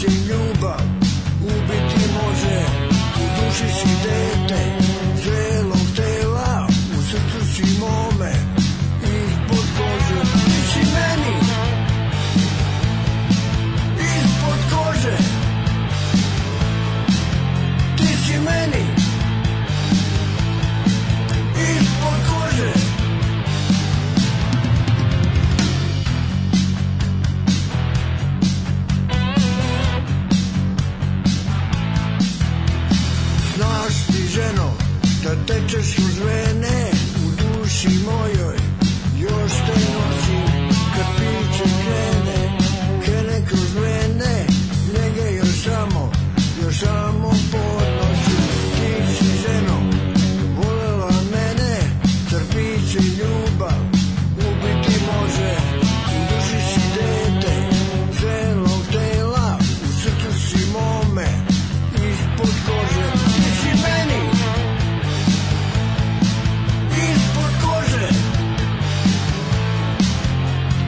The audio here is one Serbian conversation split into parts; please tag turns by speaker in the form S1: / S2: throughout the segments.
S1: se ljubav ubiti može U duši si dete zrelog tela U srcu si mome ispod kože Ti si meni ispod kože Ti si meni ispod kože Znaš ti ženo da tečeš uz mene U duši mojoj još te nosim Kad piće krene, krene kroz mene Njega još samo, još samo podnosim Ti si ženo, volela mene Trpiće ljubav, ubiti može U duši si dete, zrelog tela U srcu si mome, ispod kože Ti si meni, ispod kože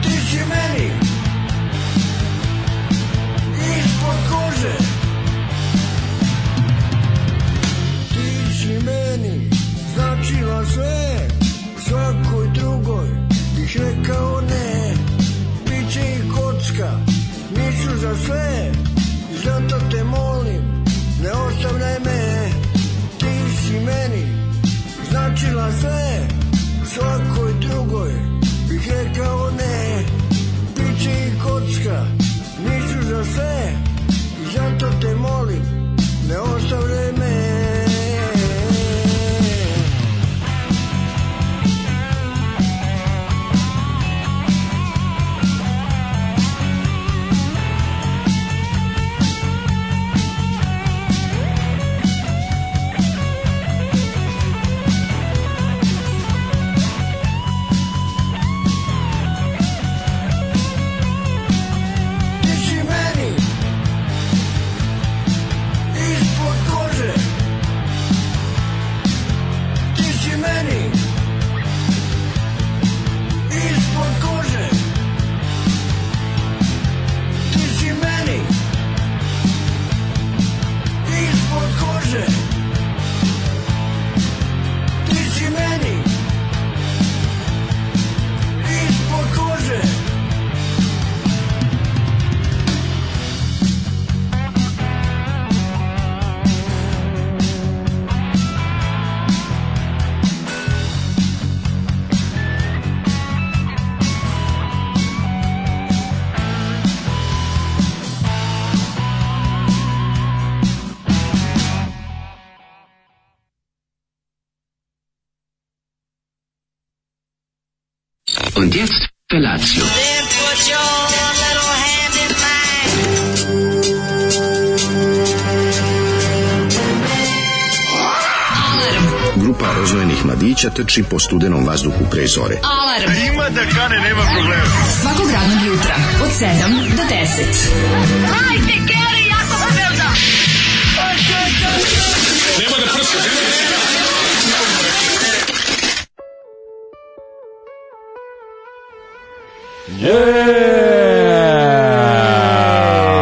S1: Ti si meni, ispod kože Ti si meni značila sve Svakoj drugoj bih rekao ne Biće i kocka, nisu za sve I zato te molim, ne ostavljaj me Ti si meni značila sve Svakoj drugoj bih rekao ne Biće i kocka, nisu za sve I zato te molim, ne ostavljaj me Ti si meni ispod kože Ti si meni ispod kože Ti si meni ispod kože Ti si meni ispod kože
S2: Und jetzt Felatio.
S3: Then put your little hand in mine.
S4: Grupa rozvojenih mladića trči po studenom vazduhu pre zore.
S5: Alarm. Ima da kane, nema problema. Svakog radnog jutra, od 7 do 10. Hajde, Keri, jako se velda.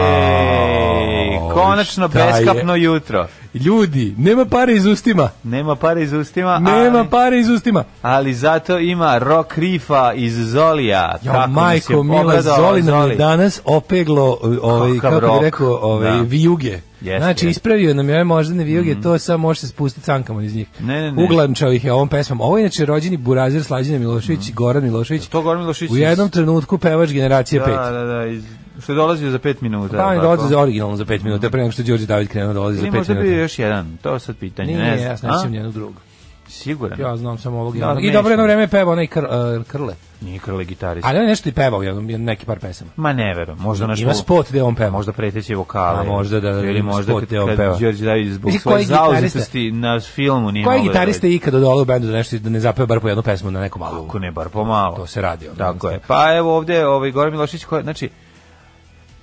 S6: Ej, Konačno
S7: šta je?
S6: beskapno jutro.
S7: Ljudi, nema pare iz ustima.
S6: Nema pare iz ustima,
S7: Nema
S6: ali,
S7: pare iz ustima.
S6: ali zato ima rock rifa iz Zolija.
S7: Ja,
S6: Kako mi se
S7: majko, Mila
S6: obradovao
S7: Zoli nam je
S6: Zoli.
S7: danas opeglo, ovaj,
S6: Kakav
S7: kako
S6: rock.
S7: bi rekao, ovaj,
S6: Da.
S7: vijuge.
S6: Jeste,
S7: znači,
S6: jeste. Mhm.
S7: ispravio nam je ove moždane vijuge, to samo može se spustiti cankama iz njih.
S6: Ne, ne, ne.
S7: Uglančao ih je ovom pesmom. Ovo je inače rođeni Burazir Slađana Milošević i Goran Milošević.
S6: Mhm. To Goran Milošić.
S7: U
S6: iz-
S7: jednom trenutku pevač generacije 5.
S6: Da, da, da, iz, što je dolazio za 5 minuta.
S7: Pa
S6: je
S7: on
S6: li
S7: je
S6: tako?
S7: dolazio za originalno za 5 minuta, pre nego što Đorđe David krenuo dolazi za
S6: Ili
S7: 5
S6: možda
S7: minuta.
S6: bio još jedan, to je sad pitanje.
S7: Nije,
S6: ne
S7: ne,
S6: znam.
S7: ja sam
S6: A?
S7: sjećam jednog drugog.
S6: Siguran.
S7: Ja znam samo ovog
S6: Da,
S7: jednog. I
S6: mešano.
S7: dobro jedno vreme pevao onaj kr, uh, Krle.
S6: Nije e, krle gitarista.
S7: Ali on je nešto i pevao jednom, neki par pesama.
S6: Ma ne verujem, možda naš
S7: Ima spot gde on peva.
S6: možda pa preteće vokale.
S7: A možda da-
S6: ili
S7: ima
S6: možda
S7: spot
S6: kad,
S7: gde on
S6: kad
S7: peva.
S6: Đorđe David zbog
S7: Vidi,
S6: svoje
S7: koji gitarista-
S6: zauzetosti na filmu nije
S7: Koji
S6: mogao da
S7: gitarista
S6: dođe.
S7: je ikada dodao u bendu da nešto da ne zapeva bar po jednu pesmu na nekom albumu?
S6: Ako ne, bar pomalo.
S7: To se radi, ono,
S6: Tako je.
S7: jednostavno.
S6: Pa evo ovde, ovaj, Goran Milošić, koja, znači,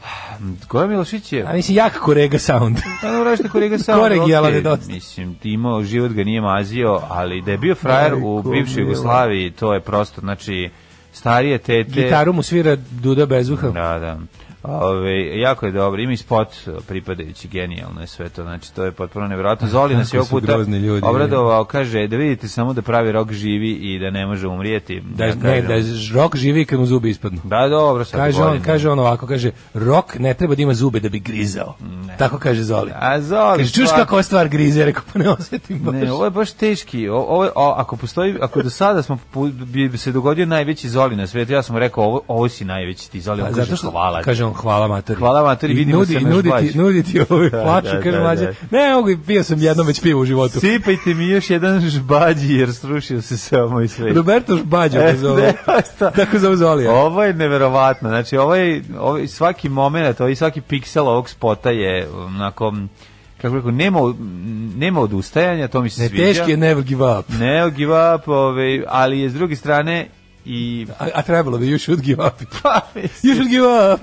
S6: Goran Milošić je...
S7: A mislim, jak korega sound.
S6: Pa dobro, radiš na korega sam.
S7: Kolegijala nedostaje.
S6: Mislim, ti imao, život ga nije mazio, ali da je bio frajer u
S7: Majko
S6: bivšoj
S7: mila.
S6: Jugoslaviji, to je prosto, znači, starije tete...
S7: Gitaru mu svira Duda Bezuha.
S6: Da, da. Ove, jako je dobro, ima i spot pripadajući, genijalno je sve to, znači to je potpuno nevjerojatno. Zoli nas je
S7: Kako
S6: ovog
S7: su
S6: puta
S7: grozni ljudi.
S6: obradovao, kaže da vidite samo da pravi rok živi i da ne može umrijeti.
S7: Da,
S6: Ja
S7: ne,
S6: kažem,
S7: da rok živi i kad mu zubi ispadnu.
S6: da, dobro, sad
S7: Kaže on,
S6: volim.
S7: kaže on ovako, kaže, rok ne treba da ima zube da bi grizao. Tako kaže Zoli.
S6: A Zoli,
S7: Kaže, čuš
S6: Mm, stvar-
S7: kako je stvar grize, Ja rekao, pa ne osetim baš.
S6: Ne, ovo je baš teški. O, ovo, je- o, ako postoji, ako do sada smo pu- bi se dogodio najveći zoli na svijetu, ja sam mu rekao ovo, ovo si najveći ti zoli, on
S7: Pa
S6: kaže,
S7: zato što
S6: hvala. ti.
S7: Kaže on hvala mater.
S6: Hvala, matori,
S7: I
S6: vidimo se na
S7: nudi,
S6: žbači.
S7: nuditi, nuditi ovaj
S6: Da,
S7: plaču,
S6: da,
S7: kaže
S6: da,
S7: mlađe. Ne, mogu, pio sam jednom već pivo u životu.
S6: Sipajte mi još jedan žbađi jer srušio se samo i sve.
S7: Roberto Žbađo
S6: E,
S7: ga zove.
S6: ne, šta?
S7: Tako zove Zoli.
S6: Ovo je neverovatno. Znači, ovo je, ovo je svaki moment, ovo je svaki piksel ovog spota je onako, m, kako bih rekao, nema, od- m, nema odustajanja, to mi se
S7: Ne,
S6: sviđa.
S7: E, teški je never give up.
S6: Ne, give up, ovaj, ali je s druge strane i...
S7: A, a trebalo bi, you should give up.
S6: Pa, mislim,
S7: You should give up.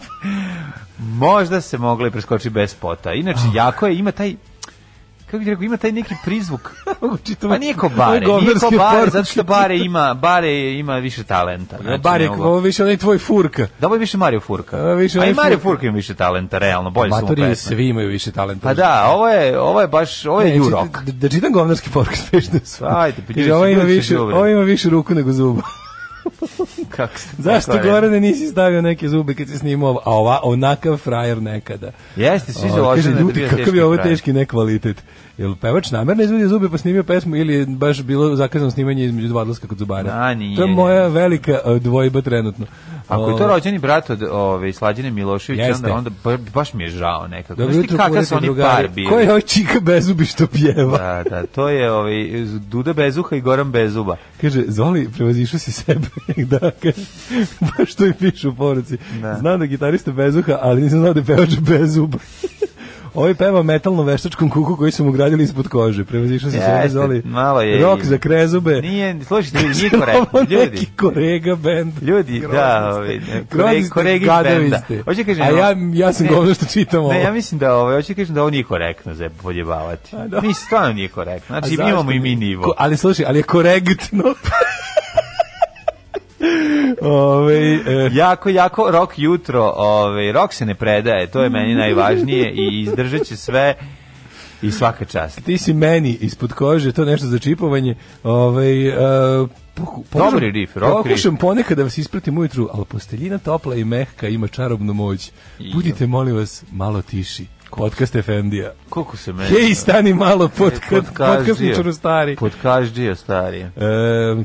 S6: možda se moglo i preskoči bez spota. Inače,
S7: Ah.
S6: jako je, ima taj kako bih rekao, ima taj neki prizvuk. Pa nije ko bare, nije ko bare, zato što bare ima, bare ima više talenta. Znači,
S7: Bar je,
S6: ne mogu-
S7: ovo više onaj tvoj furka.
S6: Da ovo je više Mario Furka.
S7: A, više
S6: A i
S7: onaj
S6: Mario
S7: Furka.
S6: Furka ima više talenta, realno, bolje su mu
S7: Matori
S6: pesme.
S7: svi imaju više talenta.
S6: Pa da, ovo je, ovo je baš, ovo je
S7: Ne,
S6: Jurok.
S7: čita- Da, da čitam govnarski podcast, već da su.
S6: Ajde, pa ljudi
S7: Ovo
S6: su-
S7: ima
S6: ljudi su
S7: više,
S6: dobri.
S7: ovo ima više ruku nego zuba.
S6: Kako ste
S7: Zašto
S6: tako rekli?
S7: Gorane nisi stavio neke zube kad si snimao, ovo? a ova, onakav frajer nekada.
S6: Jeste, svi
S7: O,
S6: založeni da
S7: ljudi,
S6: bio
S7: Ovaj, kakav je ovo
S6: kraj.
S7: teški nekvalitet. Jel pevač namerno izvadio zube pa snimio pesmu ili je baš bilo zakazano snimanje između dva odlaska kod zubara?
S6: Da, nije.
S7: To je moja velika e, dvojba trenutno. Ovaj,
S6: Ako je to rođeni brat od ove Slađane Miloševića,
S7: Jeste.
S6: onda onda ba- baš mi je žao nekako.
S7: Dobro
S6: Znaš ti
S7: jutro,
S6: kakav su
S7: kurete,
S6: oni
S7: drugari.
S6: par bili?
S7: Ko je ovaj čika bezubi što pjeva?
S6: Da, Pa, da, to je ovaj Duda Bezuha i Goran Bezuba.
S7: Kaže, Zoli, prevazišu si sebe. da, kaže, baš to i pišu u poruci.
S6: Da.
S7: Znam da je gitarista bezuha, ali nisam znao da je pevač bez zuba. Ovi peva metalno veštačkom kuku koji su mu gradili ispod kože. Prevazišu si sebe,
S6: Jeste,
S7: Zoli.
S6: malo je
S7: Rok
S6: i-
S7: za krezube.
S6: Nije, slušajte, ljudi, nije korektno,
S7: Ovo
S6: ljudi.
S7: neki korega bend.
S6: Ljudi, da, ovaj,
S7: Grozni
S6: koreg,
S7: ste,
S6: koregi
S7: gadovi
S6: benda.
S7: ste.
S6: Hoće kažem,
S7: A ja, ja sam
S6: ne,
S7: govno što čitam ovo.
S6: Ne, ja mislim da ovo, hoće kažem da ovo nije korektno za podjebavati.
S7: A, da.
S6: Mislim, stvarno nije korektno. Znači, mi imamo i mi nivo.
S7: Ko- ali slušaj, ali je korektno. Ove, e,
S6: Jako, jako rok jutro, ovaj, rok se ne predaje, to je meni najvažnije i izdržat će sve i svaka čast.
S7: ti si meni ispod kože, to je nešto za čipovanje. Ovaj e, poku- pokušam-
S6: Dobri riff, rock
S7: Pokušam ponekad da vas ispratim ujutru, ali posteljina topla i mehka ima čarobnu moć. Budite, molim vas, malo tiši. Podcast Efendija.
S6: Koliko se meni...
S7: Hej, stani malo, podcast,
S6: Podkaždio.
S7: podcastničaru stari.
S6: Podkaždio, stari.
S7: E,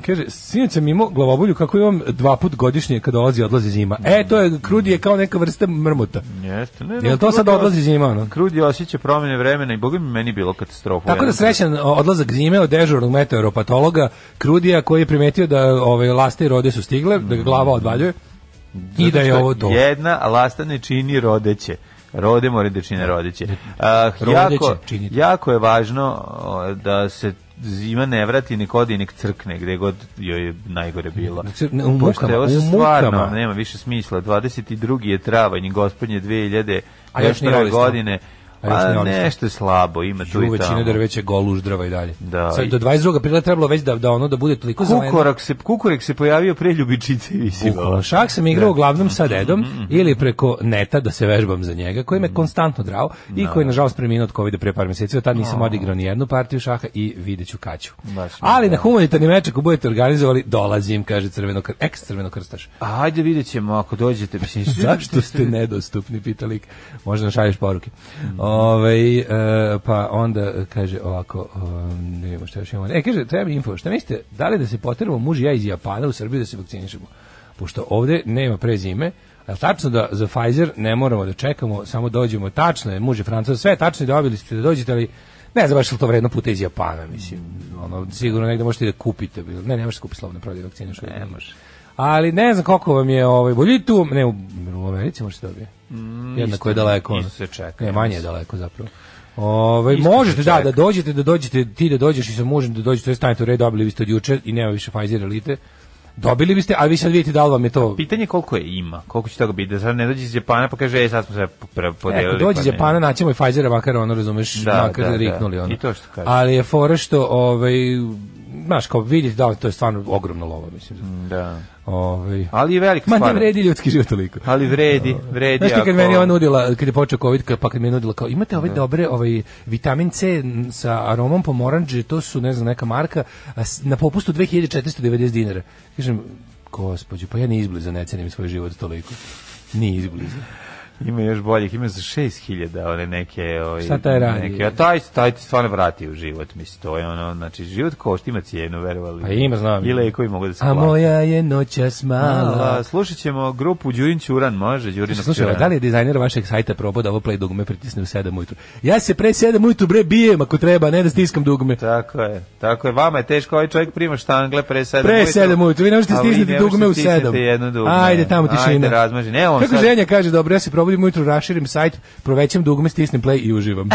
S7: kaže, sinoć sam imao glavobolju kako imam dva put godišnje kad dolazi i odlazi zima. E, to je, krudi je kao neka vrsta mrmota.
S6: Jeste. Ne,
S7: Jel to sad odlazi zima, ono?
S6: Krudi osjeća promjene vremena i boga mi meni bilo katastrofa.
S7: Tako da srećan odlazak zime od dežurnog meteoropatologa Krudija koji je primetio da ove laste i rode su stigle, da ga glava
S6: Mm.
S7: odvaljuje i da je ovo to.
S6: Jedna lasta ne čini rodeće. Rode more da čine rodeće. Ah,
S7: Rodeće
S6: jako,
S7: čini.
S6: jako je važno o, da se zima ne vrati nek odi nek crkne gde god joj je najgore bilo.
S7: Nek se- ne, u
S6: Pošto
S7: mukama,
S6: je ovo
S7: u
S6: stvarno
S7: mukama.
S6: nema više smisla. 22. je travanj, gospodnje 2000
S7: A još nije olistao.
S6: godine.
S7: A još nije
S6: A
S7: olistao.
S6: nešto je slabo, ima tu
S7: Ju
S6: i
S7: većina
S6: tamo.
S7: drveća goluždrava i dalje.
S6: Da,
S7: Sad,
S6: i-
S7: do 22. aprila je trebalo već da, da ono da bude toliko zeleno.
S6: Kukorak se, kukorek se pojavio pre ljubičice i
S7: Bukvalno.
S6: visivao.
S7: Šak sam igrao uglavnom
S6: Mhm,
S7: sa dedom ili preko neta da se vežbam za njega, koji
S6: Mhm.
S7: me konstantno drao i koji je nažalost preminuo od covid pre par mjeseci. Od tad nisam odigrao ni jednu partiju šaha i vidjet ću kaću.
S6: Oh. Baš mi
S7: Ali na humanitarni meč ako budete organizovali, dolazim, kaže crveno, kr- ex crveno krstaš.
S6: Ajde vidjet ćemo ako dođete. Mislim,
S7: Zašto ste nedostupni, pita lik. Možda nam šalješ poruke. Ovaj, e, pa onda kaže ovako, um, ne vidimo šta još imamo. E, kaže, treba mi info. Šta mislite, da li da se poteramo muž i ja iz Japana u Srbiju da se vakcinišemo? Pošto ovde nema prezime, a je tačno da za Pfizer ne moramo da čekamo, samo dođemo. Tačno je, muž je Francuza, sve je tačno i dobili ste da dođete, ali ne znam baš je li to vredno puta iz Japana, mislim. Ono, sigurno negde možete i da kupite. Ne, ne možete kupiti slobodno prodaju vakcine. što Ne može. Ali ne znam koliko vam je ovaj bolji tu, ne u, u Americi možete dobiti. Jednako je daleko. ono.
S6: Mm, isto se čeka,
S7: Ne,
S6: ja
S7: manje je daleko zapravo. Ovaj
S6: Isto
S7: možete
S6: se
S7: da
S6: čeka.
S7: da dođete da dođete ti da dođeš i sa mužem da dođete, to je stanite u red, dobili biste od juče i nema više Pfizer elite. Dobili biste, a vi sad vidite da li vam je to
S6: Pitanje je koliko je ima, koliko će toga biti. Da sad ne dođe iz Japana pa kaže, e, sad smo sve pre-
S7: E,
S6: podelili.
S7: ako dođe iz
S6: pa ne.
S7: Japana, naćemo i Pfizera, makar ono, razumeš,
S6: Da,
S7: makar
S6: da, da.
S7: riknuli ono.
S6: I to što kažeš.
S7: Ali je fora što, ovaj, znaš, kao vidjeti da to je stvarno ogromna lova, mislim.
S6: Da.
S7: Ovaj.
S6: Ali je velik
S7: Ma ne
S6: stvar.
S7: vredi ljudski život toliko.
S6: Ali vredi, vredi.
S7: Znaš ti
S6: ako-
S7: kad meni ono- ona nudila, kad je počeo COVID, kad- pa kad mi je nudila kao, imate ove dobre ovaj, vitamin C n- sa aromom pomoranđe, to su, ne znam, neka marka, a s- na popustu 2490 dinara. Kažem, gospođo, pa ja ni izbliza ne cenim svoj život toliko. Ni izbliza.
S6: Ima još boljih, ima za 6000 one neke, ovaj.
S7: Šta taj radi?
S6: Neke, a taj taj ti stvarno vrati u život, mislim, to je ono, znači život košta ima cijenu, verovali.
S7: Pa ima, znam.
S6: I lekovi mogu da se
S7: A
S6: plate.
S7: moja je noćas mala.
S6: Mala, slušat ćemo grupu Đurin Ćuran, može? Đurin
S7: Slušaj, da li je dizajner vašeg sajta probao da ovo play dugme pritisne u 7 ujutru? Ja se pre 7 ujutru bre bijem ako treba, ne da stiskam dugme.
S6: Tako je, tako je. Vama je teško, ovaj čovjek prima štangle pre 7
S7: Pre sedam ujutru, vi ne možete stisnuti dugme u sedam.
S6: Jedno dugme.
S7: Ajde, tamo tišina.
S6: Ajde, razmaži. Ne, on
S7: Kako
S6: sad-
S7: ženja kaže, dobro, ja se probudim ujutru, raširim sajt, provećam dugme, stisnem play i uživam.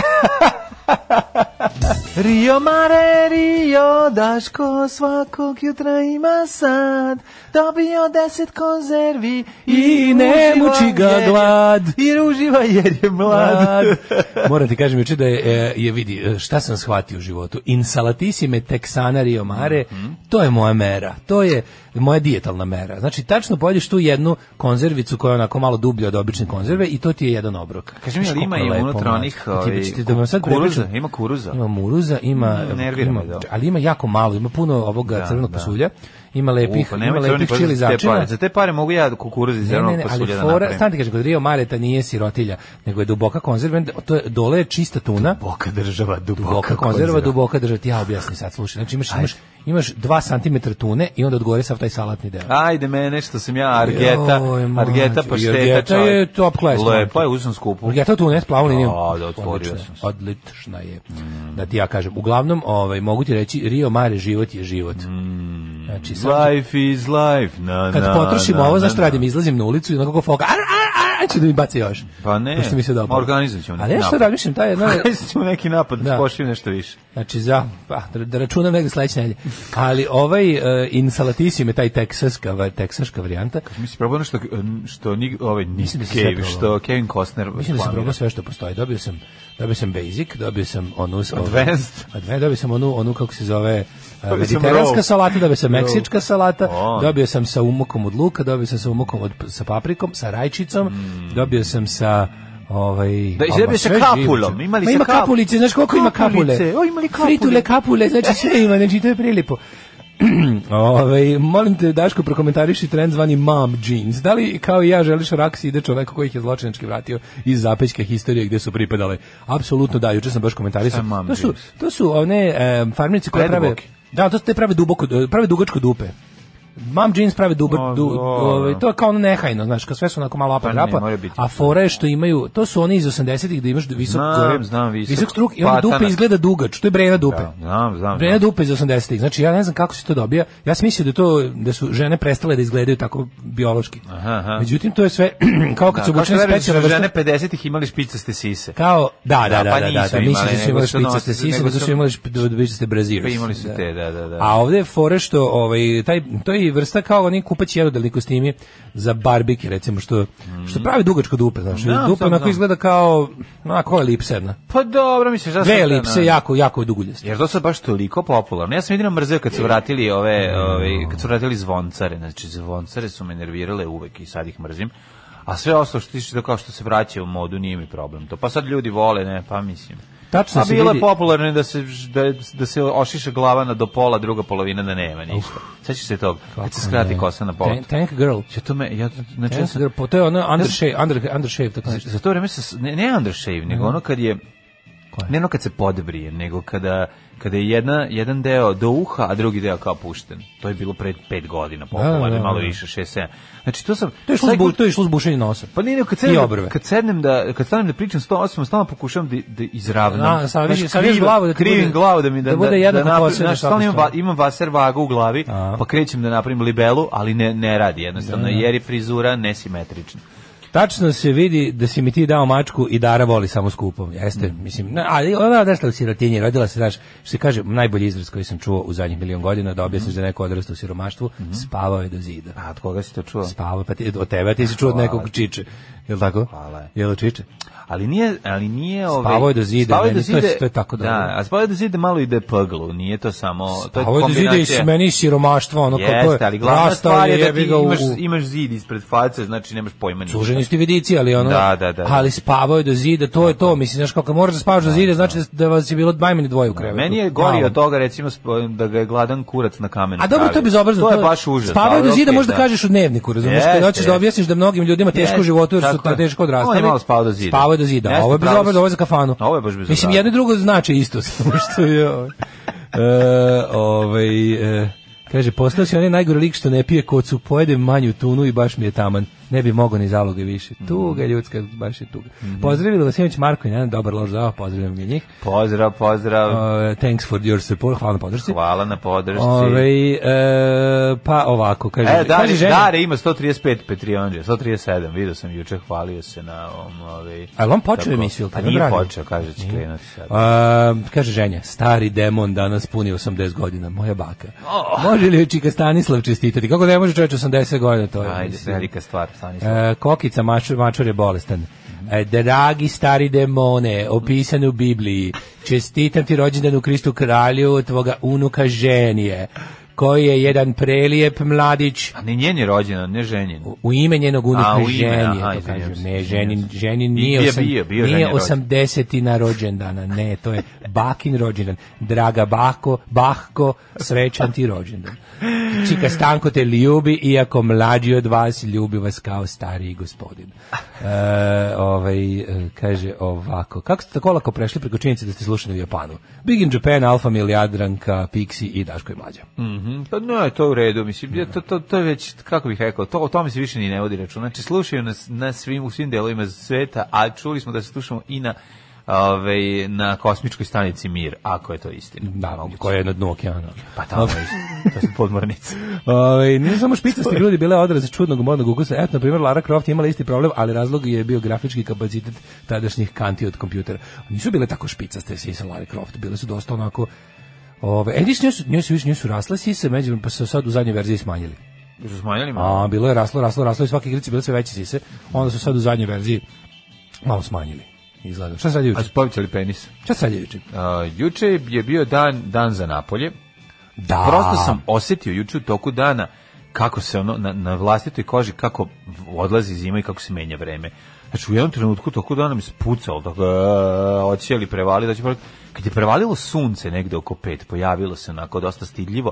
S6: Rio mare, Rio Daško, svakog jutra ima sad, dobio deset konzervi
S7: I ne
S6: uživa
S7: muči ga
S6: jer je-
S7: glad.
S6: I ruživa jer je mlad.
S7: Moram ti kažem juče da je, e, je vidi, e, šta sam shvatio u životu. Insalatissime texana rio mare,
S6: Mhm.
S7: to je moja mera. To je moja dijetalna mera. Znači, tačno pojedeš tu jednu konzervicu koja je onako malo dublja od obične konzerve i to ti je jedan obrok.
S6: Kaži mi,
S7: Znaš,
S6: ali ima
S7: koliko
S6: i
S7: je lepo,
S6: unutra
S7: mlađe.
S6: onih,
S7: A ti-
S6: ovaj,
S7: ćete da vam sad
S6: kuruza,
S7: prepričam?
S6: ima kuruza.
S7: Pa, Ima muruza, ima,
S6: Mm, nervira
S7: ima,
S6: me, da.
S7: ali ima jako malo, ima puno ovoga
S6: Da,
S7: crvenog
S6: da.
S7: pasulja, ima lepih,
S6: U, pa
S7: ima
S6: nemoj crveni
S7: lepih
S6: pasulj
S7: čili
S6: za te
S7: začina.
S6: pare. Za te pare mogu ja kukuruz iz
S7: Ne, ne,
S6: zelenog
S7: ne, ali
S6: pasulja da
S7: fora,
S6: napravim.
S7: stani ti kažem, kod Rio Mareta nije sirotilja, nego je duboka konzerva, to je, dole je čista tuna,
S6: Duboka država, duboka,
S7: duboka konzerva, duboka država, ti ja objasnim sad, slušaj, znači imaš, imaš, imaš 2 cm tune i onda odgore sav taj salatni deo.
S6: Ajde mene što sam ja Argeta,
S7: Joj, mlađe,
S6: Argeta pa šteta
S7: Argeta
S6: čovjek.
S7: je top class,
S6: Lepa je,
S7: mlađe.
S6: uzem skupu.
S7: Ja to tu ne splavu liniju.
S6: A, da, otvorio
S7: Odlična je,
S6: sam se. Mm.
S7: Odlična je. Da ti ja kažem. Uglavnom, ovaj, mogu ti reći, Rio Mare, život je život.
S6: Mm.
S7: Znači, sad,
S6: Life is life. Na,
S7: kad
S6: na,
S7: potrošim
S6: na,
S7: ovo,
S6: na,
S7: znaš što
S6: na.
S7: radim, izlazim na ulicu i onako ko foka, ar, ar, ar, ar, će da mi baci još.
S6: Pa ne,
S7: Pošto mi se dobro.
S6: organizovat ćemo
S7: Ali ja
S6: neki
S7: što
S6: napad.
S7: razmišljam, taj jedna...
S6: Pa Mislim ćemo neki napad, da.
S7: Da.
S6: pošli nešto više.
S7: Znači za, pa, da- da računam negde sledeće nedelje. Ali ovaj uh, Insalatissim je taj teksaška, va- teksaška varijanta.
S6: Mi si probao ono što, što ni, ovaj, Nick
S7: Mislim da si sve
S6: Cave,
S7: probao.
S6: što Kevin Costner
S7: Mislim da sam
S6: planira.
S7: probao sve što postoji. Dobio sam, dobio sam basic, dobio sam onu...
S6: Advanced.
S7: Advanced, dobio sam onu, onu kako se zove... uh,
S6: Dobio sam
S7: Mediteranska
S6: roll.
S7: salata, dobio sam meksička salata,
S6: O.
S7: dobio sam sa umokom od luka, dobio sam sa umokom od, sa paprikom, sa rajčicom, dobio sam sa ovaj
S6: Hmm. Da, i
S7: pa,
S6: dobio
S7: ma,
S6: sa
S7: sve
S6: kapulom.
S7: živuće.
S6: Ima li
S7: Ma
S6: sa
S7: ima
S6: kap-
S7: kapulice, znaš koliko ima kapule?
S6: Kapulice, o, ima li kapule?
S7: Fritule, kapule, znači sve ima, znači to je prilipo. Ove, molim te Daško prokomentariši trend zvani mom jeans. Da li kao i ja želiš raks ide čovek koji ih je zločinački vratio iz zapećke historije gde su pripadale? Apsolutno da, juče sam baš komentarisao.
S6: Šta je mom
S7: To su,
S6: jeans?
S7: to su one e, farmerice koje prave...
S6: Preduboki.
S7: Da, to su te prave duboko, prave dugačko dupe. Mom jeans prave dubo,
S6: O,
S7: du,
S6: dobro.
S7: ovaj, to je kao ono nehajno, znaš, kao sve su onako malo
S6: Pa
S7: apa
S6: ne,
S7: drapa,
S6: mora biti.
S7: a fora je što imaju, to su oni iz 80-ih da imaš visok,
S6: Znam,
S7: gore-
S6: znam, visok.
S7: struk i onda dupe
S6: Patanak.
S7: izgleda dugač, to je brena dupe.
S6: Da, znam, znam.
S7: Vrena
S6: znam.
S7: dupe iz 80-ih. Znači ja ne znam kako se to dobija. Ja sam mislio da je to da su žene prestale da izgledaju tako biološki.
S6: Aha, aha.
S7: Međutim to je sve kao kad
S6: Da,
S7: su
S6: kao što
S7: obučene
S6: veruješ da su
S7: specijalne
S6: žene
S7: vrste
S6: 50-ih imali špicaste sise.
S7: kao da da
S6: Da,
S7: da da
S6: pa
S7: da, da,
S6: nisu
S7: mislim
S6: imale,
S7: da su
S6: nego
S7: imali
S6: su nosile,
S7: špicaste sise,
S6: nego
S7: nego
S6: su-
S7: su imali šp- špicaste braziras.
S6: Pa imali su te, da, da, da.
S7: A ovde je fore što ovaj, taj, to je vrsta kao oni kupaći jedodelni kostimi za barbike, recimo, što, što pravi dugačko dupe, znaš.
S6: Mm. Da,
S7: dupe
S6: znam,
S7: onako
S6: znam.
S7: izgleda kao, onako elipsa jedna.
S6: Pa dobro, misliš da
S7: Dve
S6: sad-
S7: elipse, jako, jako duguljaste.
S6: Jer to su baš toliko popularno. Ja sam jedino mrzeo kad su vratili ove, ove kad su vratili zvoncare. Znači, zvoncare su me nervirale uvek i sad ih mrzim. A sve ostalo što tiče to kao što se vraća u modu, nije mi problem to. Pa sad ljudi vole, ne, pa mislim.
S7: Tačno
S6: A
S7: se
S6: bilo je
S7: vidi-
S6: popularno i da se, da, da se ošiše glava na do pola, druga polovina da nema ništa. Sećaš se tog, kad se skrati kosa na pola.
S7: Tank, tank girl.
S6: Ja to me, ja, to- znači, ja
S7: Tank
S6: sam,
S7: girl, po, to je ono undershave, under, undershave, tako nešto.
S6: za to vreme se, ne, ne undershave, nego ono kad je, ne ono kad se podbrije, nego kada, kada je jedna, jedan deo do uha, a drugi deo kao pušten. To je bilo pred pet godina, popularno,
S7: da, da.
S6: malo više, šest, sedam. Znači to sam...
S7: To je išlo,
S6: svaki
S7: zbu,
S6: put-
S7: to je išlo zbušenje nosa.
S6: Pa nije, nego kad
S7: I
S6: sednem,
S7: obrve.
S6: kad sednem da, kad stanem da pričam s tom osobom, stalno pokušavam da, da izravnam.
S7: Da, saviš-
S6: Znaš,
S7: saviš
S6: krivo-
S7: glavu da ti
S6: krivim
S7: bude-
S6: glavu da mi da,
S7: da bude jednako
S6: napra-
S7: posebno
S6: znaš,
S7: svaka
S6: stalno imam, va,
S7: strana.
S6: imam vaser vagu u glavi,
S7: A.
S6: pa krećem da napravim libelu, ali ne, ne radi jednostavno, jer je frizura nesimetrična.
S7: Tačno se vidi da si mi ti dao mačku i Dara voli samo skupom. Jeste,
S6: Mm.
S7: mislim, na, ali ona odrasla u sirotinji, rodila se, znaš, što se kaže, najbolji izraz koji sam čuo u zadnjih milion godina, da
S6: Mm.
S7: objasniš da neko odrasta u siromaštvu, spavao je do zida.
S6: A od koga si to čuo?
S7: Spavao, pa ti, od tebe, a ti si čuo od nekog čiče. Jel tako?
S6: Pala je.
S7: Jel čiče?
S6: Ali nije, ali nije ovaj
S7: Spavao je do zida,
S6: spavao je
S7: meni to je- to je tako
S6: da.
S7: dobro.
S6: a spavao je do zida malo ide pglu, nije to samo to je
S7: Ovo je
S6: kombinacija.
S7: zide i s meni siromaštvo, ono kako je.
S6: Jeste, ali glavna
S7: rastao
S6: stvar je da
S7: jebi
S6: ti
S7: ga u-
S6: imaš, imaš zid ispred face, znači nemaš pojma ništa.
S7: Suženi ste vidici, ali ono,
S6: Da, da, da.
S7: ali spavao je do zida, to je to, mislim, znaš, kako moraš da spavaš do zida, znači da, da vas je bilo najmanje dvoje u krevetu.
S6: Meni je gori
S7: Malo.
S6: od toga recimo sp- da ga je gladan kurac na kamenu.
S7: A dobro, to je
S6: stavio.
S7: bezobrazno.
S6: To je baš užasno.
S7: Spavaju
S6: ali
S7: do zida
S6: okej,
S7: možda kažeš u dnevniku, razumiješ?
S6: Jeste,
S7: Kad hoćeš da
S6: jeste.
S7: objasniš da mnogim ljudima teško u
S6: Jeste,
S7: životu jer su
S6: tako je.
S7: teško odrastali.
S6: On je malo spavao do zida.
S7: Spavao je do zida. a
S6: Jeste,
S7: ovo je
S6: pravo
S7: bezobrazno,
S6: si.
S7: ovo je za kafanu.
S6: Ovo je baš bezobrazno.
S7: Mislim, jedno i drugo znači isto, samo što je... ovaj. E, ovaj, e, kaže, postao si onaj najgori lik što ne pije kocu, pojede manju tunu i baš mi je taman. Ne bi mogao ni zaloge više.
S6: Mhm.
S7: Tuga ljudska, baš je tuga. Pozdravili vas Ivanić Marko i Nenad, dobar lož zava, pozdravljam i njih.
S6: Pozdrav, pozdrav.
S7: E, thanks for your support, hvala na podršci.
S6: Hvala na podršci.
S7: Ove, e, pa ovako, kaže,
S6: E,
S7: kaže
S6: Dare,
S7: žena,
S6: Dare ima 135 Patreonđe, 137, vidio sam juče, hvalio se na ovom... Ovaj,
S7: Ali on počeo
S6: tako-
S7: emisiju, ili
S6: Pa
S7: tako
S6: nije
S7: dragi?
S6: počeo, kaže, će krenuti sad.
S7: A, kaže ženja, stari demon danas puni 80 godina, moja baka.
S6: Oh.
S7: Može li joj čika Stanislav čestitati? Kako ne može čovječ 80 godina, to je.
S6: Ajde,
S7: mislim.
S6: velika stvar, stani se.
S7: E, kokica mačur, mačur je bolestan. E, dragi stari demone, opisane u Bibliji, čestitam ti rođendan u Kristu kralju, tvoga unuka ženije, koji je jedan prelijep mladić,
S6: A ne njen je rođendan, ne ženjen.
S7: u ime njenog unuka
S6: A, u ime,
S7: ženje,
S6: aha,
S7: to
S6: izvinjam
S7: kažem.
S6: se,
S7: Ne,
S6: izvinjam
S7: ženin,
S6: se.
S7: ženin
S6: I
S7: nije,
S6: bio je
S7: osam,
S6: bio, bio ženin
S7: nije
S6: rođendan.
S7: osamdeseti na rođendana, ne, to je bakin rođendan. Draga bako, bahko, srećan ti rođendan. Čika Stanko te ljubi, iako mlađi od vas, ljubi vas kao stariji gospodin. E, ovaj, e, kaže ovako, kako ste tako lako prešli preko činjenice da ste slušali u Japanu? Big in Japan, Alfa, Milijadranka, Pixi i Daško i Mlađa.
S6: Mhm. Pa ne, to je u redu, mislim, ja, to, to, to je već, kako bih rekao, to, o tome se više ni ne vodi računa. Znači, slušaju nas na svim, u svim delovima sveta, a čuli smo da se slušamo i na, ovaj, na kosmičkoj stanici Mir, ako je to istina.
S7: Da,
S6: Moguće.
S7: koja je na dnu okeana.
S6: Pa tamo je isto, to su podmornice.
S7: Ovaj nije samo špicasti grudi bile odraz čudnog modnog ukusa. Eto, na primjer, Lara Croft je imala isti problem, ali razlog je bio grafički kapacitet tadašnjih kanti od kompjutera. Nisu bile tako špicaste sise Lara Croft, bile su dosta onako... Ove, e, nisu, nisu, nisu, nisu, nisu rasle sise, među, pa su sad u zadnjoj verziji smanjili.
S6: Jesu smanjili malo?
S7: A, bilo je raslo, raslo, raslo i svake igrice bile sve veće sise. Onda su sad u zadnjoj verziji malo smanjili. Izgleda. Šta sad
S6: A
S7: juče?
S6: su povećali penis.
S7: Šta sad juče?
S6: A, juče je bio dan, dan za Napolje.
S7: Da.
S6: Prosto sam osetio juče u toku dana kako se ono na, na vlastitoj koži kako odlazi zima i kako se menja vreme. Znači u jednom trenutku u toku dana mi spucalo tako e, ocijeli prevali da će prevali. kad je prevalilo sunce negde oko pet pojavilo se onako dosta stidljivo.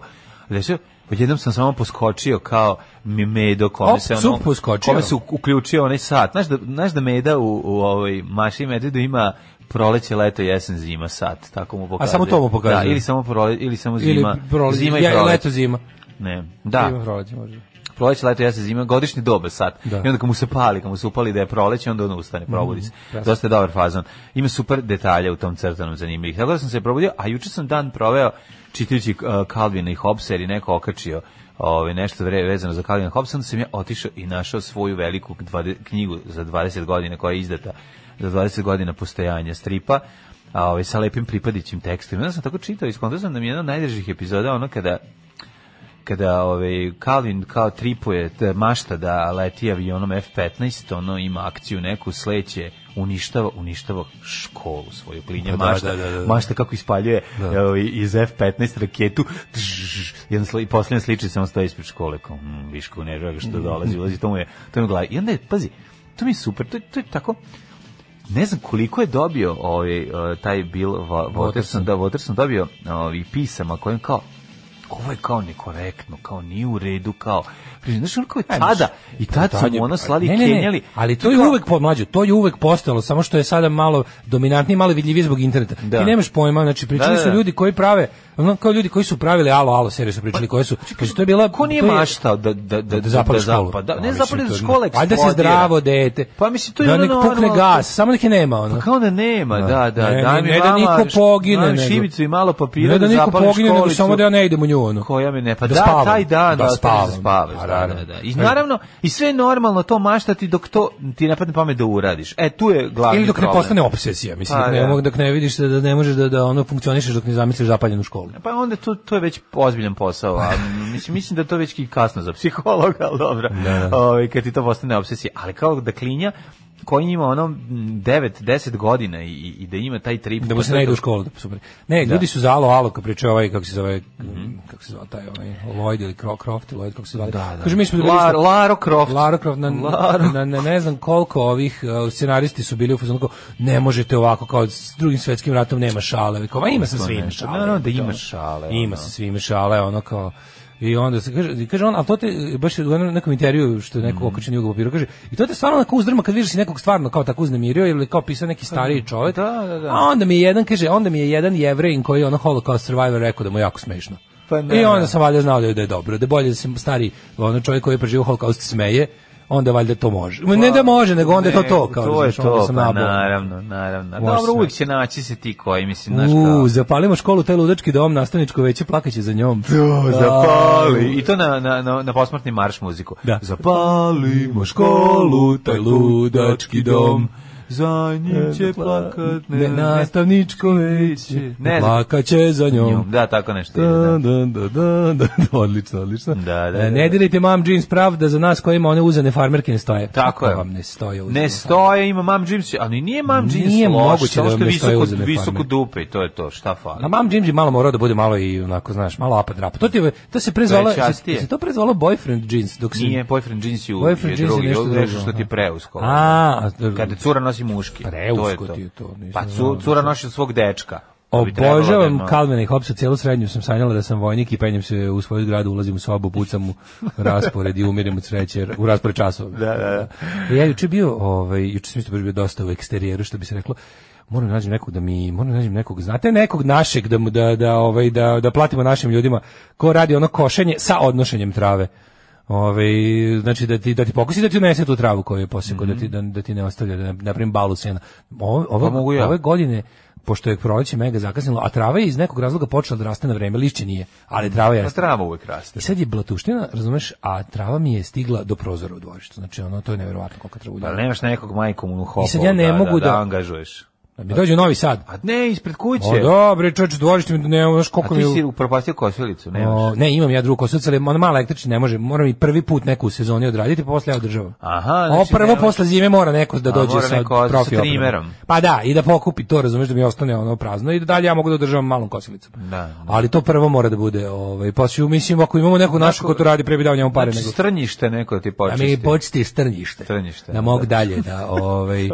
S6: Da se odjednom sam samo poskočio kao mi medo kome
S7: Op,
S6: se ono
S7: cup poskočio.
S6: kome se u- uključio onaj sat. Znaš da, znaš da meda u, u ovoj maši mededu ima proleće, leto, jesen, zima, sat. Tako mu pokazuje.
S7: samo to mu pokazuje.
S6: Da, ili samo, prole, ili samo
S7: Ili
S6: zima,
S7: prole-
S6: zima i
S7: ja-
S6: proleće.
S7: leto, zima.
S6: Ne, da,
S7: Zima, proleće, može.
S6: proleće, leto, jesen, zima, godišnji doba sad.
S7: Da. Mhm,
S6: I onda kad mu se pali, kad mu se upali da je proleće, onda on ustane, probudi se. Dosta je dobar fazon. Ima super detalje u tom crtanom zanimljivih. Tako da sam se probudio, a juče sam dan proveo čitajući uh, Calvina i Hobbesa jer je neko okačio ove, nešto vre, vezano za Calvina i Hobbesa, onda sam ja otišao i našao svoju veliku dvade- knjigu za 20 godina koja je izdata za 20 godina postojanja stripa a, ovaj, sa lepim pripadićim tekstom. I Onda sam tako čitao i skontao sam da mi je jedna od najdražih epizoda ono kada kada ovaj Kalin kao tripuje t- mašta da leti avionom F15 ono ima akciju neku sleće uništava uništava školu svoju klinje
S7: Da,
S6: mašta
S7: da, da, da.
S6: mašta kako ispaljuje ovaj, iz F15 raketu tžž, jedan sli, poslednja sličica samo stoji ispred škole kao mm, viško ne žega što dolazi ulazi to mu je to mu je glava i onda je, pazi to mi je super to, je- to je tako ne znam koliko je dobio ovaj, eh, taj Bill Wa- Watterson, da, Watterson dobio ovaj, pisama kojim kao ovo je kao nekorektno, kao nije u redu, kao... Znaš, ono kao je tada, i tad su mu ono slali i
S7: E, Ne, ne, ne,
S6: kenjali.
S7: Ali to je
S6: kao-
S7: uvek pomlađe, to je uvek postojalo, samo što je sada malo dominantnije, malo vidljivije zbog interneta.
S6: Da.
S7: Ti nemaš pojma, znači pričali
S6: Da, da,
S7: su
S6: da.
S7: ljudi koji prave, ono kao ljudi koji su pravili alo alo seriju su pričali koje su, znači to je bila
S6: Pa, Ko nije
S7: to je-
S6: maštao da, da, da,
S7: da, da zapali školu.
S6: zapada?
S7: Pa,
S6: ne
S7: mislim,
S6: zapali
S7: to
S6: da
S7: je-
S6: škola eksplodira.
S7: Valjda se zdravo dete.
S6: Pa mislim, to je
S7: da
S6: ono
S7: nek pukne
S6: normalno-
S7: gas, samo nek je nema ono.
S6: Pa kao da nema, da, da.
S7: Ne,
S6: daj
S7: ne,
S6: mi
S7: ne da
S6: mama
S7: niko
S6: š-
S7: pogine,
S6: daj mi
S7: nego-
S6: šibicu i malo papira
S7: Ne da
S6: da
S7: niko
S6: zapalim
S7: pogine, nego
S6: školicu.
S7: samo da ja ne idem u nju ono.
S6: koja mi ne pa da,
S7: Da spavam.
S6: taj dan
S7: Da
S6: da,
S7: spavam.
S6: spavam, da spavaš
S7: Pa,
S6: da,
S7: naravno.
S6: da, da. i naravno i sve je normalno to maštati dok to ti ne padne pamet da uradiš e tu je glavni
S7: Ili dok ne
S6: problem.
S7: postane obsesija, mislim,
S6: Pa,
S7: dok ne,
S6: da.
S7: mogu- dok ne vidiš da, da ne možeš da, da ono funkcionišeš dok ne zamisliš zapaljenu školu.
S6: pa onda to, to je već ozbiljan posao a mislim mislim da je to već i kasno za psihologa ali dobro ovaj kad ti to postane obsesija ali kao da klinja koji ima ono 9-10 godina i, i da ima taj trip.
S7: Da mu se ne ide u školu, da, super. Ne, ljudi su za alo, alo, kad pričaju ovaj, kako se zove,
S6: Mhm.
S7: kako se zove taj onaj, Lloyd ili Cro- Croft, Lloyd, kako se zove.
S6: Da, da.
S7: Kaže, mi smo bili
S6: Lar,
S7: isto-
S6: Laro Croft.
S7: Lara Croft, na,
S6: Laro.
S7: na, na ne znam koliko ovih uh, scenaristi su bili u fazonu, kao, ne možete ovako, kao s drugim svetskim ratom nema šale. Kao, ma ima sa svim
S6: nešto.
S7: šale.
S6: Naravno da ima
S7: Ono.
S6: šale, ono.
S7: Ima sa svim šale, ono kao, I onda se kaže, kaže on, ali to te, baš je u jednom nekom intervju što je
S6: Mhm.
S7: neko okačen jugo papiru, kaže, i to te stvarno onako uzdrma kad vidiš si nekog stvarno kao tako uznemirio ili kao pisao neki stariji čovjek.
S6: Pa, Da, da, da.
S7: A onda mi je jedan, kaže, onda mi je jedan jevrejin koji je ono Holocaust survivor rekao da mu je jako smešno.
S6: Pa ne.
S7: I onda sam valjda znao da je, da je dobro, da je bolje da se stari ono čovjek koji je preživio holokaust smeje, onda valjda to može. Ma, ne da može, nego onda je to to. Kao,
S6: Pa, to je
S7: razumeš, onda
S6: to,
S7: sam
S6: pa
S7: nabuvan.
S6: naravno, naravno. A
S7: Može
S6: Dobro,
S7: sve.
S6: uvijek će naći se ti koji, mislim, znaš kao...
S7: U, zapalimo školu, taj ludački dom, nastavničko veće, plakaće za njom.
S6: To, zapali. I to na, na, na, na posmrtni marš muziku.
S7: Da. Mm.
S6: Zapalimo školu, taj ludački dom, za njim će plakat
S7: E, Ne, nastavničko veće,
S6: Ne znam.
S7: plakaće za njom.
S6: Da, tako nešto. ide,
S7: Da,
S6: Da.
S7: da, da, da, da, odlično, odlično.
S6: Da, da,
S7: E,
S6: da.
S7: Ne dirajte mam jeans pravda za nas kojima one uzane farmerke ne stoje.
S6: Tako je.
S7: Kako Vam ne stoje uzane
S6: Ne stoje, ima Mam Jim's, ali nije Mam Jim's
S7: Nije
S6: loš,
S7: moguće
S6: samo
S7: da vam
S6: što
S7: ne stoje
S6: visoko,
S7: uzane
S6: visoko
S7: farme.
S6: dupe i to je to, šta fali.
S7: A mam James je malo morao da bude malo i onako, znaš, malo apad rap. To, ti, je- to se prezvalo,
S6: To je častije.
S7: se, se to prezvalo boyfriend jeans. Dok si,
S6: Nije, boyfriend jeans je, u-
S7: Boyfriend
S6: je
S7: jeans je
S6: drugi,
S7: nešto
S6: ovo je nešto
S7: drugo,
S6: što ti je
S7: aha.
S6: preusko.
S7: A, a,
S6: Kada cura nosi muški. to je
S7: Preusko
S6: to.
S7: ti je to, nisam
S6: Pa cu-
S7: znao da
S6: cura
S7: se-
S6: nosi svog dečka. To bi trebalo da
S7: Obožavam
S6: ima-
S7: Kalvina i Hopsa, celu srednju sam sanjala da sam vojnik i penjem se u svoju zgradu, ulazim u sobu, pucam u raspored i umirem od sreće, u raspored časova. Da, da, da. Ja juče bio, ovaj, juče sam isto baš bio dosta u eksterijeru, što bi se reklo, moram da nađem nekog da mi, moram da nađem nekog, znate nekog našeg da, mu- da, da, ovaj, da, da platimo našim ljudima ko radi ono košenje sa odnošenjem trave. Ove, znači da ti da ti pokusi da ti unese tu travu koju je posekao da ti da, da ti ne ostavlja da napravim balu sena. Ovo, ovo,
S6: Pa Mhm. mogu ja.
S7: ove godine pošto je proleće mega zakasnilo, a trava je iz nekog razloga počela da raste na vreme, lišće nije, ali trava
S6: Pa
S7: jeste.
S6: trava uvek raste.
S7: I sad je blatuština, razumeš, a trava mi je stigla do prozora u dvorištu. Znači, ono, to je neverovatno koliko travu
S6: Pa
S7: ljudima.
S6: nemaš nekog majkom u hopu.
S7: I sad ja ne
S6: da,
S7: mogu
S6: da,
S7: da-
S6: angažuješ.
S7: Da mi dođe u Novi Sad.
S6: A ne, ispred kuće.
S7: O, dobre, čoveč, dvorište mi, ne, znaš
S6: A
S7: koliko mi...
S6: ti
S7: je-
S6: si upropastio kosilicu, nemaš.
S7: O, ne, imam ja drugu kosilicu, ali ona mala električna ne može, moram i prvi put neku u sezoni odraditi, pa posle ja održavam.
S6: Aha,
S7: Ovo
S6: znači
S7: prvo
S6: nemaš-
S7: posle zime mora neko da
S6: A,
S7: dođe
S6: mora
S7: sa
S6: neko od- sa
S7: profi opremom.
S6: trimerom.
S7: Pa da, i da pokupi to, razumeš, da mi ostane ono prazno i da dalje ja mogu da održavam malom kosilicom.
S6: Da, da.
S7: Ali to prvo mora da bude, ovaj, pa si mislim, ako imamo neku našu ko to radi, pre bi dao njemu pare
S6: Znači,
S7: nego.
S6: strnjište neko da ti
S7: Da
S6: počisti.
S7: mi počisti strnjište.
S6: Strnjište,
S7: Da mogu
S6: da.
S7: dalje da, ovaj,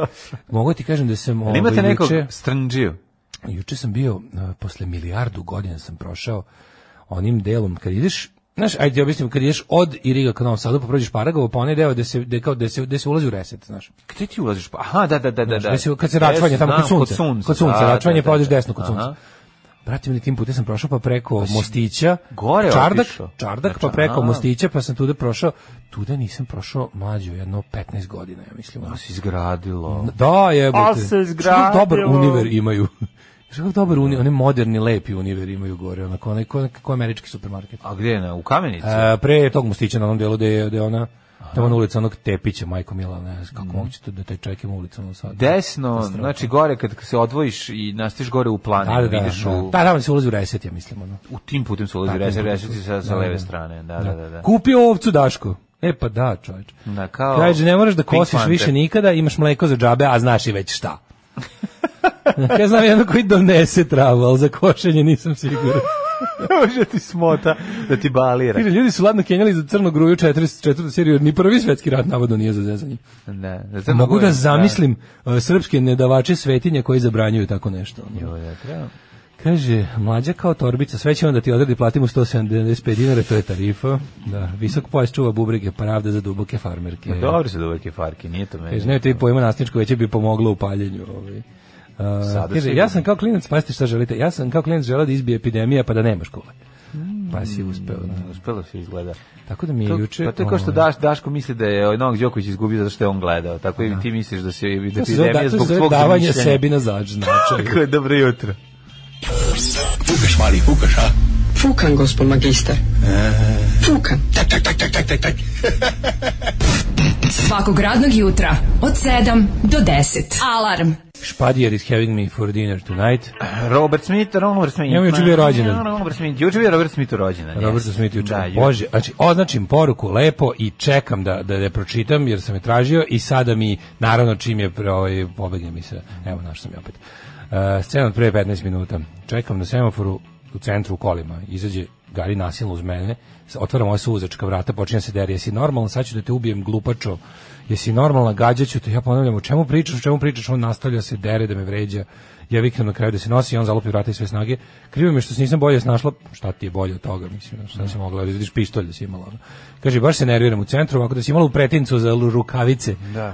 S7: mogu ti kažem da sam,
S6: Ali
S7: ovaj,
S6: imate nekog
S7: juče-
S6: strnđiju.
S7: Juče sam bio, e, posle milijardu godina sam prošao onim delom, kad ideš, znaš, ajde ti objasnim, kad ideš od Iriga ka Novom Sadu, pa prođeš Paragovo, pa onaj deo gde se, gde, kao, gde se, gde se ulazi u reset, znaš.
S6: Gde ti ulaziš? Pa, Aha, da, da, da, da.
S7: Znaš,
S6: da.
S7: gde se- kad se račvanje, tamo
S6: Znam,
S7: kod sunca. Kod sunca,
S6: da,
S7: račvanje,
S6: da,
S7: pa
S6: da,
S7: odeš
S6: da.
S7: desno kod sunca.
S6: Aha.
S7: Brate, mili, tim putem sam prošao pa preko Mostića,
S6: gore
S7: Čardak,
S6: otišao.
S7: Čardak,
S6: Znači,
S7: pa preko
S6: a.
S7: Mostića, pa sam tuda prošao, tuda nisam prošao mlađo, jedno 15 godina, ja mislim. ono.
S6: To se Pa izgradilo.
S7: Da, jebote.
S6: Al se
S7: Što dobar
S6: izgradilo.
S7: univer imaju. Što dobar univer, oni moderni, lepi univer imaju gore, onako, onaj ko, ko američki supermarket.
S6: A gde je? na- U kamenici?
S7: E, pre tog mostića na onom delu gde je, gde je ona, tamo na ulicu onog Tepića, Majko Mila, ne znam
S6: Mhm.
S7: kako moguće to da taj čovjek ima ulicu na sad.
S6: Desno, znači gore kad se odvojiš i nastiš gore u
S7: Da,
S6: planinu,
S7: da, da,
S6: ideš
S7: da.
S6: u
S7: Da, tamo se ulazi u reset, ja mislim, ono.
S6: u tim putem se ulazi,
S7: Da,
S6: resi,
S7: tim
S6: resi
S7: putem
S6: ti
S7: se-
S6: sa, sa
S7: da,
S6: leve
S7: da.
S6: strane, da, da, da. da.
S7: Kupio ovcu Daško. E pa da, čovječ.
S6: Da, kao
S7: Kaže, ne moraš da
S6: Pink
S7: kosiš
S6: Panther.
S7: više nikada, imaš mleko za džabe, a znaš i već šta. ja znam jedno koji donese travu, ali za košenje nisam siguran.
S6: Može ti smota da ti balira.
S7: Kaže, ljudi su ladno kenjali za crnu gruju 44. seriju, jer ni prvi svetski rat navodno nije za zezanje.
S6: Da,
S7: Mogu da zamislim uh, srpske nedavače svetinje koji zabranjuju tako nešto. ono. Kaže, mlađa kao torbica, sve će onda ti odredi, platimo 175 dinara, to je tarifa. Da, visok pojas čuva bubrege, pravda za duboke farmerke.
S6: Dobro se duvek je farki, nije to meni.
S7: Kaže, nemojte vi pojma nastavničko veće bi pomoglo u paljenju. Ovaj. Uh,
S6: Sada
S7: kaže,
S6: sigurno.
S7: ja sam kao klinac, pazite šta želite, ja sam kao klinac želeo da izbije epidemija pa da nema škole. Pa si uspeo. Da.
S6: Uspelo se izgleda.
S7: Tako da mi je
S6: Mm. To,
S7: juče...
S6: pa to je kao što
S7: ovaj,
S6: Daš, Daško misli da je ovaj Novak Đoković izgubio zato što je on gledao. Tako i ti misliš da se da
S7: To
S6: ti
S7: se zove, da,
S6: zemlja
S7: to se
S6: zbog
S7: zove
S6: tvog
S7: davanje
S6: zamišljenja.
S7: sebi na zađ. Znači,
S6: Tako je, dobro jutro.
S2: Fukaš, mali, fukaš, a?
S8: Fukan, gospod magister. Fukan. Tak, tak, tak, tak, tak, tak, tak.
S9: Svakog radnog jutra od 7 do 10. Alarm.
S7: Špadijer is having me for dinner tonight.
S6: Robert Smith, Robert Smith.
S7: Njemu juče bio rođendan.
S6: Ja, Robert Smith, juče bio Robert Smith rođendan.
S7: Robert
S6: jeste.
S7: Smith juče.
S6: Da, ju-
S7: Bože, znači označim poruku lepo i čekam da da je pročitam jer sam je tražio i sada mi naravno čim je pre- ovaj pobegne mi se. Evo našao sam je opet. Uh, scena od pre 15 minuta. Čekam na semaforu u centru u kolima. Izađe Gari nasilno uz mene. S- Otvaram ova suzačka vrata, počinjem se deri. Jesi normalan, sad ću da te ubijem glupačo. Jesi normalna, gađaću te. Ja ponavljam, o čemu pričaš, o čemu pričaš? On nastavlja se dere da me vređa. Ja viknem na kraju da se nosi, on zalupi vrata i sve snage. Krivo mi je što se nisam bolje snašla, šta ti je bolje od toga, mislim, šta si mogla, vidiš pištolj da si imala. ono. Kaže, baš se nerviram u centru, ovako da si imala u pretincu za lu- rukavice, da.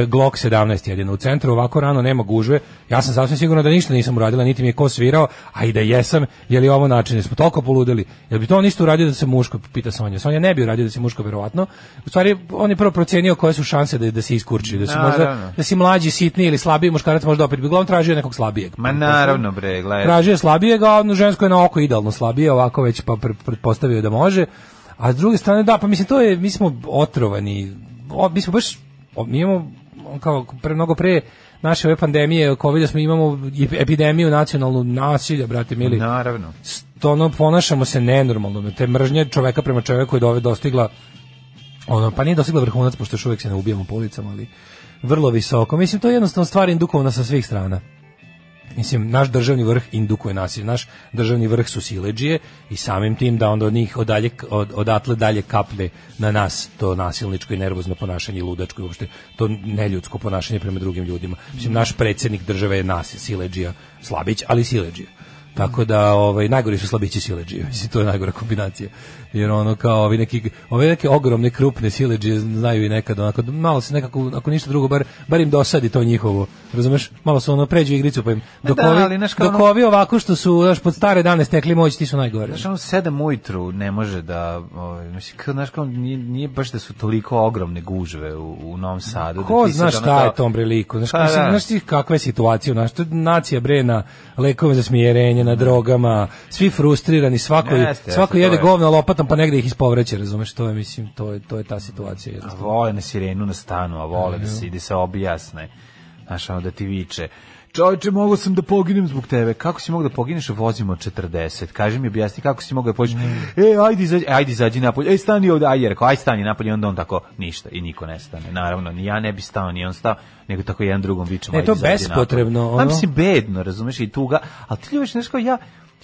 S7: e, Glock 17 jedino u centru, ovako rano nema gužve, ja sam sasvim sigurno da ništa nisam uradila, niti mi je ko svirao, a i da jesam, je li ovo način, jesmo toliko poludeli, jel bi to on isto uradio da se muško, pita Sonja, Sonja ne bi uradio da se muško, verovatno, u stvari on je prvo procenio koje su šanse da, da se iskurči, da se
S6: Naravno.
S7: možda, da si mlađi, sitniji ili slabiji muškarac možda opet bi uglavnom tražio nekog slabijeg.
S6: Ma naravno bre, gledaj.
S7: Tražio je slabijeg, a ono žensko je na oko idealno slabije, ovako već pa pre- pretpostavio da može. A s druge strane, da, pa mislim, to je, mi smo otrovani, o, mi smo baš, o, mi imamo, on kao, pre, mnogo pre naše ove pandemije, covid smo imamo i epidemiju nacionalnu nasilja, brate mili.
S6: Naravno.
S7: St- ono, ponašamo se nenormalno, te mržnje čoveka prema čoveku je do ove dostigla ono, pa nije dostigla vrhunac, pošto još uvijek se ne ubijamo po ulicama, ali vrlo visoko. Mislim, to je jednostavno stvar indukovana sa svih strana. Mislim, naš državni vrh indukuje nasilje, naš državni vrh su sileđije i samim tim da onda od njih odalje, od, odatle dalje kapne na nas to nasilničko i nervozno ponašanje i ludačko i uopšte to neljudsko ponašanje prema drugim ljudima. Mislim, naš predsjednik države je nas, sileđija, slabić, ali sileđija. Tako da ovaj najgori su slabići sileđije. Mislim to je najgora kombinacija. Jer ono kao ovi neki ove neke ogromne krupne sileđije znaju i nekad onako malo se nekako ako ništa drugo bar bar im dosadi to njihovo. Razumeš? Malo su ono pređu igricu pa im dok
S6: da,
S7: ovi
S6: ali, znaš, kao
S7: dok
S6: ono-
S7: ovi ovako što su znaš pod stare dane stekli moć ti su najgori.
S6: Znaš, ono sedam ujutru ne može da, ovaj, mislim, kao, znaš, kao, nije, nije baš da su toliko ogromne gužve u, u Novom Sadu.
S7: Ko
S6: da ti sad
S7: zna
S6: ono
S7: šta je
S6: kao-
S7: tom priliku? Znaš,
S6: Pa
S7: mislim,
S6: da.
S7: znaš ti kakva je situacija? Znaš, to je nacija bre na lekove za smjerenje, na drogama, svi frustrirani, svako,
S6: Jeste, jeste,
S7: svako
S6: to
S7: jede
S6: je.
S7: govna lopatom pa negde ih ispovreće, razumeš? To je, mislim, to je, to je ta situacija.
S6: A
S7: jednostavno.
S6: vole na sirenu na stanu, a vole da se, da se objasne. Znaš, ono da ti viče. Čovječe, mogao sam da poginem zbog tebe. Kako si mogao da pogineš? Vozimo 40. Kaži mi, objasni kako si mogao da pođeš. E, ajde izađi, ajde izađi napolje. Ej, stani ovde. Ajde, rekao, ajde stani napolje. I Onda on tako, ništa. I niko ne stane. Naravno, ni ja ne bi stao, ni on stao. Nego tako jedan drugom vičemo.
S7: Ne,
S6: "Ajde,
S7: to
S6: izađi
S7: bespotrebno,
S6: napolje."
S7: ono.
S6: Pa mislim, bedno, razumeš, i tuga. Ali ti ljubiš, znaš kao ja,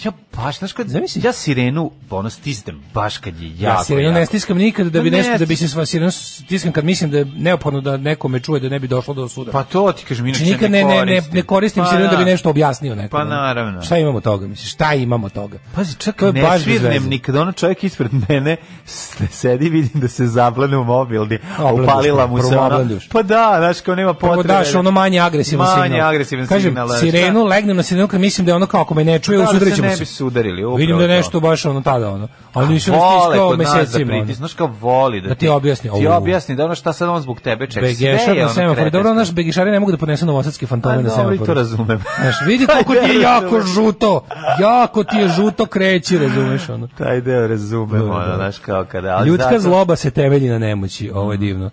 S6: ja baš, znaš kad,
S7: Zamisli.
S6: ja sirenu, ono, stisnem baš kad je jako,
S7: Ja sirenu
S6: jako.
S7: ne
S6: Pa
S7: stiskam nikada da bi
S6: Ma ne
S7: nešto, da bi se sva sirenu stiskam kad mislim da je neophodno da neko me čuje da ne bi došlo do suda.
S6: Pa to ti kažem, inače
S7: Znači, nikad ne, ne, ne, ne koristim
S6: Pa
S7: sirenu da bi
S6: da.
S7: nešto objasnio nekom.
S6: Pa naravno.
S7: Šta imamo toga? Mislim, šta imamo toga?
S6: Pazi, čak
S7: To je
S6: ne
S7: baš bez
S6: svirnem
S7: veze.
S6: nikad, ono čovjek ispred mene s- sedi, vidim da se zablane u mobilni, a
S7: Oblanduš
S6: upalila
S7: me,
S6: mu se
S7: prvo
S6: ona.
S7: oblanduš.
S6: Pa da, znaš, kao nema
S7: Prvo
S6: potrebe.
S7: daš ono manje agresivan
S6: Manje
S7: signal.
S6: agresivan
S7: Kažem,
S6: signal, ali
S7: sirenu,
S6: šta?
S7: legnem na sirenu kad mislim da je ono kao ako me ne čuje,
S6: Da, da se
S7: usudrit ćemo
S6: ne
S7: se.
S6: bi se udarili, upravo
S7: Vidim da je
S6: to.
S7: nešto baš ono tada ono. Ali nisam
S6: Vole
S7: stiskao
S6: kod nas da
S7: mesecima. ono.
S6: pritis, znaš kao voli da,
S7: Da ti objasni,
S6: Ti
S7: au.
S6: objasni da ono šta sad on zbog tebe čeka.
S7: Begešar
S6: ono
S7: na semaforu. Dobro,
S6: naš
S7: naš begešari ne mogu da ponesu novosadske fantome na
S6: Pa dobro, i to
S7: semaforu.
S6: razumem.
S7: Znaš, vidi koliko ti je
S6: Ajde,
S7: jako
S6: razumem.
S7: žuto. Jako ti je žuto kreći, razumeš ono.
S6: Taj deo razumem,
S7: Da, da,
S6: ono,
S7: da.
S6: znaš kao kada... ali
S7: Ljudska
S6: zato- Mm.
S7: zloba se temelji na nemoći, ovo je divno.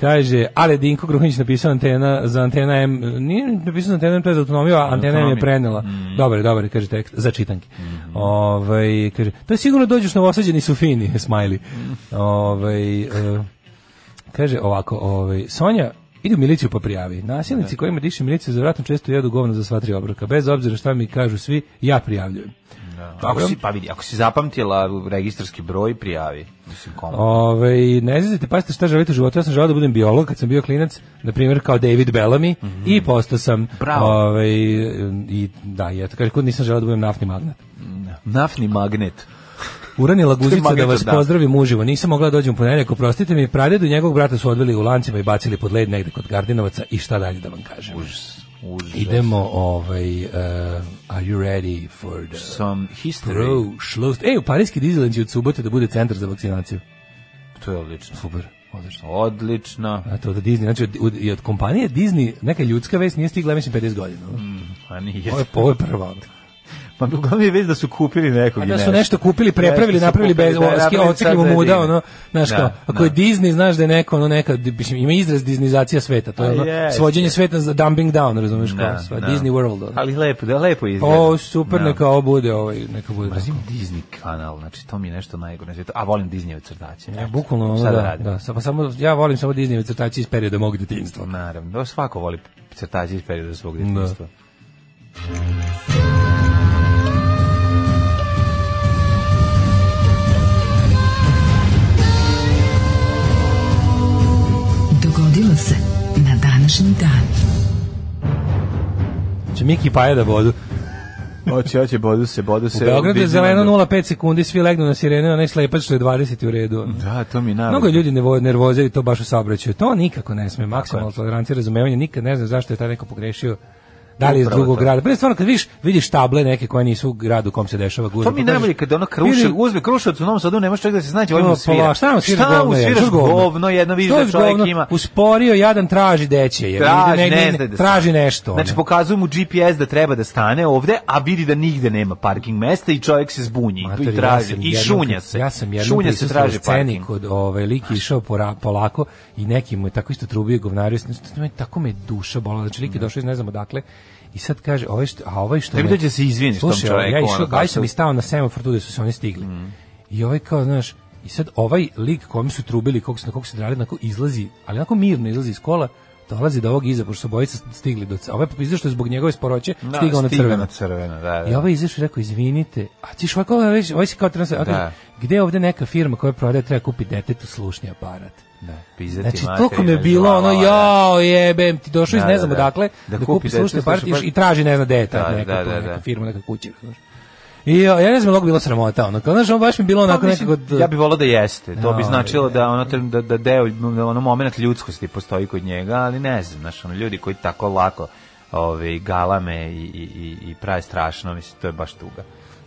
S7: Kaže, ali Dinko Gruhinić napisao antena za antena M, nije napisao za antena M, to je za autonomiju, a antena M
S6: autonomiju. Mm.
S7: je
S6: Mm-hmm.
S7: prenela. Dobar, je, dobar, je, kaže tekst, za čitanke. Ovaj, kaže, to je sigurno dođeš novosađeni su fini, smajli.
S6: Mm.
S7: Ovaj, e, kaže ovako, ovaj, Sonja, idi u miliciju pa prijavi. Nasilnici kojima diše milicija za vratom često jedu govno za sva tri obroka. Bez obzira šta mi kažu svi, ja prijavljujem.
S6: Ako si, pa vidi, ako si zapamtila registarski broj, prijavi. Mislim, komu.
S7: Ove, ne znate, pazite šta želite u životu. Ja sam želeo da budem biolog kad sam bio klinac, na primjer kao David Bellamy i postao sam
S6: Bravo.
S7: ovaj, i da, i eto, kaže, kod nisam želeo da budem naftni magnat.
S6: Naftni magnet.
S7: Urani Laguzica da
S6: magnetno,
S7: vas
S6: da.
S7: pozdravim uživo. Nisam mogla da dođem u ponedeljak, oprostite mi, pradedu njegovog brata su odveli u lancima i bacili pod led negde kod Gardinovaca i šta dalje da vam kažem.
S6: Užas.
S7: Idemo, ovaj, uh, are you ready for the...
S6: Some history.
S7: Pro, šlost. Ej, u Parijski Disneyland će od subote da bude centar za vakcinaciju.
S6: To je odlično.
S7: Super, odlično.
S6: Odlično.
S7: A to da Disney, znači od, od, i od kompanije Disney neka ljudska vest nije stigla, ja mislim, 50 godina. ono.
S6: A nije.
S7: Ovo je, ovo je prva. ono.
S6: Pa uglavnom je vez da su kupili nekog. i
S7: Da su
S6: nešto.
S7: nešto kupili, prepravili,
S6: Nešto su
S7: napravili
S6: kupili,
S7: bez
S6: da,
S7: oski,
S6: napravili
S7: otkrivo
S6: sad za
S7: muda,
S6: Disney.
S7: ono, znaš
S6: Da,
S7: kao, ako je
S6: da.
S7: Disney, znaš da je neko, ono, neka, mislim, ima izraz Disneyzacija sveta, to je
S6: A
S7: ono,
S6: jeste.
S7: svođenje sveta za dumping down, razumeš, kao,
S6: Pa Da,
S7: sva,
S6: da.
S7: Disney World, ono.
S6: Ali lepo, da lepo izgleda.
S7: O, super, neka ovo bude, ovaj, neka bude tako.
S6: Mrzim Disney kanal, znači to mi je nešto najgore na svijetu. A volim Disneyove znači. crtaće.
S7: Ja, bukvalno, ono,
S6: Šta da
S7: da,
S6: radim?
S7: da, samo, samo, ja volim samo Disneyve crtači iz perioda mog detinjstva.
S6: Naravno, da svako voli crtaće iz perioda svog djetinjstva.
S9: Dogodilo se na današnji dan.
S7: Če Miki paja da vodu.
S6: Hoće, hoće, bodu se, bodu
S7: U
S6: se.
S7: Beogradu je
S6: Vidim
S7: zeleno
S6: da-
S7: 0,5 sekundi, svi legnu na sirene, onaj slepač što je 20 u redu. ono.
S6: Da, to mi je naravno.
S7: Mnogo ljudi nevo, nervoze i to baš u saobraćaju. To nikako ne sme, maksimalno tolerancija, razumevanje, nikad ne znam zašto je taj neko pogrešio. Da li je iz
S6: Upravo
S7: drugog
S6: to.
S7: grada? Prije stvarno kad vidiš, vidiš table neke koje nisu u gradu u kom se dešava gužva.
S6: To mi je
S7: pa kažeš,
S6: najbolje kada ono kruše,
S7: vidi,
S6: uzme krušac u Novom Sadu, nemaš čovjek da se snađe, ovaj
S7: ono,
S6: mu
S7: pa,
S6: svira.
S7: Šta mu sviraš
S6: Šta mu
S7: govno, je,
S6: sviraš
S7: znaš
S6: govno, jedno vidiš
S7: To
S6: da
S7: je
S6: čovjek
S7: govno,
S6: ima...
S7: Usporio, jadan traži deće. Jer
S6: Traži,
S7: ide negdje,
S6: ne zna da
S7: traži
S6: stane.
S7: nešto. ono.
S6: Znači, pokazuju mu GPS da treba da stane ovde, a vidi da nigde nema parking mesta i čovjek se zbunji
S7: Mater,
S6: i traži,
S7: ja sam
S6: i
S7: jednom-
S6: šunja se.
S7: Ja sam jednom
S6: šunja se traži
S7: sceni
S6: parking.
S7: kod ovaj lik je išao pora, polako i neki mu je tako isto trubio i govnario, s- s- me- tako me duša bola, znači lik je došao iz ne znam odakle. I sad kaže, ovaj što, a ovaj što
S6: Da mi
S7: me-
S6: dođe da se izviniš tom
S7: Slušaj, ovaj,
S6: čoveku,
S7: Ja
S6: ono, Mm.
S7: išao,
S6: kao
S7: aj
S6: što-
S7: sam i stao na semafor tu gde su se oni stigli. I ovaj kao, znaš, i sad ovaj lik kome su trubili, kog su, na kog su drali, onako izlazi, ali onako mirno izlazi iz kola, dolazi do ovog iza, pošto su bojica stigli do... c- a Ovaj je što je zbog njegove sporoće
S6: Da,
S7: stigao na ono crveno.
S6: na crveno, da, da.
S7: I ovaj izašao i rekao, izvinite, a ti što kao reći, ovaj se kao transfer,
S6: Da.
S7: da. gde je ovde neka firma koja prodaje, treba kupi detetu slušni aparat.
S6: Da, pizdati
S7: Znači,
S6: mater,
S7: toliko mi je
S6: ideš
S7: bilo ono,
S6: la, la, la, da.
S7: jao, jebem, ti došao iz
S6: Da,
S7: ne
S6: da,
S7: znam
S6: da.
S7: odakle, da,
S6: Da
S7: kupi,
S6: kupi
S7: slušni
S6: detetu
S7: aparat
S6: slušni
S7: i, i traži, ne znam, deta,
S6: Da,
S7: neka,
S6: da,
S7: to,
S6: da,
S7: neka
S6: da.
S7: firma, neka kuća, znaš. I ja, ja ne znam, mnogo bilo sramota, ono, kao, znaš, ono baš mi je bilo onako
S6: Pa, mislim,
S7: nekako... da-
S6: ja bih volao da jeste. To bi
S7: Jao,
S6: značilo da ono tre- da da deo da ono momenat ljudskosti postoji kod njega, ali ne znam, znaš, ono ljudi koji tako lako ovaj galame i i i i prave strašno, mislim to je baš tuga.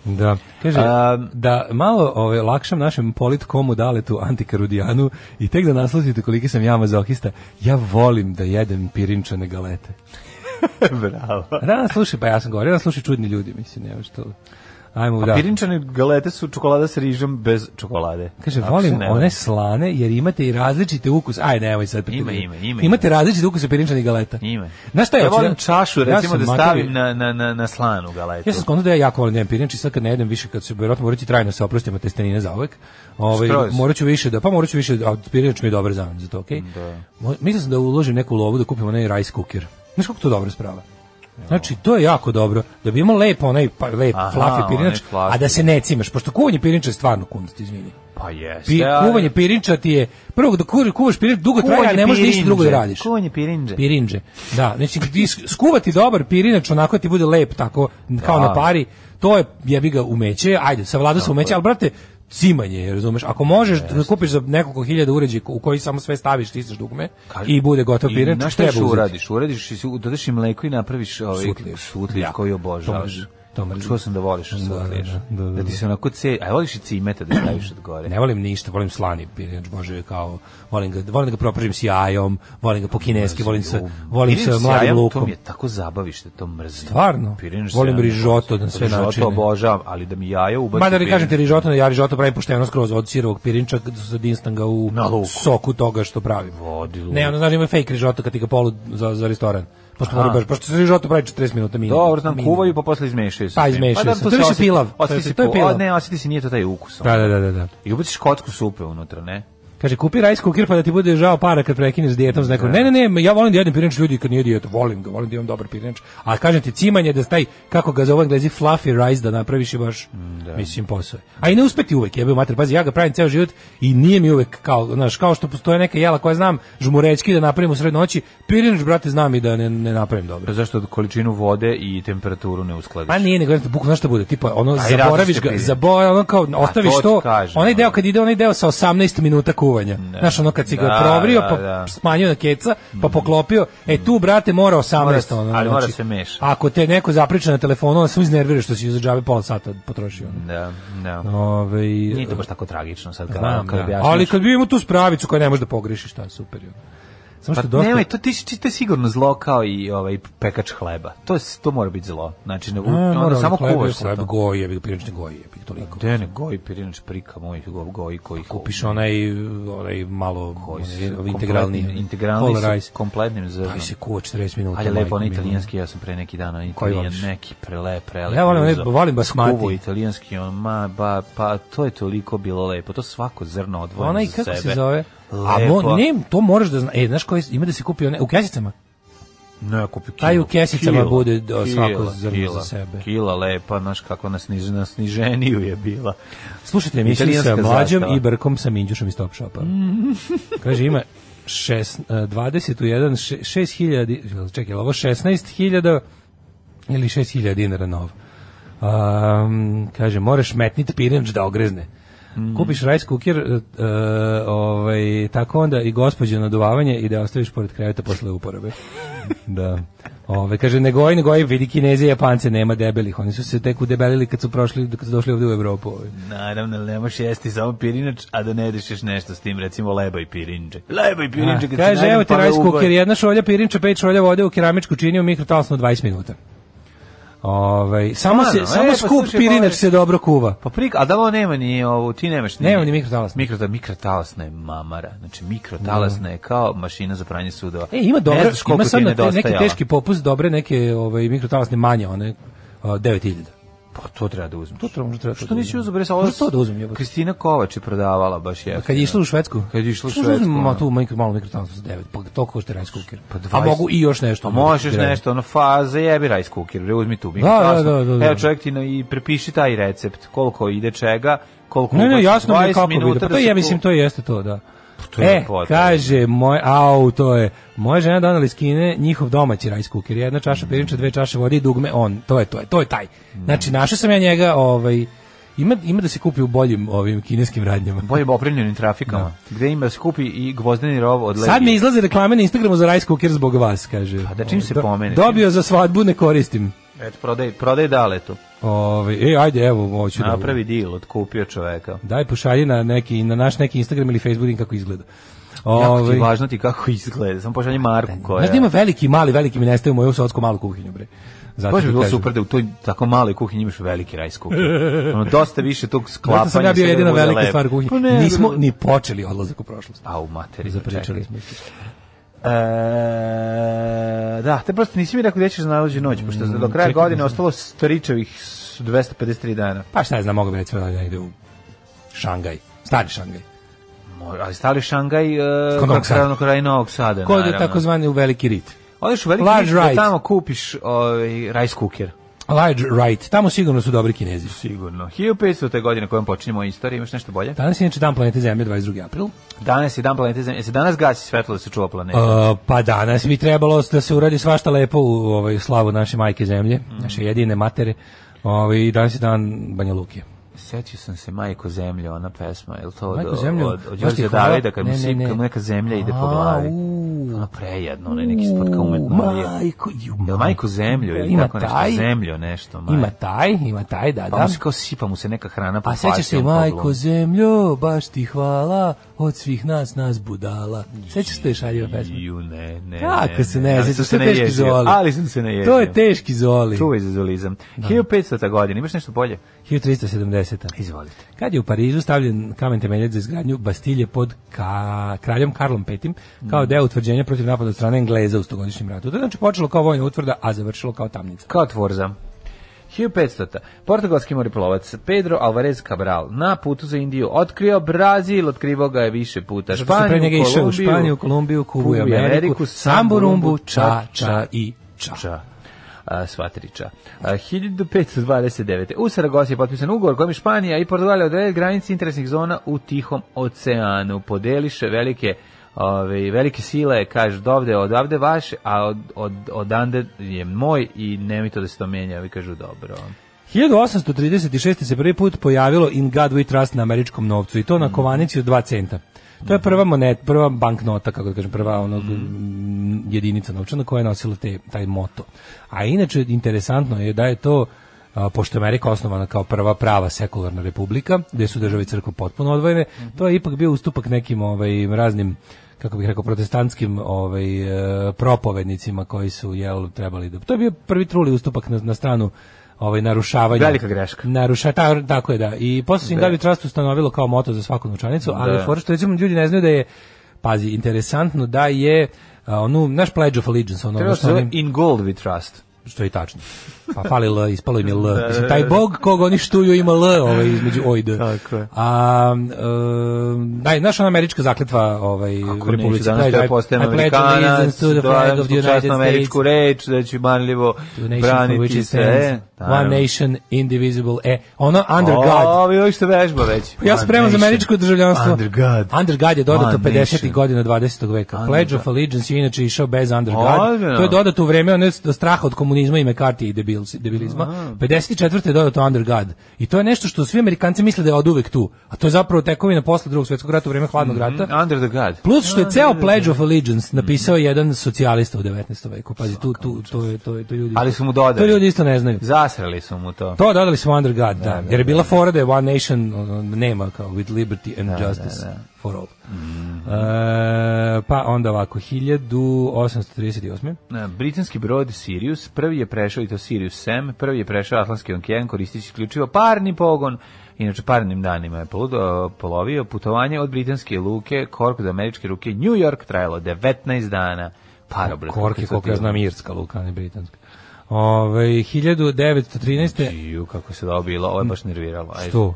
S7: Da. Kaže,
S6: Am,
S7: da malo ove, lakšam našem politkomu daletu antikarudijanu i tek da naslušite koliki sam ja mazohista, ja volim da jedem pirinčane galete.
S6: Bravo.
S7: A Da, slušaj, pa ja sam govorio, da slušaj čudni ljudi, mislim, nema što. Ajmo, da.
S6: Da. Pirinčane galete su čokolada sa rižom bez čokolade.
S7: Kaže,
S6: Ako se
S7: volim
S6: ne varam.
S7: one slane jer imate i različite ukuse. Aj, nemoj sad.
S6: Ima,
S7: preterivati.
S6: ima, ima,
S7: Imate različite ukuse pirinčanih galeta.
S6: Njime.
S7: Znaš šta je?
S6: Ja volim čašu, recimo, da stavim
S7: na...
S6: na, na, na, na slanu galetu.
S7: Ja sam skonto da ja jako volim da jedem pirinč i sad kad ne jedem više, kad se vjerojatno morat ću trajno se oprostim od testenine za uvek, ovaj,
S6: Šta je?
S7: morat ću više da, pa morat ću više, a pirinč mi je dobar zamjen za to, okej? Mo- Mislim sam da uložim neku lovu da kupim onaj rice cooker. Znaš kako to dobro sprava? Znači, to je jako dobro, da bi imao lep onaj, pa, lep,
S6: Aha,
S7: fluffy pirinč,
S6: onaj fluffy.
S7: a da se ne cimaš, pošto kuvanje pirinča je stvarno kunst, izvini.
S6: Pa jeste.
S7: Pi,
S6: ali-
S7: kuvanje pirinča ti je prvo da kuvaš, kuvaš pirinč dugo traje, a
S6: Kuvanje
S7: ne možeš ništa drugo da
S6: pirinđe.
S7: radiš.
S6: Kuvanje pirinđe.
S7: Pirinđe. Da, znači ti sk- skuvati dobar pirinač onako da ti bude lep tako kao
S6: Da.
S7: na pari, to je jebi ga umeće. Ajde, savladao se umeće, al brate, cimanje, je, razumeš? Ako možeš da kupiš za nekoliko hiljada uređaja u koji samo sve staviš, stisneš dugme
S6: Kaže-
S7: i bude gotov
S6: I
S7: pirinač,
S6: znaš šta
S7: treba
S6: još
S7: uzeti.
S6: uradiš? Uradiš i su- dodaš im mleko i napraviš ovaj
S7: Sutliš.
S6: sutliš,
S7: Jako.
S6: koji
S7: To
S6: obožavaš.
S7: mrzim. To mrzim.
S6: Čuo sam da voliš sutliš.
S7: da,
S6: Da,
S7: da, da.
S6: ti se onako ce... A voliš i cimeta da staviš od gore.
S7: Ne volim ništa, volim slani pirinač, bože, kao volim ga, volim da ga propržim s jajom, volim ga po kineski, volim sa volim
S6: Pirinđ
S7: sa
S6: s
S7: mladim
S6: jajom,
S7: lukom.
S6: To mi je tako zabavište, to mrzim.
S7: Stvarno?
S6: Pirinđ s
S7: Volim
S6: jajom.
S7: rižoto na sve načine.
S6: Rižoto obožavam, ali da mi jaja ubaci
S7: Ma da ne
S6: pirinđ.
S7: kažem ti rižoto, ja rižoto pravim pošteno skroz od sirovog pirinča, zadinstam ga u
S6: Na luku.
S7: soku toga što pravim.
S6: Vodi luk.
S7: Ne, ono znaš ima fake rižoto kad ti ga polu za, za restoran. Pošto mora baš, pošto se rižoto pravi 40 minuta minimum.
S6: Dobro, znam,
S7: Minimum.
S6: kuvaju pa posle izmešaju se.
S7: Pa,
S6: s tim.
S7: izmešaju
S6: da,
S7: se. To je više
S6: osjeti-
S7: pilav. To je-
S6: Osjeti se,
S7: to je
S6: po-
S7: pilav.
S6: a Ne, osjeti se, nije to taj ukus. ono.
S7: Da, da, da, da, da.
S6: I ubaciš kocku supe unutra, ne?
S7: Kaže, kupi rice cooker pa da ti bude žao para kad prekineš s dijetom. Znači, ne, ne, ne, ja volim da jedem pirinč ljudi kad nije dijet, volim ga, volim da imam dobar pirinč. A kažem ti, cimanje da staj, kako ga zove englezi, fluffy rice da napraviš i baš, mislim, posao je. A i ne uspeti uvek, jebe mater, pazi, ja ga pravim ceo život i nije mi uvek kao, znaš, kao što postoje neka jela koja znam, žmurečki da napravim u sred noći, pirinč, brate, znam i da ne, ne napravim dobro.
S6: Pa zašto količinu vode i temperaturu ne uskladiš?
S7: Pa nije, nego jednostavno, bukvalno šta bude, tipa, ono,
S6: i
S7: zaboraviš
S6: različite
S7: ga,
S6: pirinče.
S7: zaborav, ono kao, ostaviš
S6: to ti
S7: to,
S6: kažem,
S7: onaj deo
S6: ono.
S7: kad ide, onaj deo sa 18 minuta kuvanja, znaš, ono kad si ga
S6: Da,
S7: provrio,
S6: da,
S7: pa
S6: da. Mhm.
S7: smanjio na keca, pa poklopio, e, tu, brate, mora 18,
S6: Mora se-
S7: ono,
S6: ali mora
S7: znači,
S6: se meša.
S7: Ako te neko zapriča na telefonu, onda se iznervira što si za džabe pola sata potrošio, ono.
S6: Da, da.
S7: Ove,
S6: Nije to baš tako tragično sad kad, ono
S7: Znam,
S6: kad
S7: da.
S6: objašnjaš.
S7: ali kad bi imao tu spravicu koja ne može da pogreši, šta je super. je. Samo što
S6: pa
S7: dosta...
S6: nemoj, to ti si ti sigurno zlo kao i ovaj pekač hleba. To je to mora biti zlo. Znači ne, u-
S7: A,
S6: ono,
S7: mora
S6: samo
S7: hleb,
S6: kuvaš sa
S7: hleb,
S6: to.
S7: goji, jebi ga, pirinčni goji, jebi ga, toliko.
S6: Gde ne goji pirinač prika moj go- goji koji
S7: Pa Kupiš onaj, onaj malo
S6: koji su
S7: onaj,
S6: kompletni-
S7: integralni,
S6: integralni
S7: whole
S6: su
S7: rice.
S6: kompletnim zrnom.
S7: Aj se kuva 40 minuta.
S6: Ali je lepo,
S7: majko
S6: onaj
S7: mila.
S6: italijanski, ja sam pre neki dan onaj
S7: Koji
S6: italijan,
S7: voliš?
S6: neki prelep, prelep.
S7: Ja volim onaj-
S6: uzeo.
S7: volim basmati.
S6: Skuvo italijanski, on, ma, ba, pa to je toliko bilo lepo, to svako zrno odvojeno
S7: Onaj,
S6: za
S7: kako
S6: sebe.
S7: se zove? A
S6: Lepo.
S7: mo, ne, to moraš da znaš. E, znaš koji, ima da se kupi one, u kesicama?
S6: Ne, kupi kilo.
S7: Taj Pa u kesicama
S6: Kilo,
S7: bude do-
S6: kila,
S7: svako zrno
S6: kila,
S7: za sebe.
S6: Kila lepa, znaš kako na, sniž, na sniženiju je bila.
S7: Slušajte emisiju sa
S6: Italijanska
S7: mlađom
S6: zastava.
S7: i Brkom sa Minđušom iz Top Shopa. Kaže, ima šest, eh, 20 u 1, 6000, čekaj, je li ovo 16.000 ili 6000 dinara nov. Um, kaže, moraš metnit pirinč da ogrezne.
S6: Mm.
S7: Kupiš rice cooker, eh, eh, ovaj, tako onda i gospođe na duvavanje i da je ostaviš pored kreveta posle uporabe. da. Ove, kaže, ne goji, ne goji, vidi Kineze i Japance, nema debelih. Oni su se tek udebelili kad su, prošli, kad su došli ovde u Evropu. Ovaj.
S6: Naravno, ali ne možeš jesti samo pirinač, a da ne rešiš nešto s tim, recimo leba i pirinče. Leba i pirinče, kad se
S7: Kaže,
S6: najedem,
S7: evo ti
S6: pa me
S7: rice cooker,
S6: ugoj.
S7: jedna šolja pirinča, pet šolja vode u keramičku čini u mikrotalasnu 20 minuta. Ovaj samo se,
S6: Stvarno, e,
S7: samo
S6: pa
S7: skup
S6: slušaj,
S7: pirinač
S6: pa-
S7: se dobro kuva.
S6: Pa prik, a da ovo nema ni ovo, ti nemaš ni...
S7: Nema ni mikrotalasne.
S6: Mikrotalasna, mikrotalasna je mamara. Znači, mikrotalasna je kao mašina za pranje sudova.
S7: E, ima dobro,
S6: Ne znaš koliko
S7: ima
S6: ti
S7: sad
S6: je
S7: na te, neki
S6: nedostajala.
S7: teški popust, dobre neke ovaj, mikrotalasne manje, one a, 9000.
S6: Pa to treba da uzmeš.
S7: To treba, možda treba to
S6: Što
S7: da
S6: Pa nisi
S7: uzmem.
S6: uzeo bre sa
S7: Možda to da uzmem, jebote.
S6: Kristina Kovač je prodavala baš je.
S7: A kad je išla u Švedsku?
S6: Kad je išla u
S7: Što uzmem
S6: Švedsku,
S7: Ma
S6: ono?
S7: tu mikro, malo mikrotalasnu za 9, pa to košta rice cooker.
S6: Pa
S7: A
S6: 20.
S7: mogu i još nešto.
S6: Pa možeš
S7: Direkt.
S6: nešto, ono, faze, jebi rice cooker, bre, uzmi tu mikrotalasnu.
S7: da, da, da.
S6: Evo čovjek ti na, i prepiši taj recept, koliko ide čega, koliko
S7: Ne, ne,
S6: ubaciš,
S7: jasno mi je
S6: 20
S7: kako
S6: minuta
S7: ide. Pa
S6: da
S7: to
S6: se
S7: ja
S6: tu-
S7: mislim to jeste to, da.
S6: to je
S7: e,
S6: lepota.
S7: kaže, moj, au, to je, moja žena donala iz Kine njihov domaći rice cooker, jedna čaša pirinča, dve čaše vode i dugme on, to je, to je, to je taj.
S6: Mm.
S7: Znači, našao sam ja njega, ovaj, ima, ima da se kupi u boljim ovim kineskim radnjama.
S6: Bolje opremljenim trafikama, gde ima skupi i gvozdeni rov od
S7: Sad mi
S6: Legije.
S7: izlaze reklame na Instagramu za rice cooker zbog vas, kaže.
S6: Pa da čim se pomene, čim-
S7: Dobio za svadbu, ne koristim.
S6: Eto, prodaj, prodaj daletu.
S7: Ovaj, e, ajde, evo, hoću da...
S6: Napravi deal, otkupio čoveka.
S7: Daj pošalji na, neki, na naš neki Instagram ili Facebook kako izgleda.
S6: Jako ti
S7: Ovaj, Pa
S6: je važno ti kako izgleda, samo pošalji Marku koja...
S7: Znaš da ima veliki i mali, veliki mi nestaje u moju sotsku malu kuhinju, bre. Zato
S6: Baš bi
S7: ti
S6: bilo
S7: kažem.
S6: super da u toj tako maloj kuhinji imaš veliki rice cooker. Ono, dosta više tog sklapanja.
S7: Zato sam ja bio
S6: sve da
S7: jedina
S6: bude
S7: velika
S6: lepo.
S7: stvar u kuhinji.
S6: Pa ne,
S7: Nismo
S6: bre.
S7: ni počeli odlazak u prošlost.
S6: A u materiju,
S7: Zapričali smo.
S6: E, da, te prosto nisi mi rekao gde ćeš za najluđu noć, pošto do kraja
S7: Mm, čekaj,
S6: godine
S7: ne znam.
S6: ostalo stričevih s- 253 dana.
S7: Pa šta je znam, mogu bi recimo da negde u Šangaj. Stari Šangaj.
S6: Mo- Ali stali Šangaj e,
S7: Kod Novog Sada.
S6: kraj, kraj Novog Sada,
S7: Ko je
S6: naravno.
S7: takozvani u veliki rit.
S6: Odeš u veliki
S7: Large
S6: Large da
S7: right.
S6: tamo kupiš ovaj, rice cooker.
S7: Large right. Tamo sigurno su dobri kinezi.
S6: Sigurno. 1500. te godine kojom počinjemo istoriju, imaš nešto bolje?
S7: Danas je inače dan planete Zemlje, 22. april.
S6: Danas je dan planete Zemlje. Se danas gasi svetlo da se čuva planet.
S7: E, pa danas bi trebalo da se uradi svašta lepo u ovaj, slavu naše majke zemlje,
S6: Mhm.
S7: naše jedine matere. Ovaj, danas je dan Banja Luke.
S6: Sećao sam se Majko zemlje, ona pesma, je li to od-
S7: Majko
S6: od,
S7: zemljo,
S6: od, od
S7: baš ti
S6: Đorđa
S7: hvala.
S6: Davida, kad mu
S7: Ne, ne,
S6: sipka,
S7: ne.
S6: kad mu neka zemlja ide po
S7: A,
S6: glavi.
S7: u.
S6: Ono prejedno, onaj neki sport kao umetno.
S7: Majko, ju,
S6: Je li Majko zemlju ili
S7: Ima
S6: tako nešto,
S7: taj.
S6: zemljo nešto. Maj.
S7: Ima taj, ima taj, da,
S6: pa
S7: da.
S6: mu se kao sipa mu se neka hrana po ono
S7: A sećaš se,
S6: facijom, po
S7: majko
S6: glavi.
S7: zemljo, baš ti hvala, od svih nas nas budala. Sećaš se te šaljive pesme?
S6: Ju, ne, ne,
S7: Kako se ne,
S6: ali sam
S7: sećaš se
S6: se
S7: teški
S6: naježio,
S7: zoli.
S6: Ali sam se naježio.
S7: To je teški zoli.
S6: Čuvaj za zolizam. 1500. godina, imaš nešto bolje?
S7: 1370.
S6: Izvolite.
S7: Kad je u Parizu stavljen kamen temeljac za izgradnju Bastilje pod ka, kraljom Karlom V, kao
S6: Mm.
S7: deo utvrđenja protiv napada od strane Engleza u stogodišnjem ratu. To je znači počelo kao vojna utvrda, a završilo kao tamnica.
S6: Kao tvorza. 1500. Portugalski moriplovac Pedro Alvarez Cabral na putu za Indiju otkrio Brazil, otkrivao ga je više puta.
S7: Zato što
S6: Španiju,
S7: pre njega je išao u
S6: Kolumbiju,
S7: Španiju, Kolumbiju, Kubu i
S6: Kubu i
S7: Ameriku,
S6: Ameriku,
S7: Samburumbu, Ča, Ča i Ča.
S6: Ča. A, sva tri ča. A, 1529. U Saragosi je potpisan ugovor kojim Španija i Portugalija odrede granice interesnih zona u Tihom oceanu. Podeliše velike ove, velike sile, kaže, dovde, odavde vaše, a od, od, odande je moj i nemoj to da se to menja. Ovi kažu, dobro.
S7: Ono 1836. se prvi put pojavilo In God We Trust na američkom novcu i to na kovanici od 2 centa. To je prva monet, prva banknota, kako da kažem, prva onog mm, jedinica novčana koja je nosila te, taj moto. A inače, interesantno je da je to a, pošto je Amerika osnovana kao prva prava sekularna republika, gde su države i crkva potpuno odvojene, to je ipak bio ustupak nekim ovaj, raznim kako bih rekao protestantskim ovaj e, propovednicima koji su jel trebali da to je bio prvi truli ustupak na, na stranu ovaj narušavanja.
S6: Velika greška.
S7: Naruša, ta, tako je da. I posle su im
S6: Da.
S7: dali trust ustanovilo kao moto za svaku novčanicu, ali
S6: Da.
S7: da. što recimo ljudi ne znaju da je pazi, interesantno da je a, onu, naš Pledge of Allegiance, ono,
S6: Treba
S7: ono
S6: se
S7: što,
S6: zove
S7: oni,
S6: In Gold We Trust.
S7: što je i tačno. Pa fali L, ispalo im je L. Mislim, taj bog koga oni štuju ima L ovaj, između O i D.
S6: Tako je.
S7: A, um, daj, znaš ona američka zakletva ovaj,
S6: Ako neću
S7: Republici.
S6: danas
S7: Pledge,
S6: da
S7: I-
S6: postajem
S7: I pledge allegiance
S6: Amerikanac,
S7: to the flag
S6: dodam
S7: of
S6: svu
S7: the United
S6: časnu
S7: States.
S6: američku reč, da ću manljivo
S7: to the nation for which
S6: braniti
S7: it
S6: se. e,
S7: stands, one nation, indivisible, e, ono, under God.
S6: Ovi, ovi što vežba već.
S7: Ja sam spreman za
S6: Oh, One
S7: američko državljanstvo.
S6: Under God.
S7: Under God je dodato
S6: One
S7: 50.
S6: nation.
S7: godina 20. veka.
S6: Under
S7: Pledge of
S6: God.
S7: Allegiance je inače išao bez Under God.
S6: Ozbiljno?
S7: To je dodato u vreme one straha od komunizma i McCarthy i debil, debilizma. 54. je dodato Under God. I to je nešto što svi Amerikanci misle da je od uvek tu. A to je zapravo tekovina posle drugog svjetskog rata u vreme hladnog
S6: Mhm.
S7: rata.
S6: Under the God.
S7: Plus što je ceo Pledge of Allegiance napisao jedan socijalista u 19. veku. Pazi, tu, tu, to, je, to, je, to ljudi...
S6: Ali su mu dodali.
S7: To ljudi isto ne znaju.
S6: Zasrali su mu to.
S7: To dodali smo Under God, da. Jer je bila fora da je One Nation ono, nema kao with liberty and justice for all.
S6: Mhm.
S7: E, pa onda ovako, 1838.
S6: Na, Britanski brod Sirius prvi je prešao i to Sirius Sam, prvi je prešao Atlantski okean koristeći isključivo parni pogon. Inače parnim danima je poludo- polovio putovanje od britanske luke Kork do američke ruke New York trajalo 19 dana. Parobrat.
S7: Korke, koliko ja znam, irska luka, ne britanska. Ovaj, Ove, 1913.
S6: Ju, kako se dobilo, ovo je baš nerviralo. Ajde.
S7: Što?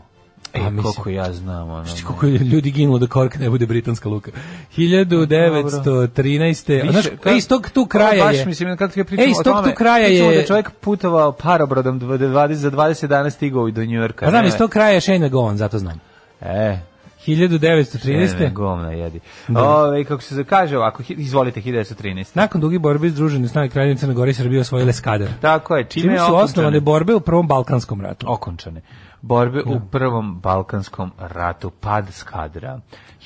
S6: Ej,
S7: A, mislim-
S6: E, koliko ja znam, ono.
S7: Znaš ti koliko je ljudi ginulo da Kork ne bude britanska luka. 1913. A Znaš,
S6: Više, kad-
S7: e, iz tog tu
S6: Ovo
S7: kraja
S6: baš,
S7: je...
S6: mislim, kad je pričamo
S7: E, iz
S6: o
S7: tog
S6: tome,
S7: tu kraja
S6: pričamo da
S7: je...
S6: je čovjek putovao parobrodom dv- dv- 20, za 20 dana stigao i do Njujorka.
S7: Pa znam,
S6: ne?
S7: iz tog kraja je Shane Govan, zato znam.
S6: E, 13.
S7: 1913.
S6: Govna jedi. Ove, kako se kaže ovako, hi- izvolite 1913.
S7: Nakon dugih borbi združene snage Kraljevine Crne Gore i Srbije osvojile Skadar.
S6: Tako je, čime,
S7: Čime
S6: je
S7: su
S6: okončane-
S7: osnovane borbe u Prvom Balkanskom ratu.
S6: okončane. Borbe u prvom Balkanskom ratu, pad skadra.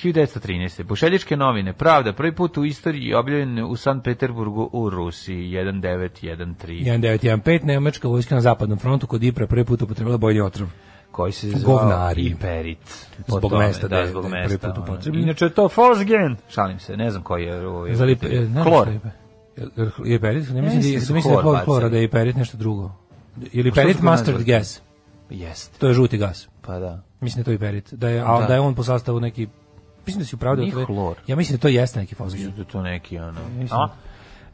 S6: 1913. Bušeljičke novine, pravda, prvi put u istoriji objavljen u San Peterburgu u Rusiji, 1913.
S7: 1915. Nemačka vojska na zapadnom frontu kod Ipra prvi put upotrebila bojni otrov.
S6: koji se zvao
S7: Govnari.
S6: Iperit. Po
S7: Zbog
S6: tome,
S7: mesta da
S6: da,
S7: je-
S6: zbog
S7: da je prvi
S6: mesta.
S7: put
S6: ono.
S7: upotrebljen.
S6: Inače je to Volkswagen. Šalim se, ne znam koji je ovaj.
S7: Za lip, e, ne,
S6: klor.
S7: Je perit, ne mislim da
S6: mislim
S7: je
S6: da su
S7: mislim da
S6: klor
S7: je klor klora,
S6: bacili.
S7: da je perit nešto drugo. Ili
S6: što su
S7: perit
S6: ga
S7: mustard
S6: nazvali?
S7: gas.
S6: Jeste,
S7: To je žuti gas.
S6: pa da.
S7: Mislim da je to i perit. Da je, a,
S6: Da.
S7: da. je on po sastavu neki Mislim da si upravo
S6: Nije klor.
S7: Ja mislim da to jeste neki fosgen.
S6: Mislim da je to neki ono.
S7: A?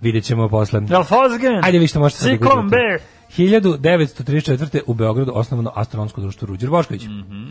S7: Vidjet ćemo posle.
S6: Jel Volkswagen?
S7: Ajde vi što možete sad da
S6: Ciklon
S7: guglate.
S6: B.
S7: 1934. u Beogradu osnovano astronomsko društvo Ruđer Bošković.
S6: Mhm.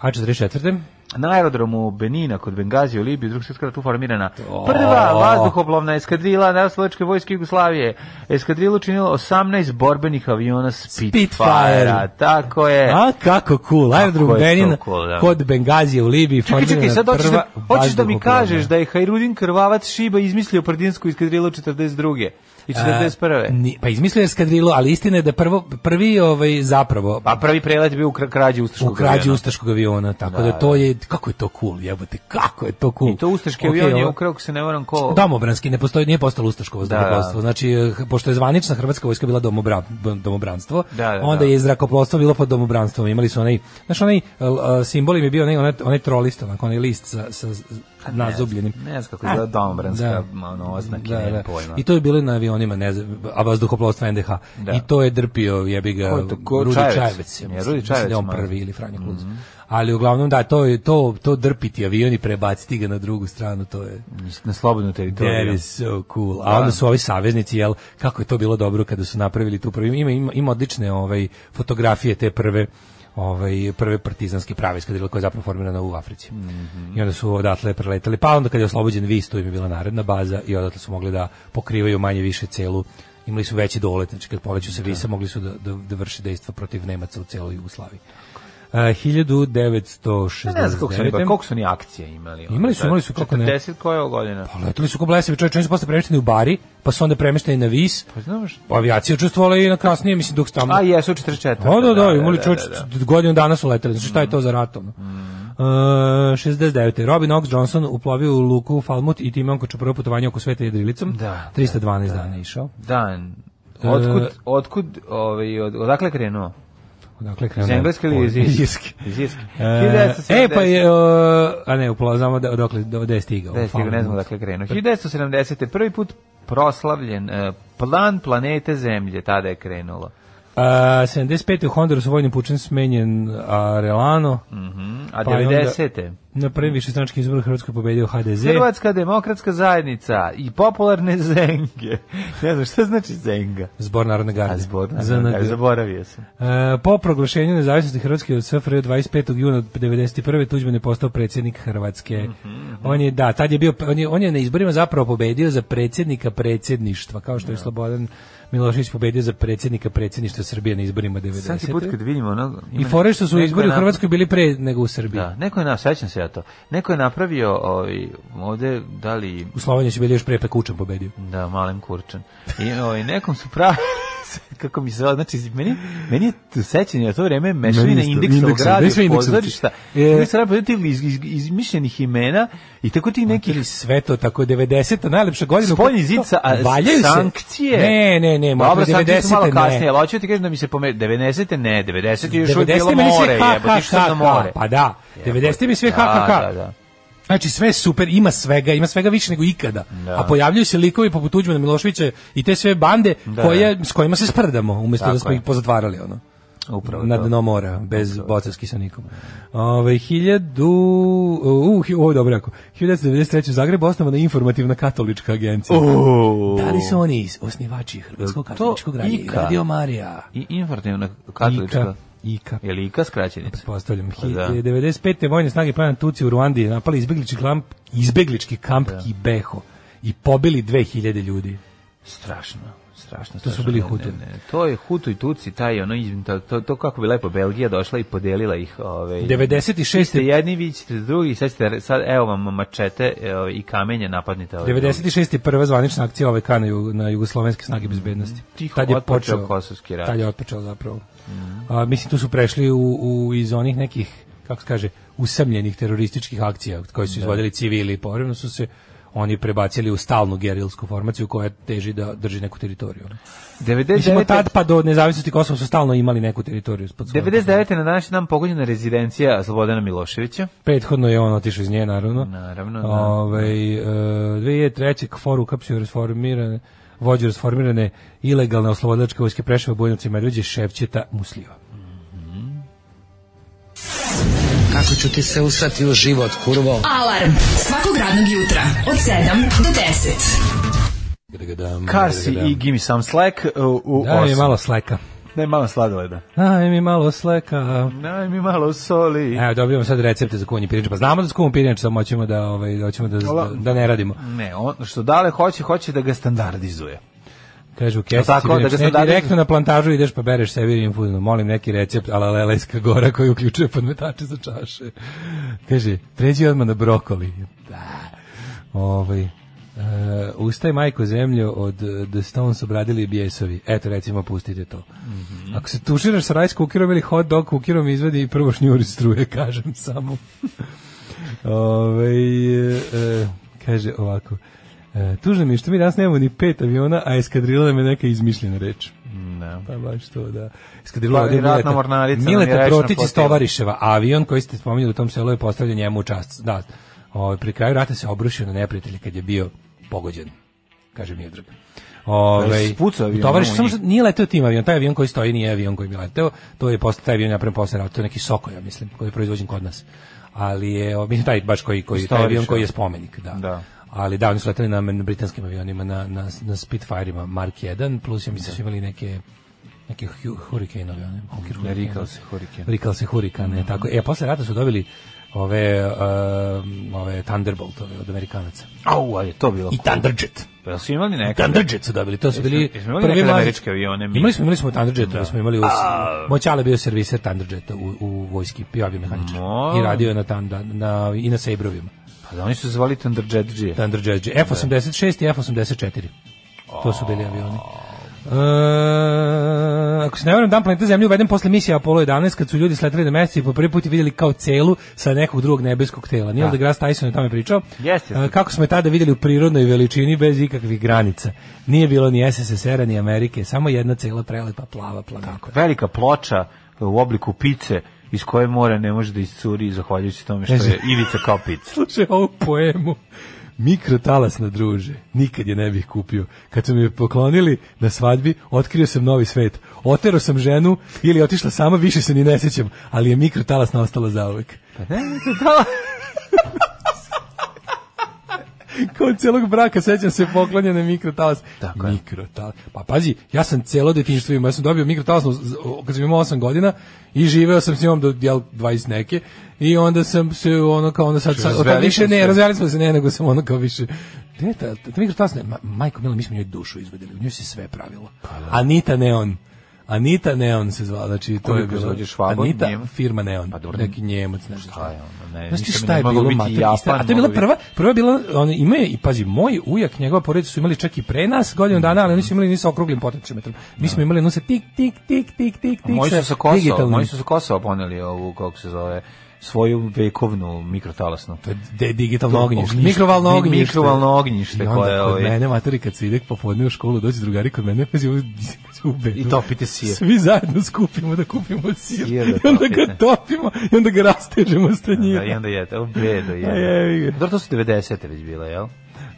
S7: A 44.
S6: Na aerodromu Benina kod Bengazija u Libiji drugog svjetskog rata formirana prva vazduhoplovna eskadrila Narodnooslobodilačke vojske Jugoslavije. Eskadrilu činilo 18 borbenih aviona Spitfire.
S7: Spitfire.
S6: Tako je.
S7: A kako cool, aerodrom
S6: E. Kako je to
S7: Benin
S6: cool, da.
S7: kod Bengazije u Libiji.
S6: Čekaj, čekaj,
S7: formirana
S6: sad hoćeš da,
S7: prva
S6: hoćeš da mi
S7: vazduhoplovna.
S6: kažeš da je Hajrudin Krvavac Šiba izmislio prdinsku iskadrilu 42. i
S7: A,
S6: 41.
S7: ni- pa izmislio je eskadrilu, ali istina je da prvo, prvi ovaj, zapravo
S6: Pa prvi prelet je bio u kra- krađi Ustaškog
S7: u krađi
S6: aviona.
S7: ustaškog aviona, tako da, to je, kako je to cool, jebote, kako je to cool.
S6: I to Ustaški
S7: Ok,
S6: avion je
S7: ovo-
S6: ukrao, ako se ne varam, ko...
S7: Domobranski, ne postoji, nije postalo ustaško
S6: Da, da.
S7: vazduhoplovstvo. Znači, eh, pošto je zvanična hrvatska vojska bila domobra, domobranstvo,
S6: Da, da,
S7: onda
S6: da.
S7: je zrakoplovstvo bilo pod domobranstvom. Imali su onaj, znaš, onaj eh, l- a, simbol im je bio onaj, onaj, onaj trolist, onako, onaj list sa, sa Eh, z- nazubljenim.
S6: Pa Ne znam kako je zove domobranska,
S7: Da.
S6: ono, oznake,
S7: Da,
S6: nemam
S7: da.
S6: pojma.
S7: I to je bilo na avionima, ne znam, a vazduhoplovstva NDH.
S6: Da.
S7: I to je drpio, jebi ga,
S6: Ko je to? Ko-
S7: Rudi
S6: Čajevec?
S7: Čajevec.
S6: Ja,
S7: ja mislim.
S6: Rudi Mhm.
S7: Mislim da je
S6: Čajevec,
S7: on
S6: možda.
S7: prvi ili Franjo Kluz. Ali uglavnom da, to je to to drpiti avion i prebaciti ga na drugu stranu, to je
S6: Na slobodnu
S7: That
S6: teritoriju.
S7: is so cool. A onda su ovi saveznici, jel, kako je to bilo dobro kada su napravili tu prvi, ima, ima, ima odlične ovaj, fotografije te prve ovaj prve partizanske prave eskadrile koja je zapravo formirana u Africi.
S6: Mhm.
S7: I onda su odatle preletali. Pa onda kad je oslobođen Vis, tu im je bila naredna baza i odatle su mogli da pokrivaju manje više celu imali su veći dolet, znači kad poleću se Visa mogli su da, da, da vrše dejstva protiv Nemaca u celoj Jugoslaviji. Uh, 1969.
S6: Ne znam koliko su, oni, pa koliko su oni akcije imali. ono,
S7: Imali su,
S6: sad?
S7: imali su, kako ne.
S6: 40 koja je godina?
S7: Pa letali su ko blesavi čovječ, oni su posle premešteni u Bari, pa su onda premešteni na Vis,
S6: Pa znaš?
S7: pa avijacija učestvovala i na kasnije, mislim, dok su tamo...
S6: A jesu 44.
S7: Da, da, da, imali čovječ,
S6: da, Mm. da.
S7: godinu dana su letali, znači šta je to za ratom? Uh, 69. Robin Ox Johnson uplovio u luku u Falmut i time on koče prvo putovanje oko sveta jedrilicom.
S6: Da,
S7: 312 dana je išao.
S6: Dan. Otkud,
S7: E,
S6: otkud, ovaj, od, odakle krenuo?
S7: Odakle je
S6: Iz
S7: krenuo?
S6: engleske ili iz
S7: Iz
S6: Irske?
S7: Irske.
S6: Iz Irske.
S7: E,
S6: 1970.
S7: e, pa je, o, a ne, upravo znamo da, odakle, da, da je stigao.
S6: Da je stigao, ne znamo dakle
S7: pa-
S6: krenuo. 1970. prvi put proslavljen e, plan planete Zemlje, tada je krenulo.
S7: A, 75. E, u Hondurasu vojnim pučem smenjen Arelano.
S6: Mhm, A
S7: Pa i onda-
S6: 90.
S7: Na prvim višestranačkim izborima Hrvatskoj pobedio HDZ.
S6: Hrvatska demokratska zajednica i popularne Zenge. Ne znam, šta znači Zenga?
S7: Zbor Narodne garde.
S6: A zbor,
S7: ZNG.
S6: ne, zaboravio sam.
S7: E, po proglašenju nezavisnosti Hrvatske od SFRJ 25. juna 91. Tuđman je postao predsjednik Hrvatske.
S6: Mhm.
S7: On je da, tad je bio on je, on je na izborima zapravo pobedio za predsjednika predsjedništva, kao što je Slobodan Milošević pobedio za predsjednika predsjedništva Srbije na izborima 90.
S6: Svaki put kad vidimo ono...
S7: I
S6: ima-
S7: fore što su
S6: neko je
S7: izbori u
S6: napravio-
S7: Hrvatskoj bili pre nego u Srbiji.
S6: Da, neko je na, sećam se ja to. Neko je napravio ovaj, ovde, da li
S7: U Sloveniji su bili još pre pa je Kučan pobedio.
S6: Da, malen kurčan. I ovaj, nekom su pravi kako mi se zove, znači meni, meni je t- sećanje, a to vreme je mešavina
S7: Meni isto,
S6: indeksovog
S7: indeksa,
S6: rada
S7: meni sve
S6: i
S7: indeksovci.
S6: pozorišta.
S7: E.
S6: Indeksa rada pozorišta iz, iz, izmišljenih imena i tako ti neki
S7: Ili sve to tako 90. najlepša godina.
S6: spoljni zid sa a,
S7: Valjaju se-
S6: sankcije.
S7: Ne, ne, ne, možda
S6: Dobro, sankcije su malo
S7: 90. ne.
S6: kasnije, ali hoću ti kažem da mi se pome... 90. ne, 90. je još uvijek
S7: 90.
S6: bilo
S7: meni
S6: more,
S7: sve ha,
S6: jebote,
S7: ha,
S6: išao sam na
S7: ha, ha.
S6: more.
S7: Pa da, 90. mi sve ha, ha, ha.
S6: Da, da,
S7: Znači sve je super, ima svega, ima svega više nego ikada. A pojavljuju se likovi poput Tuđmana Miloševića i te sve bande koje, s kojima se sprdamo, umjesto
S6: Tako
S7: da smo
S6: je.
S7: ih pozatvarali ono.
S6: upravo
S7: na
S6: to.
S7: dno mora, bez bocarski sa nikom. Ove, hiljadu... Uh, hi- ovo je dobro rekao. 1993. u Zagrebu osnovana informativna katolička agencija.
S6: Uuu.
S7: Da li su oni is- osnivači Hrvatskog
S6: Jel to
S7: katoličkog radija?
S6: Ika?
S7: Radio Marija.
S6: I informativna katolička.
S7: Ika. Ika.
S6: Je li Ika skraćenica?
S7: Postavljam.
S6: Pa da.
S7: 95. vojne snage plana Tuci u Ruandi napali izbeglički, klamp, izbeglički kamp Kibeho i pobili 2000 ljudi.
S6: Strašno, strašno.
S7: To su
S6: strašno.
S7: bili
S6: Ne, ne,
S7: Hutu.
S6: ne. To je Hutu i Tuci, taj ono izm- to, to, to kako bi lepo Belgija došla i podelila ih, ovaj.
S7: 96.
S6: ste jedni, vi ćete drugi, sad, ćete, sad evo vam mačete ovaj, i kamenje napadnite. Ovaj
S7: 96. je prva zvanična akcija OVK na, jug, na jugoslovenske snage bezbednosti.
S6: Tiho Mm. otpočeo Kosovski rat. Mm.
S7: Tad je otpočeo zapravo. A, mislim, tu su prešli u, u, iz onih nekih, kako se kaže, usamljenih terorističkih akcija koje su izvodili civili i povremeno su se oni prebacili u stalnu gerilsku formaciju koja teži da drži neku teritoriju.
S6: drugi.
S7: Mislim, od
S6: 99.
S7: tad pa do nezavisnosti Kosova su stalno imali neku teritoriju. Pod svojom
S6: 99. na današnji dan pogođena rezidencija Slobodana Miloševića.
S7: Prethodno je on otišao iz nje, naravno.
S6: Naravno, da.
S7: Ove, e, 2003. KFOR uhapsio rasformirane, vođu rasformirane ilegalne oslobodilačke vojske Preševa, Bujnovca i Medveđe, Ševćeta, Musliva.
S8: Kako ću ti se usrati u život, kurvo?
S9: Alarm. Svakog radnog jutra od 7 do 10.
S6: Karsi i Gimme Some Slack u, u
S7: Daj mi
S6: osam.
S7: malo sleka.
S6: Daj mi malo sladoleda.
S7: Daj mi malo sleka.
S6: Daj mi malo soli.
S7: Evo, dobijamo sad recepte za kuvanje pirinča. Pa znamo da za kuvamo pirinča, samo hoćemo da, ovaj, hoćemo da, da, da ne radimo.
S6: Ne, on, što dale hoće, hoće da ga standardizuje.
S7: Kaže u kesici,
S6: Tako,
S7: tako,
S6: da ga
S7: ne,
S6: sad dadem-
S7: direktno na plantažu ideš pa bereš sebi infuzno. Molim neki recept ala Lelejska gora koji uključuje podmetače za čaše. Kaže, pređi odmah na brokoli. Da. Ovaj, e, ustaj majko zemlju od e, The Stones obradili bijesovi. Eto, recimo, pustite to.
S6: Mhm.
S7: Ako se tuširaš sa rice cookerom ili hot dog cookerom, izvedi i prvo šnjuri struje, kažem samo. Ove, e, kaže ovako. E, tužno mi je što mi danas nemamo ni pet aviona, a eskadrila nam je neka izmišljena reč.
S6: Ne.
S7: Pa baš to, da. Eskadrila
S6: Pa,
S7: ovdje
S6: vjerojatno
S7: Mileta-
S6: mornarica nam je
S7: Mileta
S6: rečna
S7: Protić iz
S6: flotila.
S7: Tovariševa. Avion koji ste spominjali u tom selu je postavljen njemu u čast. Da, ovaj, pri kraju rata se obrušio na neprijatelje kad je bio pogođen, kaže Miodrag.
S6: Pa
S7: Ove,
S6: je spucao avion,
S7: Tovariš,
S6: ono,
S7: samo
S6: i-
S7: što nije leteo tim avion, taj avion koji stoji nije avion koji bi leteo, to je posle, taj avion je napravljen posle rata, to je neki Soko, ja mislim, koji je proizvođen kod nas. Ali je, o, mislim, taj baš koji, koji, taj
S6: Tovariša.
S7: avion koji je spomenik, da.
S6: Da.
S7: Ali da, oni su leteli na, na britanskim avionima, na, na, na Spitfireima Mark 1, plus ja mislim su imali neke neke hu- hurricane avione.
S6: Ne, rikao se Mhm. hurikan.
S7: Rikal se hurikan, ne, tako. E, posle rata su dobili ove, um, ove Thunderbolt ove, od Amerikanaca.
S6: Au, a je to bilo.
S7: I Thunderjet.
S6: Jel su imali neke?
S7: Thunderjet su dobili, to su bili
S6: jesmo imali nekad
S7: mladi-
S6: američke avione, mi?
S7: Imali smo, imali smo Thunderjet, da. smo imali, u, Moćala je bio serviser Thunderjeta u, u vojski, bio aviomehaničar.
S6: Mo.
S7: I radio je na, tam, na, na, i na Sabrovima.
S6: Pa da, oni su zvali Thunderjet-đije.
S7: Thunderjet, F-86 i F-84. To su bili avioni. E, ako se ne varam, dan planeta Zemlje uveden posle misije Apollo 11, kad su ljudi sletali na mesec i po prvi put je vidjeli kao celu sa nekog drugog nebeskog tela. Neil
S6: Da.
S7: deGrasse Tyson je o tome pričao.
S6: Jeste, jeste.
S7: E, kako smo je tada vidjeli u prirodnoj veličini bez ikakvih granica. Nije bilo ni SSSR-a, ni Amerike, samo jedna cela prelepa plava planeta.
S6: Velika ploča u obliku pice iz koje mora ne može da iscuri zahvaljujući tome što je ivica kao pica.
S7: Slušaj ovu poemu. Mikrotalasna druže, nikad je ne bih kupio. Kad su mi je poklonili na svadbi, otkrio sam novi svet. Otero sam ženu ili otišla sama, više se ni ne sjećam, ali je mikrotalasna ostala zauvek.
S6: Pa ne, mikrotalas...
S7: Kao celog braka sećam se poklonjene mikrotalas.
S6: Tako je.
S7: Mikrotalas. Pa pazi, ja sam celo detinjstvo imao, ja sam dobio mikrotalasnu z- o- kad sam imao 8 godina i živeo sam s njom do jel 20 neke i onda sam se ono kao onda sad, sad od tad
S6: razveli
S7: više
S6: ste
S7: ne,
S6: se?
S7: razveli smo se ne, nego sam ono kao više Gde ta, ta, ta mikrotalasna, ma, majko mila, mi smo njoj dušu izvadili, u njoj se sve pravilo. Anita Neon. Anita Neon se zvala, znači to
S6: Ko je
S7: je bilo.
S6: proizvođač? Švabo?
S7: Anita
S6: Njem?
S7: firma Neon,
S6: Pa dobro.
S7: neki Njemac, nešto.
S6: Šta je ono, ne,
S7: Znaš ti
S6: ništa mi
S7: šta
S6: ne
S7: je
S6: moglo
S7: bilo
S6: biti
S7: mater,
S6: Japan,
S7: istina, a to je bila
S6: moglo biti-
S7: prva, prva je bila, on ima je, i pazi, moj ujak, njegova porodica su imali čak i pre nas godinu dana, ali oni su imali nisu okruglim potročimetrom. Mi smo imali nose tik, tik, tik, tik, tik, tik,
S6: Moji
S7: sa
S6: su sa Kosova,
S7: digitalnim.
S6: moji su sa Kosova poneli ovu, kako se zove, svoju vekovnu mikrotalasnu.
S7: To je de- digitalno
S6: To
S7: ognjište,
S6: ognjište.
S7: mikrovalno
S6: Mi-
S7: ognjište.
S6: mikrovalno ognjište
S7: I onda
S6: koje,
S7: kod
S6: ovaj-
S7: mene, materi, kad se ide popodne u školu, dođu drugari kod mene, pazi, ovo- u bedu.
S6: I topite sir.
S7: Svi zajedno skupimo da kupimo sir.
S6: Sir da
S7: I onda ga
S6: topite.
S7: topimo i onda ga rastežemo s tanjira.
S6: Da, I onda jete, o bedo
S7: jevi
S6: je.
S7: ga.
S6: Dobro, to su 90. već bile, jel?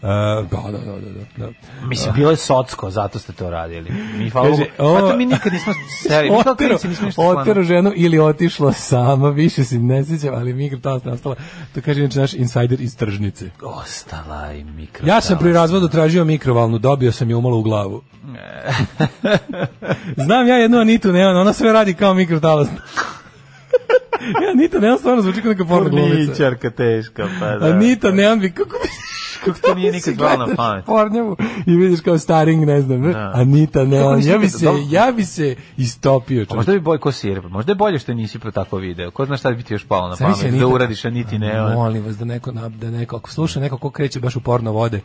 S7: A, da, da, da, da, da.
S6: Mislim, bilo je socko, zato ste to radili. Mi, hvala
S7: Kaže,
S6: Bogu, zato
S7: o-
S6: mi nikad nismo seri, mi kao
S7: Otero,
S6: klinci nismo ništa
S7: otero
S6: slano.
S7: ženu ili otišla sama, više se ne sjećam, ali mikrotalas nastala. To kaže inače naš insider iz tržnice.
S6: Ostala je mikrotalasna.
S7: Ja sam pri razvodu tražio mikrovalnu, dobio sam je umalo u glavu. Znam ja jednu Anitu Neon, ona sve radi kao mikrotalasna. ja, Anita Neon stvarno zvuči kao neka porno glumica.
S6: Porničarka teška, pa da.
S7: Anita Neon bi, kako bi...
S6: Kako to nije nikad zvalo na
S7: gledaš
S6: pamet.
S7: Pornjavu i vidiš kao staring, ne znam, Anita Neon,
S6: nisi
S7: ja bi
S6: nikad-
S7: se,
S6: dobro.
S7: ja bi se istopio.
S6: A
S7: čovječe.
S6: Možda bi bojko sir, možda je bolje što nisi pro tako video. Ko zna šta bi ti još palo na
S7: Zamisli,
S6: pamet da
S7: Anita-
S6: uradiš, a niti ne. on.
S7: Molim vas da neko nab- da neko ako sluša neko ko kreće baš u porno vode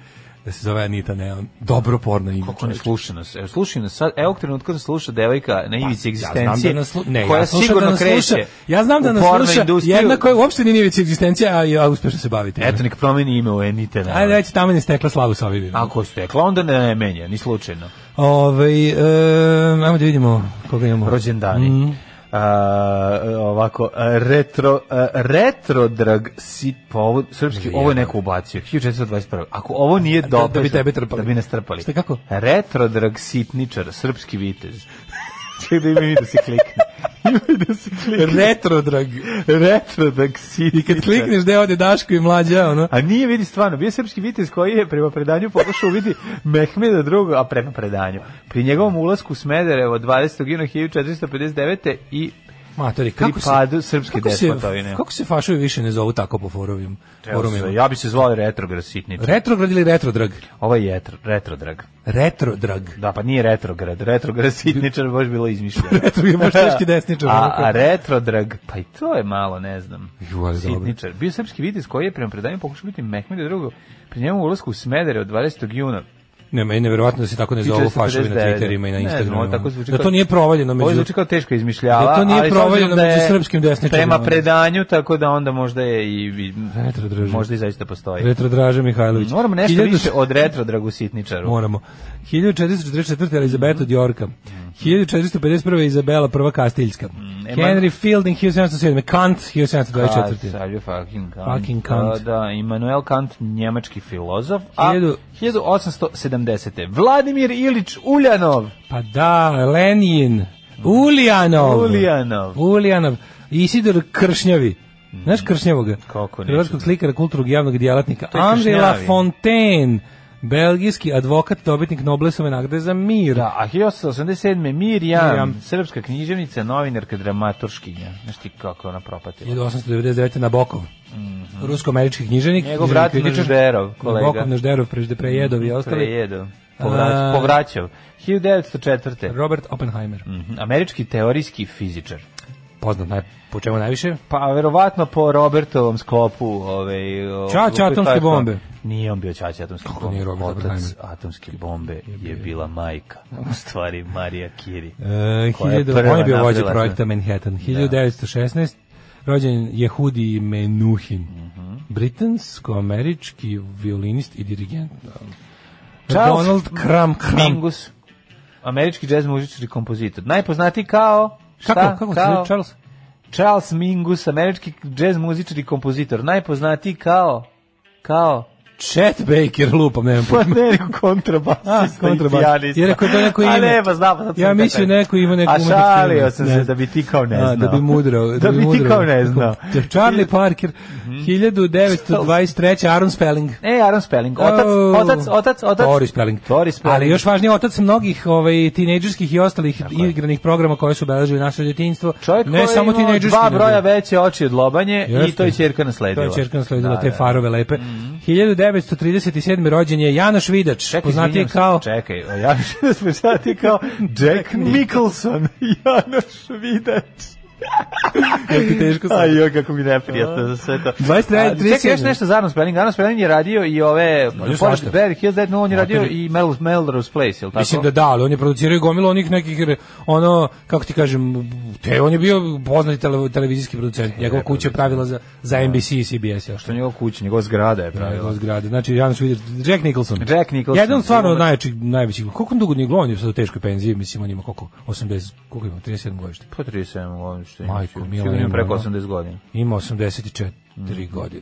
S7: da se zove Anita Neon. Dobro porno ime.
S6: Kako ne
S7: čoveče.
S6: sluša nas? Evo, slušaju nas sad, evo trenutka nas sluša devojka na ivici
S7: Pa, Ja znam
S6: egzistencije,
S7: da nas slu- ne,
S6: koja
S7: ja slušam
S6: sigurno
S7: da nas
S6: kreće
S7: sluša. Ja znam da
S6: u
S7: nas
S6: porno
S7: sluša
S6: industriju.
S7: jedna koja uopšte nije već egzistencija, a, a uspešno se bavite.
S6: Eto, nek promeni ime u Enite. ne.
S7: Ajde, reći tamo je stekla slavu sa ovim.
S6: Ako je stekla, onda ne menja, ni slučajno.
S7: Ove, Ovaj, ajmo da vidimo koga imamo. Mm.
S6: Rođendani. A, ovako, a, retro, a, retrodrag si, pa ovo, srpski, ovo je neko ubacio, 1421. Ako ovo nije
S7: da
S6: dobro,
S7: bi tebe trpali.
S6: Da bi nas trpali.
S7: Šta, kako?
S6: Retrodrag sitničar, srpski vitez. Čekaj da ima i da se klikne. Ima i da se klikne.
S7: Retrodrag.
S6: Retrodrag sitničar.
S7: I kad klikneš gde ode Daško i mlađa, ono.
S6: A nije vidi stvarno, bio je srpski vitez koji je prema predanju pokušao vidi Mehmeda II, a prema predanju. Pri njegovom ulasku u Smederevo 20. juna 1459. i
S7: Matori,
S6: pri padu srpske
S7: kako se,
S6: despotovine.
S7: kako se fašovi više ne zovu tako po forovim,
S6: Evo se,
S7: forumima?
S6: Ja bi se zvao retrograd sitničar.
S7: Retrograd ili retrodrag?
S6: Ovo je jetro- retrodrag.
S7: Retrodrag.
S6: Da, pa nije retrograd. Retrograd sitničar baš bilo izmišljeno.
S7: Retro je baš teški desničar,
S6: A,
S7: onako.
S6: a retrodrag, pa i to je malo, ne znam.
S7: Ju, ali dobro.
S6: Sitničar. Bio je srpski vitez koji je prema predanju pokušao biti Mehmed II. Pri njemu ulasku u Smederevo 20. juna
S7: Ne, meni je neverovatno da se tako ne zovu fašovi na
S6: 1459.
S7: Twitterima i
S6: Ne
S7: na
S6: znam,
S7: Instagramu.
S6: ovo tako zvuči
S7: da
S6: kao-
S7: to nije provaljeno
S6: Ovo
S7: među...
S6: zvuči kao teška izmišljava.
S7: Da to nije
S6: ali s obzirom
S7: provaljeno
S6: da je
S7: među srpskim desničarima,
S6: Prema
S7: ono.
S6: predanju, tako da onda možda je i... i
S7: Retro drži.
S6: možda i zaista postoji.
S7: Retro Draže Mihajlović.
S6: Moramo nešto
S7: 1000
S6: više od retro dragositničaru.
S7: Moramo. 1444. Elizabeta od Jorka. 1451. Izabela I. Kastiljska.
S6: Mhm. e, ma-
S7: Henry Fielding 1707. Kant
S6: Kad
S7: 1724.
S6: Salve fucking Kant.
S7: Fucking Kant.
S6: Da, da, Immanuel Kant, njemački filozof. A
S7: Hiljadu-
S6: 1870. Vladimir Ilić Uljanov.
S7: Pa da, Lenin. Ulijanov.
S6: Uljanov. Mm.
S7: Ulijanov. Isidor Kršnjavi. Znaš Kršnjavoga?
S6: Kako neću.
S7: Hrvatskog slikara, kulturnog i javnog djelatnika.
S6: To je
S7: Andrija
S6: Kršnjavi.
S7: Lafontaine. Belgijski advokat, dobitnik Noblesove nagrade za mir.
S6: Da, a 1887. Mirjam,
S7: Mirjam.
S6: srpska književnica, novinarka, dramaturškinja. Znaš ti kako je ona propatila.
S7: 1899. Nabokov. Rusko-američki knjiženik.
S6: Mhm. Njegov
S7: književnik,
S6: brat
S7: kritičar.
S6: Nažderov, kolega. Mm,
S7: Nabokov, Nažderov, prežde Prejedov i ostali.
S6: Prejedo. Povrać,
S7: A-
S6: povraćao. 1904.
S7: Robert Oppenheimer.
S6: Mhm, Američki teorijski fizičar.
S7: Poznat naj, po čemu najviše?
S6: Pa verovatno po Robertovom sklopu, ovaj o-
S7: Ćaća
S6: o-
S7: atomske
S6: taj-
S7: bombe.
S6: Nije on bio ćaća atomske
S7: Kako
S6: bombe.
S7: nije Robert
S6: Otac
S7: Oppenheimer?
S6: atomske bombe je bila majka. U stvari Marija Kiri.
S7: E,
S6: Koja je
S7: 1000
S6: prva
S7: on je bio vođa
S6: napravila,
S7: projekta
S6: ne?
S7: Manhattan. 1916. Rođen Jehudi Menuhin.
S6: Mhm.
S7: Britansko-američki violinist i dirigent.
S6: Charles
S7: Donald Cram Cram.
S6: Mingus, američki džez muzičar i kompozitor. Najpoznatiji kao
S7: Kako, kako se zove Charles?
S6: Charles Mingus, američki džez muzičar i kompozitor, najpoznatiji kao kao
S7: Chet Baker, lupam, nemam
S6: pa
S7: pojma.
S6: ne nego kontrabasista,
S7: kontrabas.
S6: i pijanista.
S7: Ja rekao da neko
S6: A
S7: ime.
S6: ne, pa znam, sad sam
S7: Ja mislim
S6: takav.
S7: neko ima neko
S6: A
S7: umetničko
S6: šalio
S7: ime.
S6: sam
S7: Ne.
S6: se da bi ti kao ne znao.
S7: A, da bi mudrao.
S6: Da bi ti
S7: mudrao.
S6: kao ne znao. Mhm.
S7: Charlie Parker, 1923. Aaron Spelling.
S6: E, Aaron Spelling, otac,
S7: Oh.
S6: otac, otac, otac.
S7: Tori Spelling.
S6: Tori Spelling.
S7: Ali još važnije, otac mnogih ovaj, tinejdžerskih i ostalih igranih programa koje su obeležili naše djetinjstvo.
S6: Čovjek
S7: ne
S6: koji
S7: samo
S6: ima
S7: tinejdžerski.
S6: dva
S7: nego-
S6: broja veće oči od lobanje i
S7: Jeste.
S6: to je čerka nasledila.
S7: To je čerka nasledila, te farove lepe. 1937. rođen je Janoš Vidač,
S6: Mhm. Čekaj,
S7: poznatiji
S6: izvinjam se,
S7: kao...
S6: Čekaj, ja mislim da smo znati kao Jack Nicholson, Janoš Vidač.
S7: Jako teško sam.
S6: Aj, joj, kako mi neprijatno za sve to.
S7: 23,
S6: A, Čekaj, još
S7: 37.
S6: nešto za Arnold Spelling. Arnold Spelling je radio i ove...
S7: Radio
S6: Pored
S7: svašta.
S6: Barry Hills, Dead, no, on je radio
S7: Otelj-
S6: i Mel- Melrose Place, jel tako?
S7: Mislim da da, ali on je producirao i gomilu onih nekih, re- ono, kako ti kažem, te, on je bio poznati tele, televizijski producent, njegova kuća je pravila za, za NBC i CBS, još
S6: Što njegov kuć, njegov zgrada je
S7: pravila
S6: pravila.
S7: zgrada. Znači, Januš Vidić, Jack Nicholson.
S6: Jack Nicholson.
S7: Jedan stvarno
S6: Glumac.
S7: najvećih, najvećih, koliko on dugo nije glumio, on je sad u teškoj penziji, mislim, on ima koliko, 80, koliko ima, 37 godište.
S6: Po 37 godina što
S7: Majko,
S6: Sigurno
S7: mila,
S6: ima
S7: ima,
S6: preko
S7: ono.
S6: 80 godina.
S7: Ima 84 godine.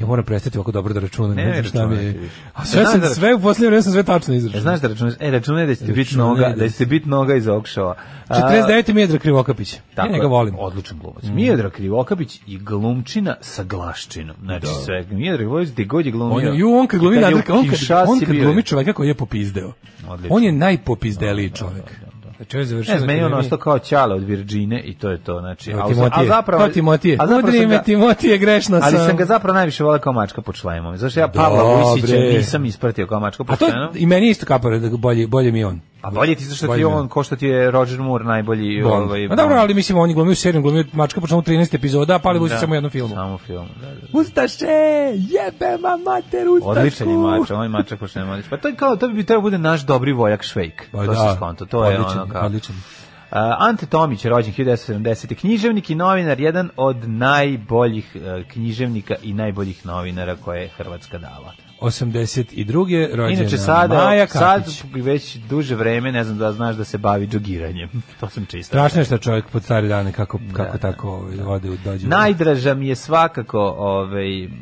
S7: Ja moram prestati ovako dobro da računam.
S6: Mhm. Ne,
S7: Ne, znam
S6: ne
S7: šta mi je.
S6: računajte više.
S7: A sve,
S6: Znaš
S7: sam,
S6: da-
S7: sve u posljednje vreme sam sve tačno
S6: E,
S7: izračunao.
S6: znaš da računaj, e, računaj da ćete biti
S7: Računaj
S6: noga,
S7: da
S6: da ćete biti noga iz okšava. A,
S7: 49. Mijedra Krivokapić. Ja
S6: Tako
S7: njega
S6: je,
S7: volim. Mm.
S6: Odličan glumac. Mijedra Krivokapić i glumčina sa glaščinom. Znači sve. Mijedra Krivokapić gdje god je glumio.
S7: On je, ju, on kad glumi
S6: I kad je
S7: Nadrka, on
S6: u
S7: kad,
S6: Kinshasi
S7: on kad
S6: bio je.
S7: glumi čoveka koji je popizdeo.
S6: Odlično.
S7: On je najpopizdeliji čovek. Znači, on je završio
S6: Ne znam,
S7: na
S6: meni je ono on
S7: akademiji.
S6: ostao kao ćale od Virđine i to je to, znači.
S7: Evo,
S6: a-
S7: Timotije.
S6: A zapravo...
S7: Kao Timotije.
S6: A zapravo
S7: Udri
S6: sam
S7: me,
S6: ga,
S7: Timotije, grešno
S6: ali
S7: sam.
S6: sam ga zapravo najviše volao kao mačka pod šlajmom. Zašto ja Pavla
S7: Dobre.
S6: Vujsića nisam ispratio kao mačka
S7: A
S6: pod
S7: to
S6: šlajmom.
S7: i meni je isto kapare, da ga bolje, bolje mi je on.
S6: A bolje ti zašto ti
S7: Bolje
S6: je
S7: mi je.
S6: on, ko što ti je Roger Moore najbolji...
S7: Bond.
S6: Ovaj,
S7: A dobro,
S6: Bond.
S7: ali mislim, on je glumio u seriju, glumio je mačka, počnemo 13 epizoda, a pali da. samo u jednom filmu.
S6: Samo u filmu, da, da.
S7: Ustaše, jebema mater, ustašku.
S6: Odličan je mač, on je mačak po šlajmu. Pa to je kao, to bi trebao bude naš dobri vojak Švejk.
S7: Pa
S6: to
S7: da,
S6: se skonto, to je
S7: odličan,
S6: ono kao...
S7: odličan.
S6: Uh, Ante Tomić je rođen 1970. književnik i novinar, jedan od najboljih uh, književnika i najboljih novinara koje je Hrvatska dala.
S7: 82. rođena
S6: Inače sada,
S7: Maja
S6: sad
S7: Katić.
S6: već duže vreme, ne znam da znaš da se bavi džogiranjem. To sam čisto.
S7: Strašno je što čovjek pod stare dane kako, kako tako ovaj, vode u dođe.
S6: Najdraža mi je svakako ovaj mm,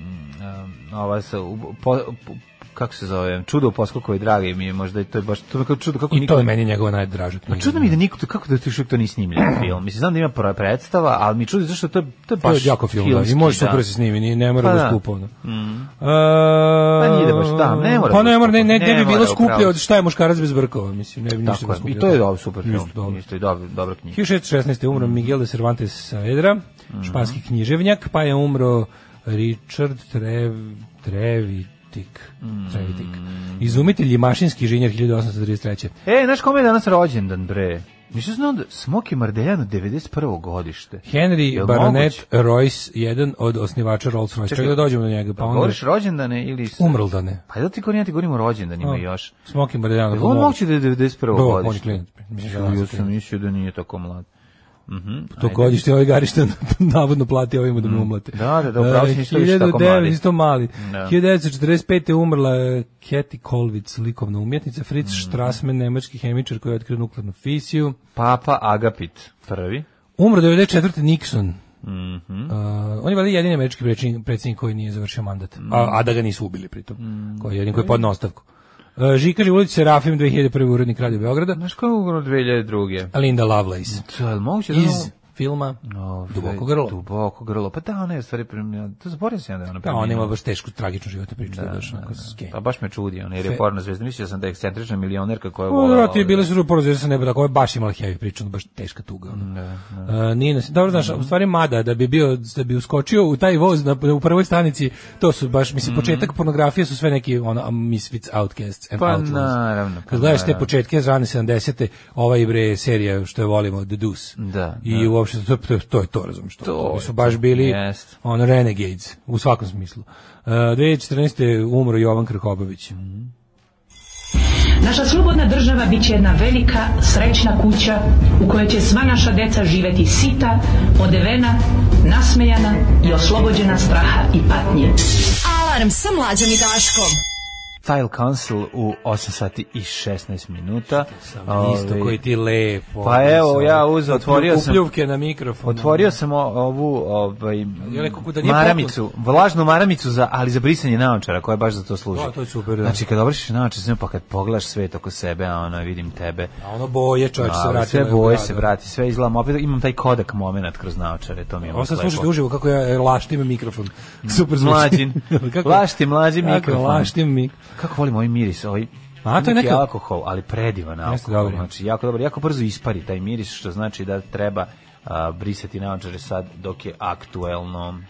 S6: um, ova sa u- po, po- kako se zove, čudo u poskokovoj dragi mi je možda i to je baš to je kao čudo kako
S7: I to
S6: niko
S7: je meni njegova najdraža knjiga.
S6: Pa čudno mi je da niko to kako da ti to nije snimljen film. Mislim znam da ima prva predstava, ali mi čudi zašto to je to je
S7: To je
S6: baš
S7: jako film, da. I
S6: filmski,
S7: može super se snimi, ni- ne mora
S6: Pa
S7: baš
S6: da.
S7: skupo. ono. E,
S6: Pa nije da baš, da, ne mora
S7: Pa ne
S6: baš
S7: mora, ne, ne,
S6: skupo.
S7: ne
S6: Ne
S7: bi bilo
S6: mora,
S7: skuplje
S6: upravo
S7: od
S6: si.
S7: šta je muškarac bez brkova, mislim, ne bi ništa
S6: Tako
S7: bilo
S6: je.
S7: skuplje.
S6: I to je dobar super
S7: Isto dobro.
S6: film. Mm. Isto je dobro, dobra knjiga.
S7: 1616. je umro Miguel de Cervantes Saavedra,
S6: Mm.
S7: španski književnjak, pa je umro Richard Trev, Trevitik.
S6: Mm.
S7: Trevitik. Izumitelj i mašinski inženjer 1833.
S6: E, znaš kome je danas rođendan, bre? Nisam znao da Smoki Mardeljan 91. godište.
S7: Henry
S6: Jel
S7: Baronet
S6: moguće?
S7: Royce, jedan od osnivača Rolls-Royce. Čekaj da dođemo do njega, pa onda... Um.
S6: Govoriš rođendane ili...
S7: Umrldane.
S6: Pa da ti govorim, ja ti govorim o rođendanima još.
S7: Smoky Mardejano.
S6: Jel on moguće da je 91.
S7: Da, on je
S6: godište?
S7: klinac. Mislim da je
S6: Ja sam
S7: on klinac.
S6: mislio da nije tako mlad. Mhm.
S7: To godište ovaj garište navodno plati ovima da mu umlate.
S6: Mm. Da, da, da, upravo si
S7: E,
S6: isto više tako
S7: 1900
S6: mali.
S7: isto mali.
S6: Da.
S7: 1945. je umrla e, Kathy Kolvic, likovna umjetnica, Fritz
S6: Mm.
S7: Strassmann, nemački hemičar koji je otkrio nuklearnu fisiju.
S6: Papa Agapit prvi.
S7: Umro 94. Nixon.
S6: Mhm.
S7: Uh, on je valjda jedini američki predsjednik, predsjednik koji nije završio mandat,
S6: Mm.
S7: a, a da ga nisu ubili pritom, koji je jedin koji je podnao ostavku. Uh, Žika Živulić Serafim, 2001. urednik Radio Beograda,
S6: Znaš ko je umro 2002.
S7: a Linda Lovelace
S6: To je li moguće da...
S7: iz filma
S6: Ove,
S7: Duboko grlo.
S6: Ovaj, Duboko grlo. Pa da, ona je u stvari primljena. To zaboravio sam ja da je ono ona
S7: Pa
S6: primljena.
S7: on ima baš tešku, tragičnu životnu priču.
S6: Да,
S7: Da, da,
S6: Pa baš me čudi, ona jer je
S7: Fe-
S6: porno zvezda. Mislio sam da je ekscentrična milionerka koja ovaj, je
S7: O,
S6: volala...
S7: vrati, bile su župo razvijezda sa neba, tako ovo je baš imala heavy priču, ono baš teška tuga. Ono. E, nije nas, dobro, znaš, u stvari Mada, da bi bio, da bi uskočio u taj voz na, u prvoj stanici, to su baš, mislim,
S6: Mhm.
S7: početak pornografije su sve neki, ono, a, misfits, outcasts and
S6: Pa
S7: outlaws.
S6: naravno, pa
S7: Kad gledaš te
S6: naravno.
S7: početke, rane 70. ovaj bre serija što je volimo, The Deuce.
S6: Da,
S7: I uopšte, to, to, to je to, razumiješ, to,
S6: To
S7: to
S6: je
S7: su baš bili,
S6: Jeste.
S7: on renegades, u svakom smislu. Uh, 2014. je umro Jovan Krkobović.
S10: Naša slobodna država bit će jedna velika, srećna kuća u kojoj će sva naša deca živeti sita, odevena, nasmejana i oslobođena straha i patnje.
S9: Alarm sa mlađom i Daškom.
S6: Style Council u 8 sati i 16 minuta.
S7: Sam isto
S6: Ovaj,
S7: koji ti lepo.
S6: Pa evo,
S7: Mislim,
S6: ja uzeo, otvorio sam...
S7: Upljuvke na mikrofon. ono.
S6: Otvorio sam o- ovu ovaj,
S7: Ja rekao, kuda nije
S6: maramicu, vlažnu maramicu, za, ali za brisanje naočara, koja baš za to služi.
S7: Da, to je super, da.
S6: Znači, kad obrišiš naočar, s njom, pa kad pogledaš svet oko sebe, a ono, vidim tebe,
S7: A ono boje čovječe se
S6: ali
S7: vratilo.
S6: sve
S7: je
S6: boje
S7: brado.
S6: se vrati, sve izgledam, opet imam taj kodak moment kroz naočare, to mi je
S7: Ovo sad
S6: uvijek
S7: slušate
S6: lepo.
S7: uživo kako ja e, laštim mikrofon. Super zvuči.
S6: Mlađin. Lašti mlađi
S7: Kako
S6: mikrofon.
S7: Laštim mik.
S6: Kako volim ovaj miris, ovaj
S7: A, to je
S6: neki
S7: neka-
S6: alkohol, ali predivan
S7: Jeste,
S6: alkohol.
S7: dobar je.
S6: Znači, jako dobro, jako brzo ispari taj miris, što znači da treba a, brisati naočare sad dok je aktuelno.
S7: Um,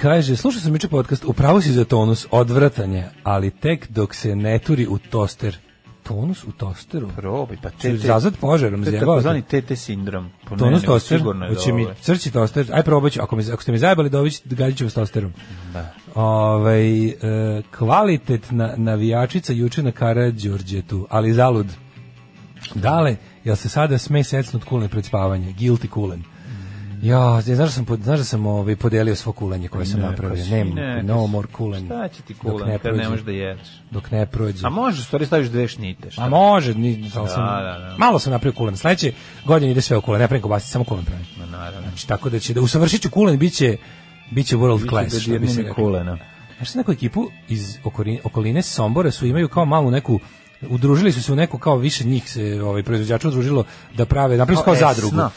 S7: kaže, slušao sam juče podcast, upravo si za tonus, odvratanje, ali tek dok se ne turi u toster. Tonus u tosteru?
S6: Probaj, pa
S7: Ću izazvat požarom,
S6: to je
S7: zjebao
S6: takozvani
S7: sam.
S6: TT sindrom. Po
S7: Tonus
S6: meni,
S7: toster,
S6: sigurno je
S7: ono hoće mi
S6: dobro.
S7: crći toster, aj probat ću, ako, me, ako ste mi zajebali dović, gađit ću vas tosterom. Da. Ovaj, e, kvalitetna navijačica juče na Karadžorđetu, ali zalud. Dale, jel se sada sme secnut kulen pred spavanje? Guilty kulen. Ja, znaš da sam, pod, znaš da sam ovaj, podelio svo kulenje koje sam napravio.
S6: si-
S7: Nema,
S6: ne,
S7: Pa no
S6: kad si-
S7: more kulen.
S6: Pa Šta će ti
S7: dok
S6: kulen kad
S7: prođe.
S6: ne možeš da jedeš?
S7: Dok ne prođe.
S6: A možeš, u stvari staviš dve šnite. Šta?
S7: A može, ni, ali sam,
S6: Da, da, da.
S7: malo sam napravio kulen. Sledeće godine ide sve u kulen, ne pravim kobasice, samo kulen pravim.
S6: Ma, naravno.
S7: Znači, tako da će, da usavršit ću kulen, bit će, bit će world class.
S6: Biće
S7: što bi se
S6: dodirnuti
S7: reklo.
S6: kulena.
S7: Znaš, neku ekipu iz okoline, okoline Sombora su imaju kao malu neku udružili su se u neku kao više njih se ovaj proizvođača udružilo da prave napravi se
S6: Kao
S7: kao,
S6: Mhm. Esna.
S7: zadrugu.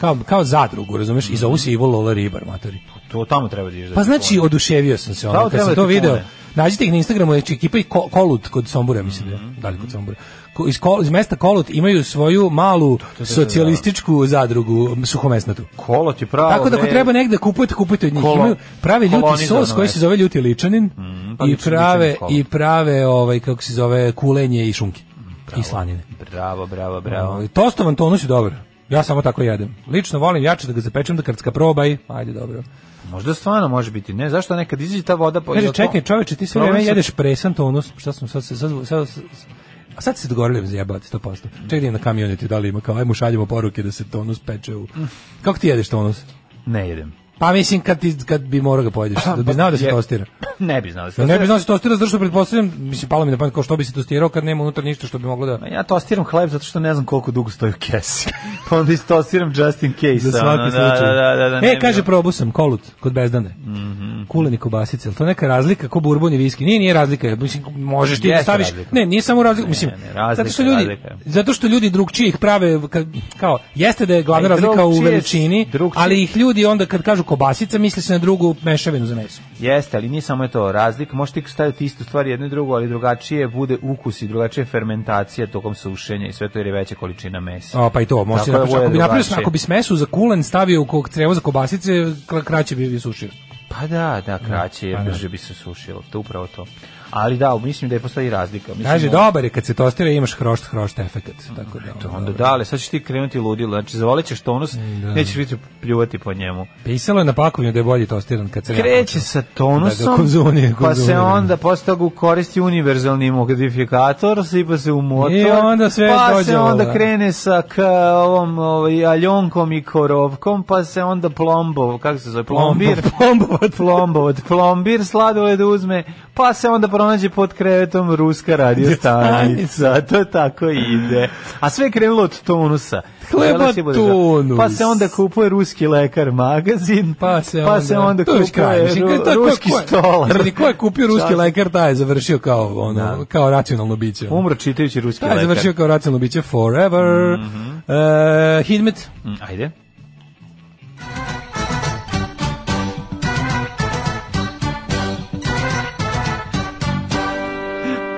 S7: Kao, kao zadrugu, razumeš? I zovu se Ivo Lola Ribar, matori.
S6: Pa To tamo treba da ideš da
S7: Pa
S6: ti
S7: znači, oduševio sam se, ono,
S6: Pravo
S7: kad sam
S6: treba
S7: to
S6: ti
S7: video.
S6: kune.
S7: Nađite ih na Instagramu, znači ekipa i Ko- Kolut kod Sombora, mislim da, da li kod Sombora. Ko- iz, Kol- iz mesta Kolut imaju svoju malu socijalističku zadrugu m, suhomesnatu.
S6: Kolo ti pravo.
S7: Tako da ako
S6: bre,
S7: treba negde kupujete, kupujte od njih.
S6: Kolo-
S7: Imaju prave ljuti
S6: kolonizovano
S7: sos koji se
S6: mesto.
S7: zove ljuti ličanin
S6: pa
S7: i
S6: ličanin
S7: prave
S6: kolo.
S7: i prave ovaj kako se zove kulenje i šunke i slanine.
S6: Bravo, bravo, bravo.
S7: Ovaj, Tostovan tonus je dobar. Ja samo tako jedem. Lično volim jače da ga zapečem da krcka probaj. Ajde, dobro.
S6: Možda stvarno može biti. Ne, zašto nekad iziđe ta voda po...
S7: Kaže,
S6: jel Pa to-
S7: čekaj, čoveče, ti sve
S6: Problem
S7: vreme
S6: sa-
S7: jedeš presan tonus. Šta smo sad, se- sad, sad, sad, a sad se dogovorili za jebati 100%. Čekaj da im na kamioneti da li ima kao ajmo šaljemo poruke da se tonus peče u... Kako ti jedeš tonus?
S6: Ne jedem.
S7: Pa mislim kad, ti, kad bi morao ga pojedeš, da bi znao da se
S6: Pa Je-
S7: tostira.
S6: Ne bi znali.
S7: Da ne bi znao da se tostira, zato što pretpostavljam, mislim, palo mi na pamet kao što bi se tostirao kad nema unutra ništa što bi moglo da...
S6: Ma Ja tostiram hleb zato što ne znam koliko dugo stoji u kesi. pa onda istostiram just in case.
S7: Za
S6: ono,
S7: svaki
S6: da,
S7: slučaj.
S6: Da, da, da, da, ne
S7: e,
S6: bi-
S7: kaže, probu sam kolut kod bezdane. Mm Kulen i kobasice, ali to neka razlika ko bourbon i viski. Nije, nije razlika. Mislim, možeš ti da
S6: Jeste
S7: staviš...
S6: razlika.
S7: Ne, nije samo razlika.
S6: Ne,
S7: Mislim,
S6: ne, razlika,
S7: zato što ljudi,
S6: razlika.
S7: zato što ljudi drugčije ih prave, ka- kao, jeste da je glavna
S6: A i
S7: razlika u
S6: drugčije-
S7: veličini,
S6: drugčije-
S7: ali ih ljudi onda kad kažu kobasica, misle se na drugu mešavinu za meso.
S6: Jeste, ali nije samo je to razlik. Možete staviti istu stvar jednu i drugu, ali drugačije bude ukus i drugačije fermentacija tokom sušenja i sve to jer je veća količina mesa.
S7: A pa i to, možete
S6: Tako da
S7: napraviš-
S6: bude
S7: ako bi napravio,
S6: drugačije.
S7: ako bi smesu za kulen stavio u kog crevo za kobasice, kra- kraće bi sušio.
S6: Pa da, da, kraće,
S7: Pa
S6: jer
S7: da.
S6: brže bi se sušilo. To je upravo to. Ali da, mislim da je postoji razlika. Mislim,
S7: Kaže,
S6: ono-
S7: dobar je kad se tostira imaš hrošt, hrošt efekat. Tako da, ono,
S6: Onda
S7: dobro.
S6: da, ali sad ćeš ti krenuti ludilo, znači zavolećeš tonus, nećeš biti pljuvati po njemu.
S7: Pisalo je na pakovanju da je bolje tostiran kad se
S6: Kreće sa tonusom,
S7: Da ga konzumira,
S6: pa se
S7: konzumira.
S6: onda posle toga koristi univerzalni modifikator, sipa se u motor,
S7: I onda sve
S6: pa
S7: dođe
S6: se onda
S7: ovo, da.
S6: krene sa k, ovom ovaj, aljonkom i korovkom, pa se onda plombov, kako se zove, plombir,
S7: Plombovod.
S6: plombovod, plombir sladoled uzme, pa se onda pronađe pod krevetom ruska radiostanica. To tako ide. A sve je krenulo od tonusa.
S7: Hleba
S6: Žele se bude za-
S7: tonus.
S6: Pa se onda kupuje ruski lekar magazin,
S7: Pa se onda,
S6: pa se onda
S7: to je već kraj,
S6: kupuje
S7: mislim,
S6: ru-
S7: to je- to je-
S6: ruski
S7: ko je-
S6: stolar.
S7: Izvini, ko je kupio ruski
S6: Čas.
S7: lekar, taj je završio kao, ono, kao racionalno biće. ono.
S6: Umro čitajući ruski
S7: Taj je
S6: lekar. Mhm.
S7: završio kao racionalno biće forever. E, Hidmet.
S6: Mm, Ajde.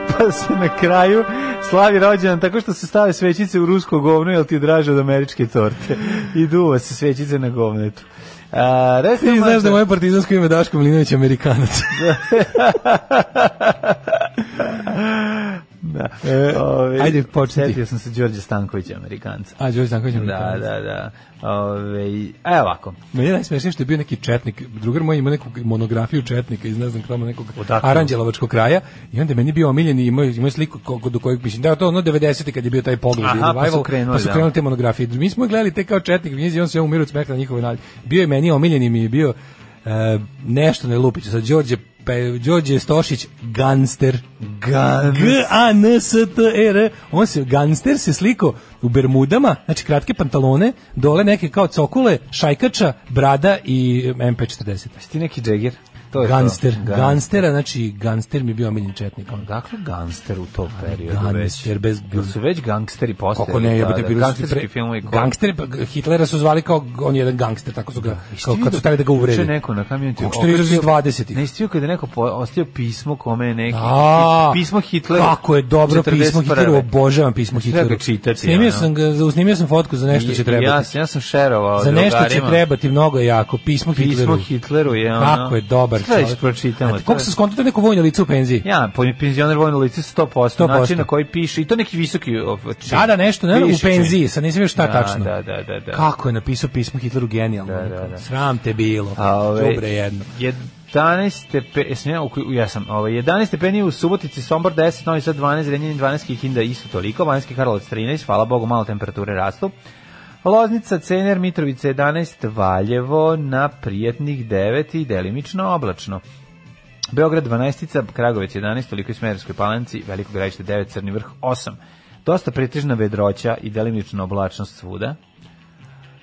S6: Pa se na kraju slavi rođendan tako što se stave svećice u rusko govno, jel ti je draže od američke torte? I duva se svećice na govnetu. A, resta
S7: Ti znaš da
S6: mašta-
S7: moje partizansko ime Daško Milinović je Amerikanac.
S6: Da. E, Ove,
S7: ajde, počni ti.
S6: Setio sam se Đorđe Stankovića, Amerikanca.
S7: A, Đorđe Stanković je
S6: Da,
S7: Amerikanac.
S6: da, da. Ove, evo ovako.
S7: Meni je najsmešnije što je bio neki četnik, drugar moj ima neku monografiju četnika iz ne znam tamo nekog
S6: Odakle?
S7: Aranđelovačkog kraja i onda je meni bio omiljen i imao, imao sliku ko- do kojeg mislim da je to ono 90. kad je bio taj pogled
S6: Aha,
S7: i
S6: pa su
S7: revival,
S6: krenuli,
S7: pa su
S6: da.
S7: krenuli te monografije. Mi smo je gledali te kao četnik knjizi on se umiru od smeha na njihove nalje. Bio je meni omiljen i mi je bio e, nešto ne lupiću. Sad Đorđe pa je Đorđe Stošić gangster.
S6: Gans.
S7: G A N S T E R. On se gangster se sliko u bermudama, znači kratke pantalone, dole neke kao cokule, šajkača, brada i MP40.
S6: Ti neki džegir? To je to.
S7: Gangster, gangstera, znači gangster mi je bio omiljen četnik. ono.
S6: Dakle, gangster u tom periodu
S7: Gangster bez
S6: već. Jel su već gangsteri postali?
S7: Kako ne, jebote,
S6: Tada?
S7: bili su
S6: Gangsterski filmovi. ko-
S7: Gangster, pa Hitlera su zvali kao on je jedan gangster, tako su ga
S6: Jesi ti
S7: kao, kad
S6: vidio
S7: su hteli da
S6: juče
S7: ga uvrede.
S6: neko na kamioniti.
S7: Kako što je iz 20-ih?
S6: Ne istio kada je neko po- ostavio pismo kome je neki.
S7: A,
S6: pismo Hitlera.
S7: Kako je dobro pismo
S6: 41..
S7: Hitleru, obožavam pismo
S6: Treba ga
S7: Hitleru.
S6: čitati,
S7: snimio
S6: ono.
S7: sam ga, za- snimio sam fotku za nešto
S6: I-
S7: će
S6: i
S7: trebati.
S6: Ja, sam- ja sam šerovao
S7: za nešto će
S6: drugarima.
S7: trebati mnogo je jako, pismo Hitleru.
S6: Pismo Hitleru je ono.
S7: Kako je dobar
S6: Sada ćeš
S7: čovjek.
S6: pročitamo.
S7: Znate, Koliko sam skonto to je neko vojno lice u penziji?
S6: Ja, po- penzioner vojno lice 100%,
S7: 100%.
S6: način na koji piše i to neki visoki of, čin.
S7: Da, da, nešto, ne, u
S6: Piše čin.
S7: penziji, sad nisam još šta
S6: Da,
S7: tačno.
S6: Da, da, da, da.
S7: Kako je napisao pismo Hitleru genijalno.
S6: Da,
S7: ono,
S6: da, da.
S7: Sram te bilo.
S6: A, ovaj- ove,
S7: Dobre jedno.
S6: 11 stepeni, jesam ja, u koju- ja sam, ovaj, 11 stepeni u Subotici, Sombor 10, Novi Sad 12, Renjanin 12, Kikinda isto toliko, Vanjski Karlovac 13, hvala Bogu, malo temperature rastu. Loznica, Cener, Mitrovica 11, Valjevo na Prijetnih 9 i delimično oblačno. Beograd 12, Kragovec 11, toliko i Smerovskoj palanci, Veliko gradište 9, Crni vrh 8. Dosta pretežna vedroća i delimična oblačnost svuda.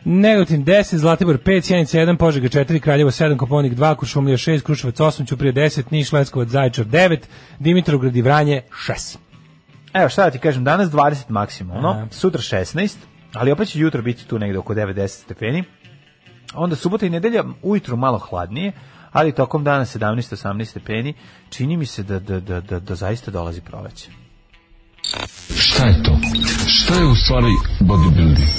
S7: Negotin 10, Zlatibor 5, Sjenica 1, Požega 4, Kraljevo 7, Koponik 2, Kuršumlija 6, Kruševac 8, Ćuprija 10, Niš, Leskovac, Zaječar 9, Dimitrovgrad i Vranje 6.
S6: Evo šta da ti kažem, danas 20 maksimalno,
S7: Aha.
S6: sutra 16, ali opet će jutro biti tu negde oko 9-10 stepeni. Onda subota i nedelja ujutru malo hladnije, ali tokom dana 17-18 stepeni čini mi se da, da, da, da, da zaista dolazi proleće.
S11: Šta je to? Šta je u stvari bodybuilding?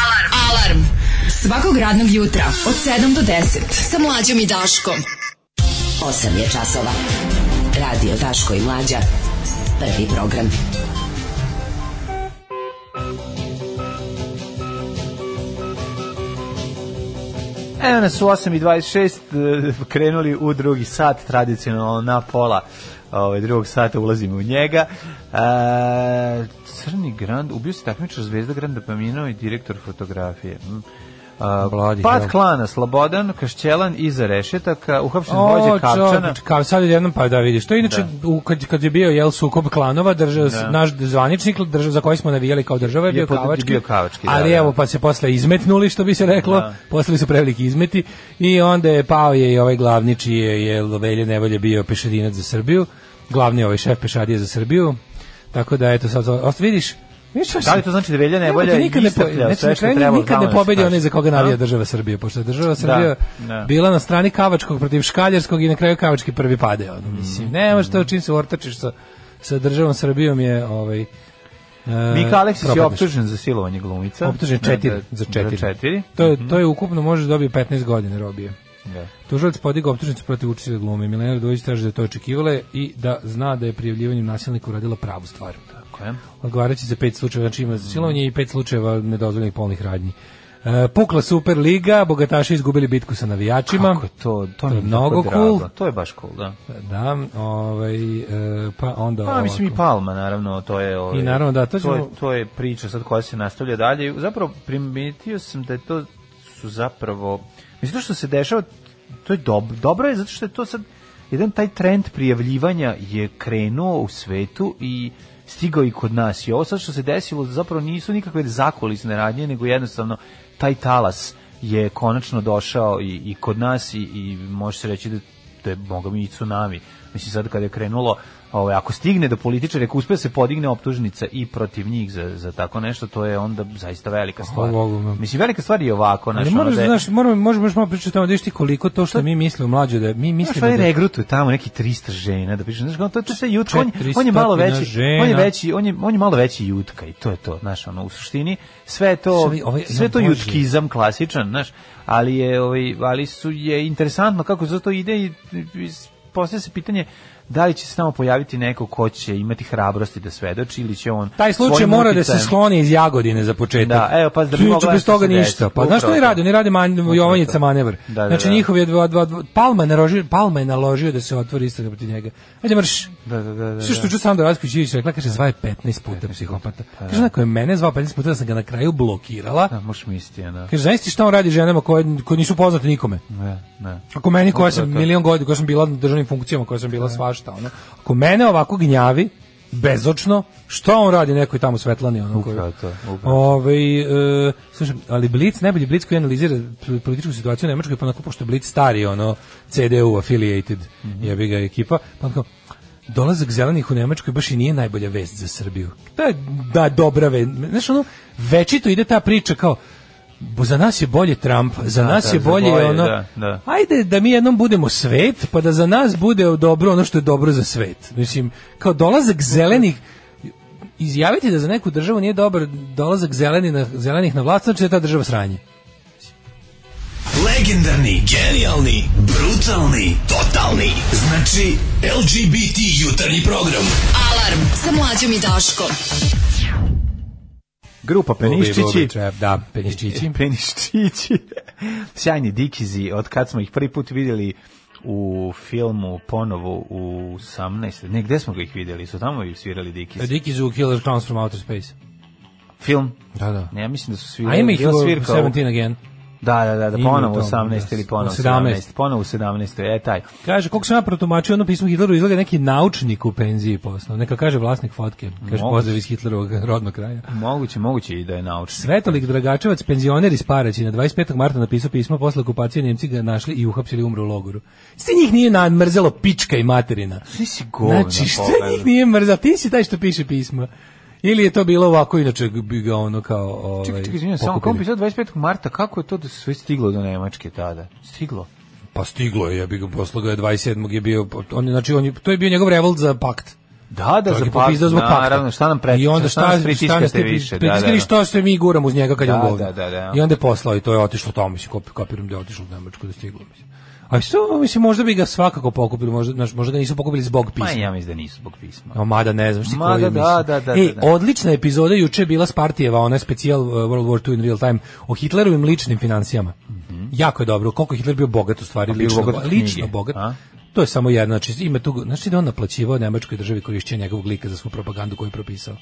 S9: Alarm. Alarm. Svakog radnog jutra od 7 do 10 sa mlađom i Daškom.
S12: 8 je časova. Radio Daško i Mlađa. Prvi program.
S6: Evo nas u 8.26 eh, krenuli u drugi sat, tradicionalno na pola ovaj, drugog sata ulazimo u njega. E, Crni Grand, ubio se takmičar Zvezda Granda Paminao i direktor fotografije. Mm. A,
S7: Vladi,
S6: Pat
S7: jel?
S6: Klana, Slobodan, Kašćelan iza rešetaka, uhapšen
S7: O,
S6: vođa Kapčana.
S7: čoveč, Kao sad jednom pa da vidiš. To je inače u, kad, kad je bio jel sukob klanova, drža,
S6: Da.
S7: naš zvaničnik drža, za koji smo navijali kao država je,
S6: Je
S7: bio
S6: pod-
S7: Kavački.
S6: bio Kavački, da,
S7: ali
S6: da.
S7: evo pa se posle izmetnuli što bi se reklo,
S6: Da.
S7: posle su preveliki izmeti i onda je pao je i ovaj glavni čiji je, je Velje Nevolje bio pešadinac za Srbiju, glavni ovaj šef pešadije za Srbiju. Tako da eto sad ost vidiš Vidiš, šta
S6: Da li
S7: se-
S6: to znači da Velja Nevolja
S7: Jebote, nikad ne po-
S6: iscrpljao
S7: znači,
S6: sve
S7: na
S6: što
S7: kraju
S6: je trebalo
S7: Nikad ne
S6: tamo da se
S7: pobedi
S6: kaže?
S7: onaj za koga navija
S6: Da.
S7: država Srbija, pošto je država Srbija
S6: da.
S7: bila na strani Kavačkog protiv Škaljarskog i na kraju Kavački prvi pade. Ono, mislim, nema što čim se ortačiš sa, sa državom Srbijom je... Ovaj, e,
S6: Mika Aleksić je
S7: propadneš.
S6: optužen za silovanje glumica.
S7: Optužen
S6: Da,
S7: četiri,
S6: da,
S7: za četiri.
S6: Za četiri. Mhm.
S7: To, je, to je ukupno, može dobije 15 godina robije.
S6: Da.
S7: Tužilac podigao optužnicu protiv učitelja glume. Milena Radović traži da je to očekivala i da zna da je prijavljivanjem nasilnika uradila pravu stvar
S6: Tako je.
S7: odgovarajući za pet slučajeva, znači ima silovanje i pet slučajeva nedozvoljenih polnih radnji. E, pukla Superliga, bogataši izgubili bitku sa navijačima.
S6: Kako je to, to, mi
S7: je
S6: tako
S7: mnogo
S6: drago.
S7: cool.
S6: To je baš cool, da.
S7: Da, ovaj, e, pa onda
S6: Pa mislim i
S7: ovako.
S6: Palma naravno, to je ovaj,
S7: I naravno, da, to ćemo-
S6: je, to je priča sad koja se nastavlja dalje. Zapravo primetio sam da je to su zapravo mislim to što se dešava to je dobro, dobro je zato što je to sad jedan taj trend prijavljivanja je krenuo u svetu i stigao i kod nas. I ovo sad što se desilo zapravo nisu nikakve zakulisne radnje, nego jednostavno taj talas je konačno došao i, i kod nas i, i može se reći da to je boga mi i tsunami. Mislim sad kada je krenulo, ovaj ako stigne do političara, ako uspe da se podigne optužnica i protiv njih za, za tako nešto, to je onda zaista velika stvar.
S7: Hvala Bogu, da.
S6: Mislim velika stvar je ovako,
S7: Ali
S6: znači
S7: moraš, da znaš, moramo, možemo još malo pričati o tome, da vidiš ti koliko to što mi mislimo mlađe, da mi
S6: Znaš,
S7: mislimo
S6: oni
S7: da...
S6: regrutuje tamo neki 300 žena da piše, znaš, kao to to je sve jutka, on, je- on je
S7: 400
S6: malo veći,
S7: žena.
S6: on je veći, on je, on je malo veći jutka i to je to, znaš, ono, u suštini sve je to,
S7: Sve ovaj-
S6: sve je to
S7: ja, Bože.
S6: jutkizam klasičan, znaš, ali je, ovaj, ali su, je interesantno kako za to ide i, i, i postavlja se pitanje da li će se tamo pojaviti neko ko će imati hrabrosti da svedoči ili će on
S7: taj slučaj
S6: svojim
S7: mora da se
S6: uticajem-
S7: skloni iz Jagodine za početak.
S6: Da, evo, pa da bi
S7: Ključ,
S6: mogla
S7: bez
S6: nešto
S7: toga
S6: se
S7: ništa.
S6: desiti.
S7: Pa znaš što
S6: Upravo
S7: oni
S6: to.
S7: rade? Oni rade man, Jovanjica manevar.
S6: Da, da,
S7: znači
S6: da.
S7: njihov je dva, dva, dva, Palma je naložio, Palma je naložio da se otvori istraga protiv njega. Ajde mrš.
S6: Da, da, da, da,
S7: Sve što
S6: da. Pa
S7: ću sam da Rasković Ivić rekla, kaže, zva je 15 puta psihopata. Kaže, onako je mene zvao 15 puta da sam ga na kraju blokirala.
S6: Da, možeš misliti, ja, da.
S7: Kaže, znaš ti šta on radi ženama koje, koje nisu poznate nikome?
S6: Ne, ne.
S7: Ako meni koja sam
S6: Upravo to.
S7: milion godina, koja sam bila na državnim funkcijama, koja sam bila svašta, ono, ako mene ovako gnjavi, bezočno, što on radi nekoj tamo Svetlani, ono, koji...
S6: Upravo to, upravo.
S7: Ovaj e, slušaj, ali Blitz, najbolji Blitz koji analizira pol- političku situaciju u Nemačkoj, pa onako, pošto je Blitz stari, ono, CDU affiliated,
S6: Mhm.
S7: jebi ga ekipa, pa onako, dolazak zelenih u Nemačkoj baš i nije najbolja vest za Srbiju. To je, da, dobra vest. Znaš, ono, večito ide ta priča kao, bo za nas je bolje Trump, za
S6: Da,
S7: nas
S6: da,
S7: je
S6: za
S7: bolje,
S6: bolje,
S7: ono,
S6: da, da.
S7: ajde da mi jednom budemo svet, pa da za nas bude dobro ono što je dobro za svet. Mislim, kao dolazak zelenih, izjaviti da za neku državu nije dobar dolazak zeleni na, zelenih na vlast, znači da je ta država sranje.
S13: Legendarni, genijalni, brutalni, totalni. Znači, LGBT jutarnji program.
S9: Alarm sa mlađom i Daškom.
S6: Grupa Peniščići.
S7: Da, peniščići.
S6: Peniščići. Sjajni dikizi, od kad smo ih prvi put vidjeli u filmu ponovo u 18. Ne, gde smo ga ih vidjeli? Su tamo i svirali dikizi?
S7: Dickies u Killer Clowns from Outer Space.
S6: Film?
S7: Da, da.
S6: Ne, ja mislim da su svirali.
S7: A ima ih u
S6: Bila svirka u-
S7: 17 again.
S6: Da, da, da, da
S7: Ima
S6: ponovo
S7: u
S6: u
S7: tom,
S6: 18
S7: da,
S6: ili ponovo
S7: u
S6: 17.
S7: 17.
S6: 17. Ponovo u 17. E, taj.
S7: Kaže, koliko sam ja protumačio, ono pismo Hitleru izlaga neki naučnik u penziji poslao. Neka kaže vlasnik fotke. Kaže,
S6: Moguće.
S7: pozdrav iz Hitlerovog rodnog kraja.
S6: Moguće, moguće i da je naučnik.
S7: Svetolik Dragačevac, penzioner iz Paraćina, 25. marta napisao pismo posle okupacije Nemci ga našli i uhapsili umru u logoru. Sve njih nije namrzelo pička i materina.
S6: Svi si govna
S7: Znači, što
S6: pogledaj.
S7: njih nije mrzalo? Ti si taj što piše pismo. Ili je to bilo ovako, inače bi ga ono kao... Ovaj,
S6: Čekaj, čekaj, izvinjam, samo
S7: pokupili.
S6: kom pisao 25. marta, kako je to da su sve stiglo do Nemačke tada? Stiglo.
S7: Pa stiglo je, ja bih ga posle ga je 27. je bio, on je, znači on je, to je bio njegov revolt za pakt.
S6: Da, da,
S7: Čovjek
S6: za
S7: je
S6: pakt,
S7: popizdao zbog pakta.
S6: naravno, šta nam preti-
S7: I onda
S6: šta
S7: šta,
S6: nas
S7: šta
S6: pritiskate
S7: nas
S6: više,
S7: ti
S6: da,
S7: pritiskali,
S6: da, da.
S7: Pa što se mi guramo uz njega kad je on
S6: Da,
S7: govno.
S6: da, da, da.
S7: I onda je poslao i to je otišlo tamo, mislim, kopi, kapiram da je otišlo u Nemačku da je stiglo, mislim. A što, mislim, možda bi ga svakako pokupili, možda, znaš, možda ga nisu pokupili zbog
S6: Ma
S7: pisma.
S6: ja mislim da nisu zbog pisma.
S7: A mada ne znam, šti
S6: Mada da,
S7: koju mislim.
S6: da, da,
S7: Ej,
S6: da, da.
S7: odlična epizoda juče je bila Spartijeva, ona specijal uh, World War II in real time o Hitlerovim ličnim financijama. Jako je dobro, koliko je Hitler bio bogat u stvari,
S6: Mhm. A bio
S7: lično,
S6: bogat
S7: bo-
S6: od
S7: lično
S6: knjige,
S7: bogat.
S6: a?
S7: To je samo jedna, znači ima tu, znači da je on naplaćivao nemačkoj državi korišćenje njegovog lika za svu propagandu koju je propisao.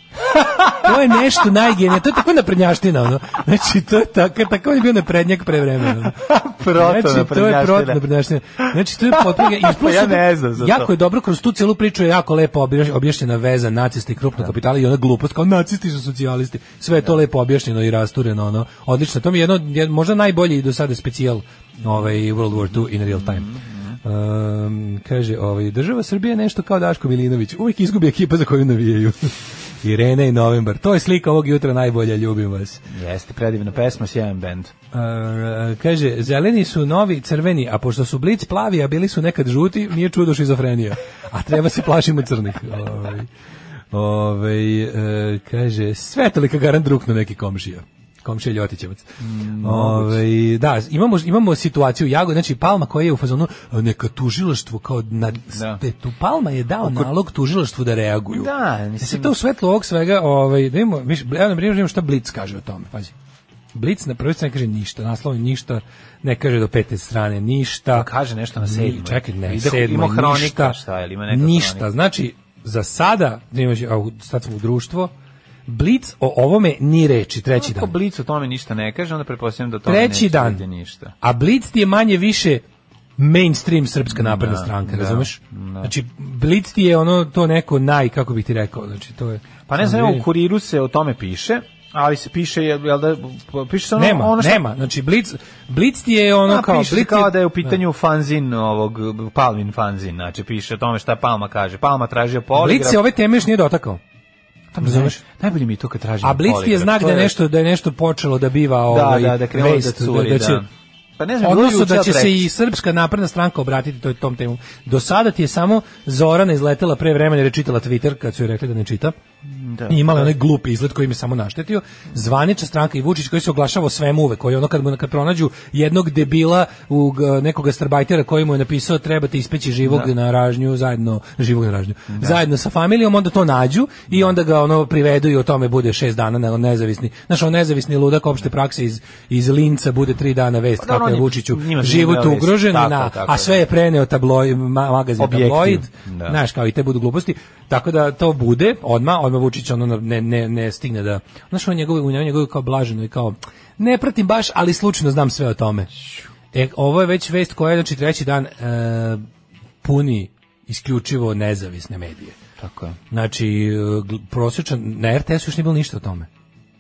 S7: to je nešto najgenije, to je tako naprednjaština, ono. Znači, to je tako, tako on je bio naprednjak pre vremena. ono.
S6: Proto
S7: znači, to je
S6: naprednjaština.
S7: proto naprednjaština. Znači, to je potpuno... i
S6: Pa
S7: plus
S6: ja
S7: onda-
S6: ne znam za
S7: jako
S6: to.
S7: je dobro, kroz tu celu priču je jako lepo objaš- objašnjena veza nacista i krupnog kapitala i ona glupost kao nacisti su socijalisti. Sve je to lepo objašnjeno i rastureno. Ono. Odlično, to mi je jedno, jed- možda najbolji do sada specijal ovaj, World War II in real time.
S6: Mhm,
S7: Um, kaže, ovaj, država Srbije je nešto kao Daško Milinović. Uvijek izgubi ekipa za koju navijaju. Irene i Novembar. To je slika ovog jutra najbolja, ljubim vas.
S6: Jeste predivna pesma, sjajan bend.
S7: E, kaže, zeleni su novi crveni, a pošto su blic plavi, a bili su nekad žuti, nije čudo šizofrenija. A treba se plašimo crnih. Ovaj, ovaj, e, kaže, sve tolika garant drukno neki komšija. Komšija Ljotićevac.
S6: Mm,
S7: Ovaj, da, imamo, imamo situaciju u Jago, znači Palma koja je u fazonu neka tužilaštvo kao na,
S6: Da.
S7: te- tu Palma je dao nalog tužilaštvu da reaguju.
S6: Da,
S7: Da se
S6: mislim-
S7: to u svetlu ovog svega, ovaj, da imamo, viš, ja nam primjer, šta Blitz kaže o tome, pazi. Blitz na prvoj strani kaže ništa, naslov je ništa, ne kaže do pete strane ništa.
S6: Pa Kaže nešto na
S7: Ni-
S6: sedmoj.
S7: Čekaj, ne,
S6: Ide-
S7: sedmoj,
S6: ima hronika,
S7: ništa,
S6: šta je li, ima neka
S7: ništa.
S6: hronika?
S7: Znači, za sada, da imaš, a, u- sad smo u društvo, Blitz o ovome ni reči, treći
S6: Ako
S7: dan.
S6: Blic o tome ništa ne kaže, onda pretpostavljam da o tome
S7: Treći
S6: neće
S7: dan.
S6: biti ništa.
S7: A Blitz ti je manje više mainstream srpska napredna stranka, razumeš? Znači, Blitz ti je ono, to neko naj, kako bih ti rekao, znači, to je...
S6: Pa ne znam,
S7: Samo
S6: evo, u
S7: vidim.
S6: kuriru se o tome piše, ali se piše, jel jel da, piše se ono,
S7: nema,
S6: ono što...
S7: nema. Znači Blitz Blitz ti je ono
S6: A,
S7: kao
S6: piše se
S7: Blitz
S6: kao da je u pitanju fanzin ovog, Palmin fanzin, znači piše o tome šta Palma kaže. Palma tražio poligraf.
S7: Blitz je ove teme još nije dotakao.
S6: Tam,
S7: razumeš?
S6: Najbolje mi je to kad tražim
S7: A Blitz ti je
S6: poligraf.
S7: znak
S6: To
S7: da je nešto da je nešto počelo da biva ovaj
S6: da, da, da krenulo da
S7: vest,
S6: curi, da,
S7: će-
S6: Pa ne znam,
S7: Odnosno
S6: juče,
S7: da će
S6: ali
S7: se
S6: prekjuče.
S7: i Srpska napredna stranka obratiti toj tom temu. Do sada ti je samo Zorana izletela pre vremena jer je čitala Twitter kad su joj rekli da ne čita. Da, I imala da. onaj glupi izgled koji mi samo naštetio. Zvaniča stranka i Vučić koji se oglašava o svemu uvek, koji ono kad mu kad pronađu jednog debila u nekog gastarbajtera koji mu je napisao trebate ispeći živog da. na ražnju zajedno živog na ražnju. Da. Zajedno sa familijom onda to nađu i onda ga ono privedu i o tome bude šest dana na nezavisni. Znaš, on nezavisni ludak opšte prakse iz iz Linca bude tri dana vest kako Pa je Vučiću život ugrožen, tako, na, tako, a sve je E, preneo tabloj, ma, magazin objektiv. tabloid. Znaš, kao i te budu gluposti. Tako da to bude odma, odma Vučić ono ne, ne, ne stigne da. Znaš, on njegov, u njegov kao blaženo i kao ne pratim baš, ali slučajno znam sve o tome. E, ovo je već vest koja je znači treći dan e, puni isključivo nezavisne medije.
S6: Tako je.
S7: Znači, prosječan, na RTS-u još nije bilo ništa o tome.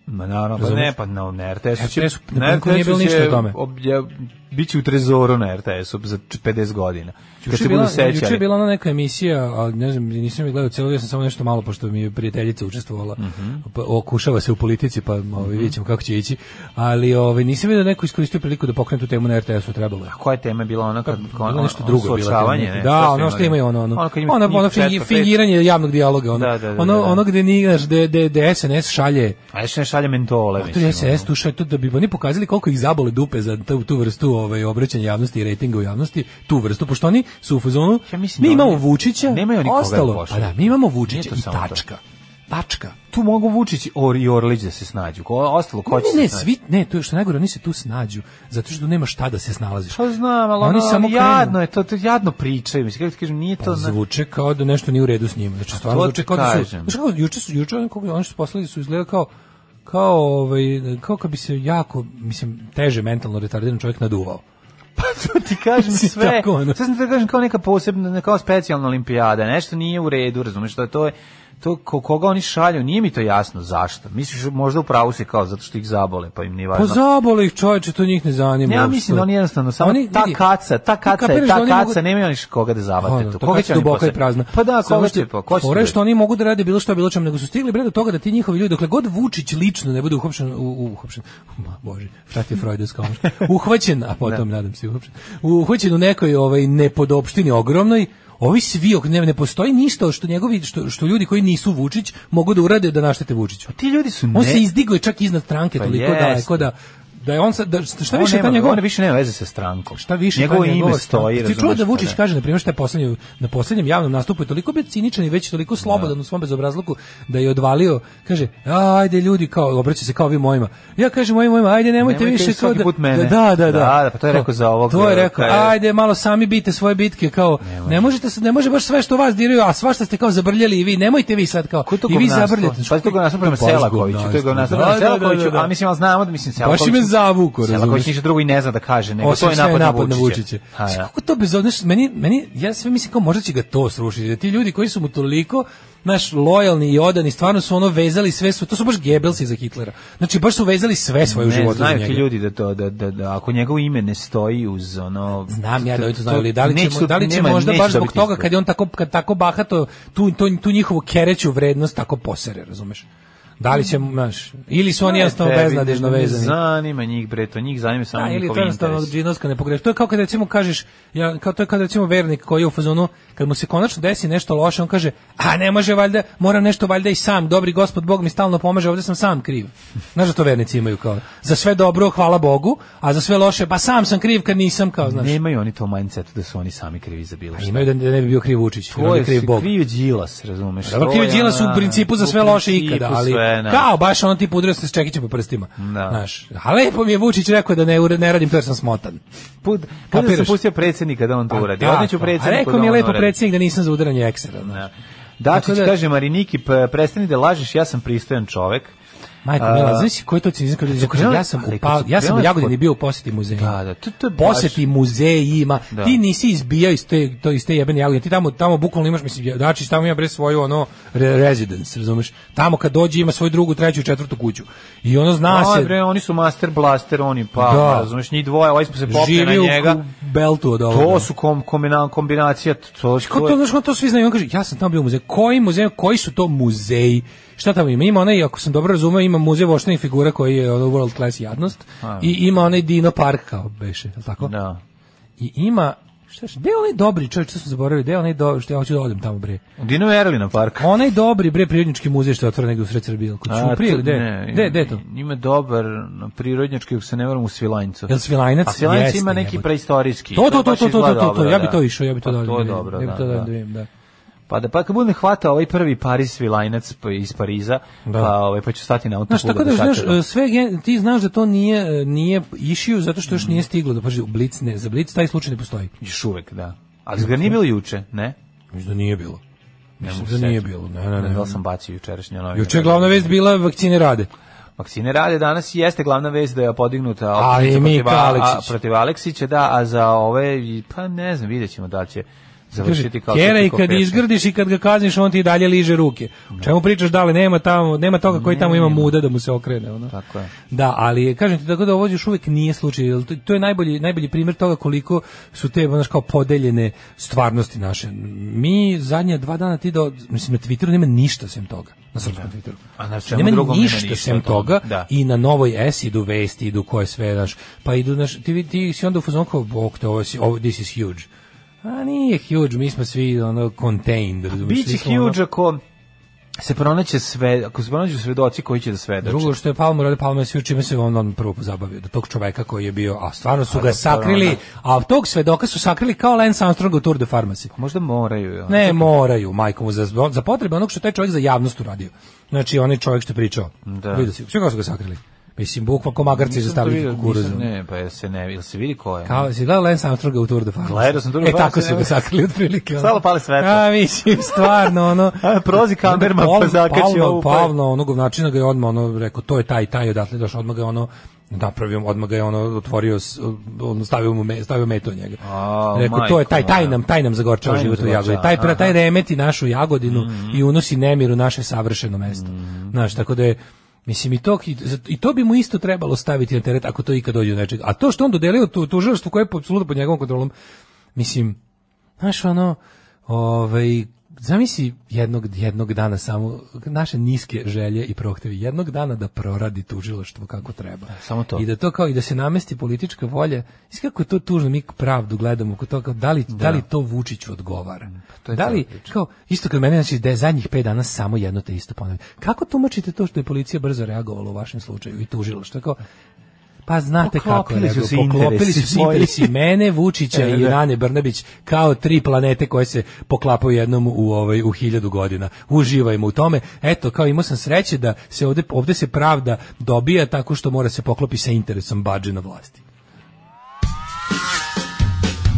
S6: Ma naravno, pa ne, pa na, na RTS-u će...
S7: RTS-u na RTS nije bilo ništa o tome.
S6: Obja, biće u trezoru na RTS-u za 50 godina. Kad se budu sećali.
S7: Juče je bila ona neka emisija, ali ne znam, nisam je gledao celo, ja sam samo nešto malo, pošto mi je prijateljica učestvovala. Mm -hmm. pa, okušava se u politici, pa ovaj, mm -hmm. vidjet ćemo kako će ići. Ali ovaj, nisam vidio da neko iskoristio priliku da pokrene tu temu na RTS-u, trebalo je.
S6: A koja je tema bila ona? Kad,
S7: pa, ono, nešto drugo
S6: ono
S7: suočavanje? Ne, da, ono što imaju ono, ono, ono, ono, ono fingiranje javnog dijaloga. Ono, da, da, da, ono, ono gde, ni, gde, gde, SNS šalje...
S6: A SNS šalje mentole. ono.
S7: A tu je SNS tu šalje, tu da bi oni pokazali koliko ih zabole dupe za tu, tu vrstu ovaj obraćanja javnosti i rejtinga u javnosti, tu vrstu pošto oni su u fazonu.
S6: Ja
S7: mislim, mi imamo oni, Vučića,
S6: nemaju
S7: ostalo. Pa da, mi imamo Vučića i tačka. Tačka.
S6: Tu mogu Vučić or i Orlić da se snađu. Ko ostalo ko će
S7: ne,
S6: ne,
S7: se svi, ne, to je što najgore, oni se tu snađu, zato što nema šta da se snalaziš.
S6: Pa znam, ali
S7: oni
S6: ono,
S7: samo
S6: jadno krenu. je to, to jadno pričaju, mislim kako ti kažem, nije
S7: pa,
S6: to
S7: zvuče kao da nešto nije u redu s njima. Znači stvarno zvuči kao da su, znači kao juče su juče oni su poslali su izgleda kao kao ovaj kao kad bi se jako mislim teže mentalno retardiran čovjek naduvao.
S6: Pa to ti kažem sve. Tako, ono. Sad sam te kažem kao neka posebna, kao specijalna olimpijada, nešto nije u redu, razumiješ, to je, to je to koga oni šalju, nije mi to jasno zašto. Misliš možda u pravu si kao zato što ih zabole, pa im nije važno.
S7: Pa zabole ih čoveče, to njih ne zanima.
S6: Ja mislim da oni jednostavno samo oni, ta kaca, ta kaca, je, ta kaca, kaca mogu... nema niš koga da zavate
S7: tu.
S6: Koga
S7: će duboko i prazna.
S6: Pa da, koga će pa, ko će.
S7: Fore što oni mogu da rade bilo šta bilo čemu, nego su stigli bre do toga da ti njihovi ljudi dokle god Vučić lično ne bude uhapšen, uhapšen. Ma bože, šta ti Freudovska Uhvaćen, a potom nadam se uhapšen. Uhvaćen u nekoj ovaj nepodopštini ogromnoj ovi svi ne, ne postoji ništa što njegovi što, što ljudi koji nisu Vučić mogu da urade da naštete Vučiću.
S6: A ti ljudi su
S7: ne... On se izdigao čak iznad stranke pa toliko daleko da da je on sad da šta
S6: on
S7: više
S6: nema,
S7: ta njegov...
S6: on više nema veze sa strankom.
S7: Šta više
S6: njegovo ime stoji,
S7: Pa
S6: pa
S7: Ti čuo da Vučić kaže na primjer šta je poslednje na poslednjem javnom nastupu je toliko bio ciničan i već toliko slobodan da. u svom bezobrazluku da je odvalio, kaže: a, "Ajde ljudi, kao obraća se kao vi mojima." Ja kažem mojim mojima: "Ajde nemojte, nemojte više kao da,
S6: da,
S7: da, da, da,
S6: pa to je rekao za ovog.
S7: To je rekao: "Ajde malo sami bite svoje bitke kao ne, ne možete se ne može baš sve što vas diraju, a svašta ste kao zabrljali i vi, nemojte vi sad kao i vi zabrljate." znači,
S6: Pa to ga nas prema Selakoviću, to je ga nas prema Selakoviću, a mislim al znamo da mislim Selaković
S7: zavuko, razumiješ.
S6: Selaković ništa drugo i ne zna da kaže, nego Osim to je napad, napad na Vučića.
S7: Na Vučića. Znači, Kako to bez odnosa, meni, meni, ja sve mislim kao možda će ga to srušiti, da ti ljudi koji su mu toliko naš lojalni i odani stvarno su ono vezali sve su to su baš Gebelsi za Hitlera. Znači baš su vezali sve svoje u životu.
S6: Znaju ti ljudi da to da, da, da ako njegovo ime ne stoji uz ono
S7: Znam ja da oni to znaju, ali da li će da li će možda baš zbog toga kad je on tako kad tako bahato tu tu, tu njihovu kereću vrednost tako posere, razumeš? Da li će, znaš, ili su oni jednostavno beznadežno vezani.
S6: Zanima njih, bre, to njih zanima samo
S7: njihovi
S6: interes. Da, ili to
S7: jednostavno džinovska ne pogreši. To je kao kad recimo kažeš, ja, kao to je kad recimo vernik koji je u fazonu, kad mu se konačno desi nešto loše, on kaže, a ne može valjda, moram nešto valjda i sam, dobri gospod Bog mi stalno pomaže, ovdje sam sam kriv. Znaš da to vernici imaju kao, za sve dobro, hvala Bogu, a za sve loše, pa sam sam kriv kad nisam, kao, znaš.
S6: Nemaju oni to mindset da su oni sami krivi za bilo
S7: šta. Imaju da ne bi bio kriv Vučić, to je kriv Bog.
S6: Kriv Đilas, razumeš.
S7: Kriv Đilas u principu za sve loše ikada, ali na. Kao baš ono tip udrio se s čekićem po prstima.
S6: Da.
S7: Znaš, a lepo mi je Vučić rekao da ne ne radim to jer sam smotan.
S6: Put, put da sam pustio predsjednika da on to uradi.
S7: Da, Odneću predsjedniku. A rekao
S6: ono
S7: mi je lepo predsjednik da nisam za udaranje eksera. Znaš.
S6: Da. Dačić da, kaže Mariniki, prestani da lažeš, ja sam pristojan čovek.
S7: Majko Mila, znaš koji to cinizam kad ja sam u pa, ja sam u Jagodini bio u posjeti muzeju.
S6: Da, da, to, to
S7: posjeti muzejima. Da. Ti nisi izbijao iz te to iz te jebene Jagodine. Ti tamo tamo bukvalno imaš mislim Dačić tamo ima bre svoju ono re residence, razumeš? Tamo kad dođe ima svoju drugu, treću, četvrtu kuću. I ono zna
S6: da,
S7: se.
S6: bre, oni su master blaster, oni pa, da. razumeš, njih dvoje, ovaj smo se popeli na njega.
S7: U beltu od ovoga.
S6: To su kom, kombina, kombinacija, to,
S7: Kako to, znaš, to, to svi znaju. On kaže, ja sam tamo bio u muzeju. Koji muzej, koji su to muzeji? šta tamo ima? Ima onaj, ako sam dobro razumeo, ima muzej voštenih figura koji je ono world class jadnost A, i ima onaj Dino Park kao beše, je li tako?
S6: Da.
S7: I ima Šta je, gde je onaj dobri čovjek, što sam zaboravio, gde je onaj dobri, što ja hoću da odem tamo, bre.
S6: Dino Erlina park.
S7: Onaj dobri, bre, prirodnjački muzej što je otvoren negdje u sred Srbije, kod
S6: A,
S7: Ćuprije,
S6: to-
S7: ili gde?
S6: ne,
S7: Gde, gde je to?
S6: Ima dobar prirodnjački, ako se ne varam, u Svilajncu.
S7: Jel Svilajnac?
S6: A Svilajnac
S7: Jeste,
S6: Znači, ima neki
S7: jebote.
S6: preistorijski.
S7: To, to, to,
S6: baš
S7: to, to,
S6: izgleda
S7: to, to,
S6: dobro,
S7: ja bi
S6: da.
S7: to išao, ja bi to
S6: Pa
S7: da
S6: To
S7: odem da
S6: je
S7: vidim,
S6: dobro,
S7: ja bi to da
S6: da.
S7: odem da vidim, da.
S6: Pa da pa kad bude hvata ovaj prvi Paris Svilajnac pa iz Pariza, pa ovaj pa ću stati na
S7: Znaš,
S6: autoput
S7: tako
S6: da
S7: da, znaš,
S6: sačekam.
S7: e, sve, gen- ti znaš da to nije, e, nije išio zato što još nije stiglo do paži, u Blic ne, za Blic taj slučaj ne postoji.
S6: Još uvek, da. Ali ga nije bilo juče, ne?
S7: Mislim da nije bilo.
S6: Ne
S7: Mislim
S6: mogu
S7: da
S6: se
S7: nije
S6: setiti.
S7: bilo, ne, ne,
S6: Ne znam da li
S7: ne.
S6: sam bacio jučerašnje novine.
S7: Juče je glavna vest bila vakcine rade.
S6: Maksine Rade danas i jeste glavna vest da je podignuta
S7: Ali
S6: optužnica
S7: Mika
S6: protiv, A- a-
S7: Aleksić.
S6: protiv Aleksića, da, a za ove, i- pa ne znam, vidjet ćemo da li će
S7: Kaže,
S6: završiti kao
S7: kjera i
S6: Srpski
S7: kad
S6: kopirca.
S7: izgrdiš i kad ga kazniš, on ti i dalje liže ruke. U čemu pričaš, dale, nema, tamo, nema toga koji tamo ima muda da mu se okrene. Ono.
S6: Tako je.
S7: Da, ali kažem ti tako da ovo još uvijek nije slučaj. jer to- To je najbolji najbolji primjer toga koliko su te ono, znaš kao podeljene stvarnosti naše. Mi zadnja dva dana ti do mislim na Twitteru nema ništa sem toga. Na srpskom Twitteru.
S6: A na svemu
S7: Nema
S6: drugom nema
S7: ništa
S6: ništa
S7: sem
S6: od toga.
S7: toga
S6: Da.
S7: i na Novoj S idu vesti, idu koje sve, znaš, pa idu, znaš, ti, vid- ti si onda u fazonu kao, bok te, ovo, si- ovo, this is huge. A nije huge, mi smo svi ono contained, razumiješ?
S6: Biće huge ako se pronaće sve, ako se pronađu svedoci koji će da svedoče.
S7: Drugo što je Palmer radio Palmer sve čime se on, on prvo pozabavio, do tog čoveka koji je bio, a stvarno su
S6: A
S7: ga
S6: da,
S7: sakrili,
S6: korona.
S7: a tog svedoka su sakrili kao Lance Armstrong u Tour de Pharmacy.
S6: Možda moraju. ono. ja.
S7: Ne moraju, majkom, za, za potrebe onog što je taj čovjek za javnost uradio. Znači, onaj čovjek što je pričao.
S6: Da.
S7: Vidio si, sve kako su ga sakrili. Mislim, bukva ko magarci
S6: Nisam
S7: za
S6: to
S7: stavljanje
S6: vidio,
S7: kukuruza.
S6: nisam, Ne, pa jel se ne, jel se vidi ko je?
S7: Kao, si gledao Lance Armstronga u Tour de France?
S6: Gledao sam Tour de
S7: E,
S6: France,
S7: tako su
S6: ne.
S7: ga sakrili otprilike. ono.
S6: Stalo pali svetlo.
S7: A, mislim, stvarno, ono...
S6: A, prolazi kamerman,
S7: Onda
S6: pa zakači
S7: Palma-
S6: ovu, pa-
S7: Palma, ono, govnačina ga je odmah, ono, rekao, to je taj, taj, odatle došao, odmah ga je, ono, napravio, odmah ga je, ono, otvorio, s- ono, stavio, mu me, stavio metu u njega.
S6: A,
S7: rekao,
S6: majko
S7: to je taj, taj
S6: moja.
S7: nam, taj nam zagorčava
S6: Taj nam
S7: život u
S6: zagorčava,
S7: Jagodini. Taj, pre- taj
S6: aha. Mhm.
S7: remeti našu Jagodinu i unosi nemir u naše savršeno mesto. Znaš, tako da je, Mislim, i to, i, i to bi mu isto trebalo staviti na teret ako to ikad dođe do nečega. A to što on dodelio tu, tužilaštvu koje je apsolutno pod njegovom kontrolom, mislim, znaš, ono, ovaj, zamisli jednog, jednog dana samo naše niske želje i prohtevi, jednog dana da proradi tužilaštvo kako treba.
S6: Samo to.
S7: I da to kao i da se namesti politička volja. Is kako je to tužno, mi pravdu gledamo oko toga, da li, da. li to Vučiću odgovara?
S6: Mm, to je
S7: da li,
S6: cijela priča.
S7: kao, isto kad mene, znači, da je zadnjih pet dana samo jedno te isto ponavlja. Kako tumačite to što je policija brzo reagovala u vašem slučaju i tužilaštvo? Kao, pa znate kako je
S6: Poklopili su
S7: nego,
S6: se
S7: poklopili
S6: interesi
S7: su se
S6: svoji.
S7: interesi mene, Vučića
S6: E,
S7: i
S6: da.
S7: Rane Brnabić kao tri planete koje se poklapaju jednom u ovaj u hiljadu godina. Uživajmo u tome. Eto, kao imao sam sreće da se ovde, ovde se pravda dobija tako što mora se poklopi sa interesom badže na vlasti.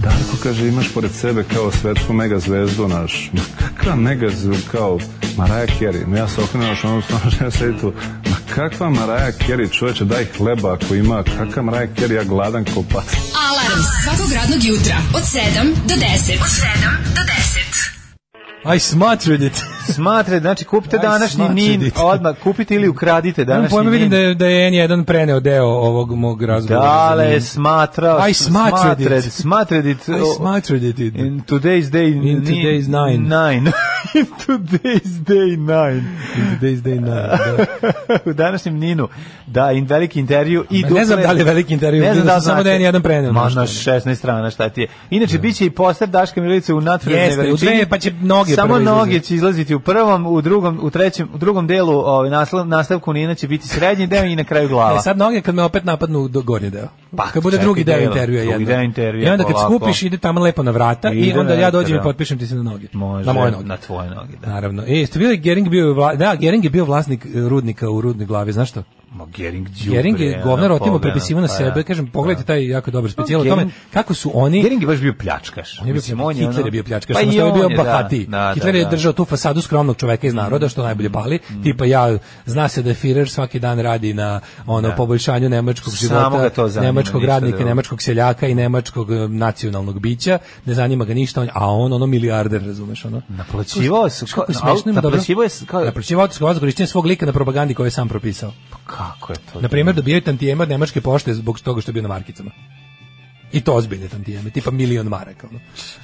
S14: Darko kaže imaš pored sebe kao svetsku mega zvezdu naš. Ma kakva mega zvezdu kao Maraja Kerry. No ja se okrenem naš onom stvarno žena sedi tu. Ma kakva Maraja Kerry čoveče daj hleba ako ima. Kakva Maraja Kerry ja gladan ko pa- pas.
S9: Alarm svakog radnog jutra od 7 do 10. Od 7 do 10.
S7: I smatred it.
S6: Smatre, znači kupite
S7: Aj,
S6: današnji
S7: smatred
S6: nin,
S7: it.
S6: odmah kupite ili ukradite
S7: Nemam
S6: današnji
S7: pojma,
S6: nin.
S7: vidim da je, da je N1 preneo deo ovog mog razgovora.
S6: Dale, smatrao,
S7: I smatred it.
S6: smatred, smatred it.
S7: I smatred it.
S6: In today's day
S7: In today's nine.
S6: nine. In today's day nine.
S7: In today's day nine, da.
S6: u današnjem Ninu. Da, in veliki intervju i
S7: Ma, ne znam da li je veliki intervju,
S6: Ne znam
S7: vidio
S6: da
S7: sam
S6: li
S7: samo
S6: znate.
S7: da je jedan preneo
S6: Ma
S7: nešto.
S6: na 16 strana šta ti je. Inače biće i poster Daška Milice u nadprirodnoj
S7: Jeste, u dve, pa će noge
S6: Samo
S7: prvo izlaze.
S6: noge će izlaziti u prvom, u drugom, u trećem, u drugom delu, ovaj naslov nastavku Nina će biti srednji deo i na kraju glava.
S7: E, sad noge kad me opet napadnu do gornji deo.
S6: Pa,
S7: kad bude
S6: čekaj,
S7: drugi deo
S6: delo,
S7: intervjua
S6: drugi
S7: jedno.
S6: deo intervjua,
S7: I onda kad
S6: polako.
S7: skupiš ide tamo lepo na vrata i,
S6: Ide
S7: onda
S6: na
S7: ja
S6: vrata,
S7: dođem
S6: da.
S7: i potpišem ti se na noge.
S6: Može,
S7: na moje noge.
S6: Na tvoje noge, da.
S7: Naravno. E, ste bili Gering bio je vla... da, Gering je bio vlasnik e, rudnika u rudnoj glavi, znaš što?
S6: Ma Gering đubre,
S7: Gering je
S6: ono,
S7: govnar otimo
S6: pogledam,
S7: prepisivo na
S6: pa
S7: sebe,
S6: da.
S7: kažem, pogledajte taj jako dobar specijal o
S6: Gering-
S7: tome kako su oni
S6: Gering je baš bio pljačkaš.
S7: On je bio
S6: Mislim,
S7: pljačkaš.
S6: ono-
S7: Hitler je bio pljačkaš,
S6: Pa
S7: samo
S6: i
S7: što je
S6: on
S7: bio
S6: da.
S7: bahati.
S6: Da, da,
S7: Hitler je
S6: da. Mm.
S7: držao tu fasadu skromnog čoveka iz naroda, što najbolje pali. Tipa ja, zna se da je Führer svaki dan radi na ono poboljšanju nemačkog
S6: Samo ga to
S7: života,
S6: zanima,
S7: nemačkog
S6: ništa
S7: radnika,
S6: drugo.
S7: nemačkog seljaka i nemačkog e, nacionalnog bića. Ne zanima ga ništa, on- a on ono milijarder, razumeš, ono.
S6: Naplaćivao su,
S7: Kako je smešno ima dobro.
S6: naplaćivao je s- kao,
S7: Naplaćivao je autorsku vlast korišćenjem svog lika na propagandi koju je sam propisao.
S6: kako je to?
S7: Na primjer, dobijaju tantijema od nemačke pošte zbog toga što je bio na markicama. I to ozbiljne tantijeme, tipa milion maraka. Ono.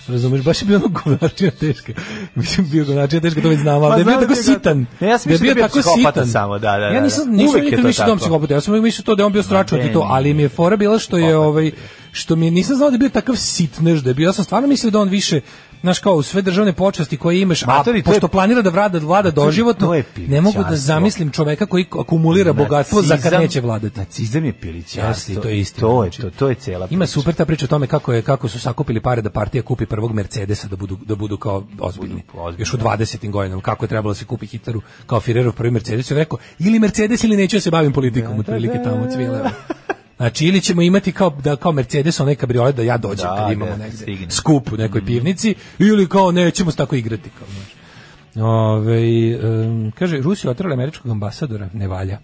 S7: Razumeš, baš je bio ono govnačina teška. Mislim, bio govnačina teška, to već znamo,
S6: Ma,
S7: ali da je bio
S6: Pa znam
S7: tako
S6: da je ga-
S7: sitan.
S6: Ne, ja sam
S7: da je
S6: mislio da je bio
S7: tako
S6: psihopata
S7: sitan.
S6: samo, da, da, da,
S7: Ja
S6: da.
S7: nisam, nisam
S6: Uvek je
S7: nikad
S6: to
S7: mislio da on
S6: tako.
S7: psihopata, ja sam uvijek mislio to da je on bio stračan,
S6: ne,
S7: to, ali mi je fora bila što je, ovaj, što mi je, nisam znao da je bio takav sitnež, da je bio, ja sam stvarno mislio da on više, znaš kao, uz sve državne počasti koje imaš,
S6: Matori, to
S7: a pošto
S6: je-
S7: planira da vlada, vlada
S6: Matori, to
S7: doživotno,
S6: je
S7: ne mogu da
S6: pićarstvo.
S7: zamislim čoveka koji akumulira bogatstvo za kad
S6: Nacizam-
S7: neće vladati.
S6: Nacizam je pilićarstvo.
S7: Jeste, to je istina. znači,
S6: To je, to, to je cela
S7: Ima super ta priča o tome kako je kako su sakupili pare da partija kupi prvog Mercedesa da budu da budu kao ozbiljni. Još u 20. godinama kako je trebalo da se kupi hitaru kao Firerov prvi Mercedes, je rekao ili Mercedes ili neću da se bavim politikom, otprilike tamo cvile. Znači, ili ćemo imati kao, da, kao Mercedes onaj kabriolet da Mm. ja dođem
S6: Da,
S7: kad imamo
S6: da,
S7: negde
S6: stigne.
S7: skup u nekoj pivnici, ili kao nećemo se tako igrati. Kao, znaš. Ove, em, kaže, Rusi otrali američkog ambasadora, ne valja.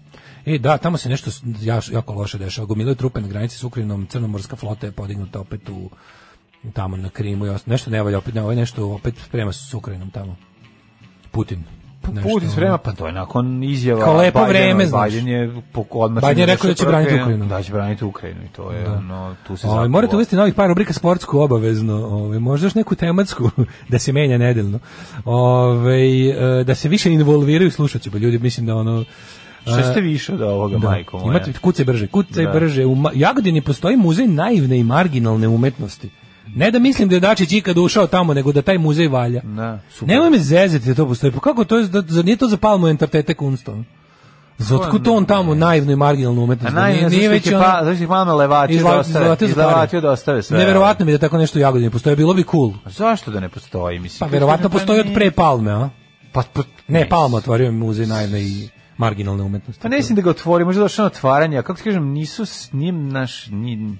S7: E, da, tamo se nešto s- jaš- jako loše dešava. Gomilaju trupe na granici s Ukrajinom, crnomorska flota je podignuta opet u tamo na Krimu i ost- nešto ne valja, opet ne, ovaj nešto opet sprema s Ukrajinom tamo. Putin. Nešto, ono.
S6: Putin sprema, pa to je nakon izjava
S7: Kao lepo
S6: Bidena,
S7: vreme, znaš.
S6: Biden je po- odmah
S7: Biden je
S6: čim
S7: rekao da će
S6: došao
S7: braniti
S6: prvi,
S7: Ukrajinu.
S6: Da će braniti Ukrajinu i to je
S7: Da.
S6: ono tu se
S7: Ovaj,
S6: zapravo-
S7: morate uvesti novih par rubrika sportsku obavezno, ovaj možda još neku tematsku da se menja nedeljno. Ovaj e, da se više involviraju slušaoci, pa ljudi mislim da ono
S6: Šta ste
S7: e,
S6: više od ovoga, majko moja?
S7: Imate kucaj brže, kucaj
S6: Da.
S7: brže. U Ma- Jagodini postoji muzej naivne i marginalne umetnosti. Ne da mislim da je Dačić ikad ušao tamo, nego da taj muzej valja.
S6: Da, super.
S7: Nemoj me zezati da to postoji. Pa kako to je, da, zar nije to za Palmu Entertete Kunstom? Zotko to on tamo naivnu i marginalnu
S6: A
S7: umetnost? Da
S6: naj, nije već ono... Pa, zašto ih mama levači da
S7: Izla-
S6: ostave,
S7: izlavatio za pare.
S6: izlavatio da ostave sve.
S7: Neverovatno mi je da tako nešto u Jagodini postoji, bilo bi cool.
S6: A Zašto da ne postoji, mislim?
S7: Pa verovatno
S6: Pa
S7: postoji od
S6: nije.
S7: pre Palme, a?
S6: Pa, pa,
S7: Ne, Palma otvorio muzej naivne i marginalne umetnosti.
S6: Pa ne mislim da ga otvori, možda je došao na otvaranje, a kako ti kažem, nisu s njim naš... Ni,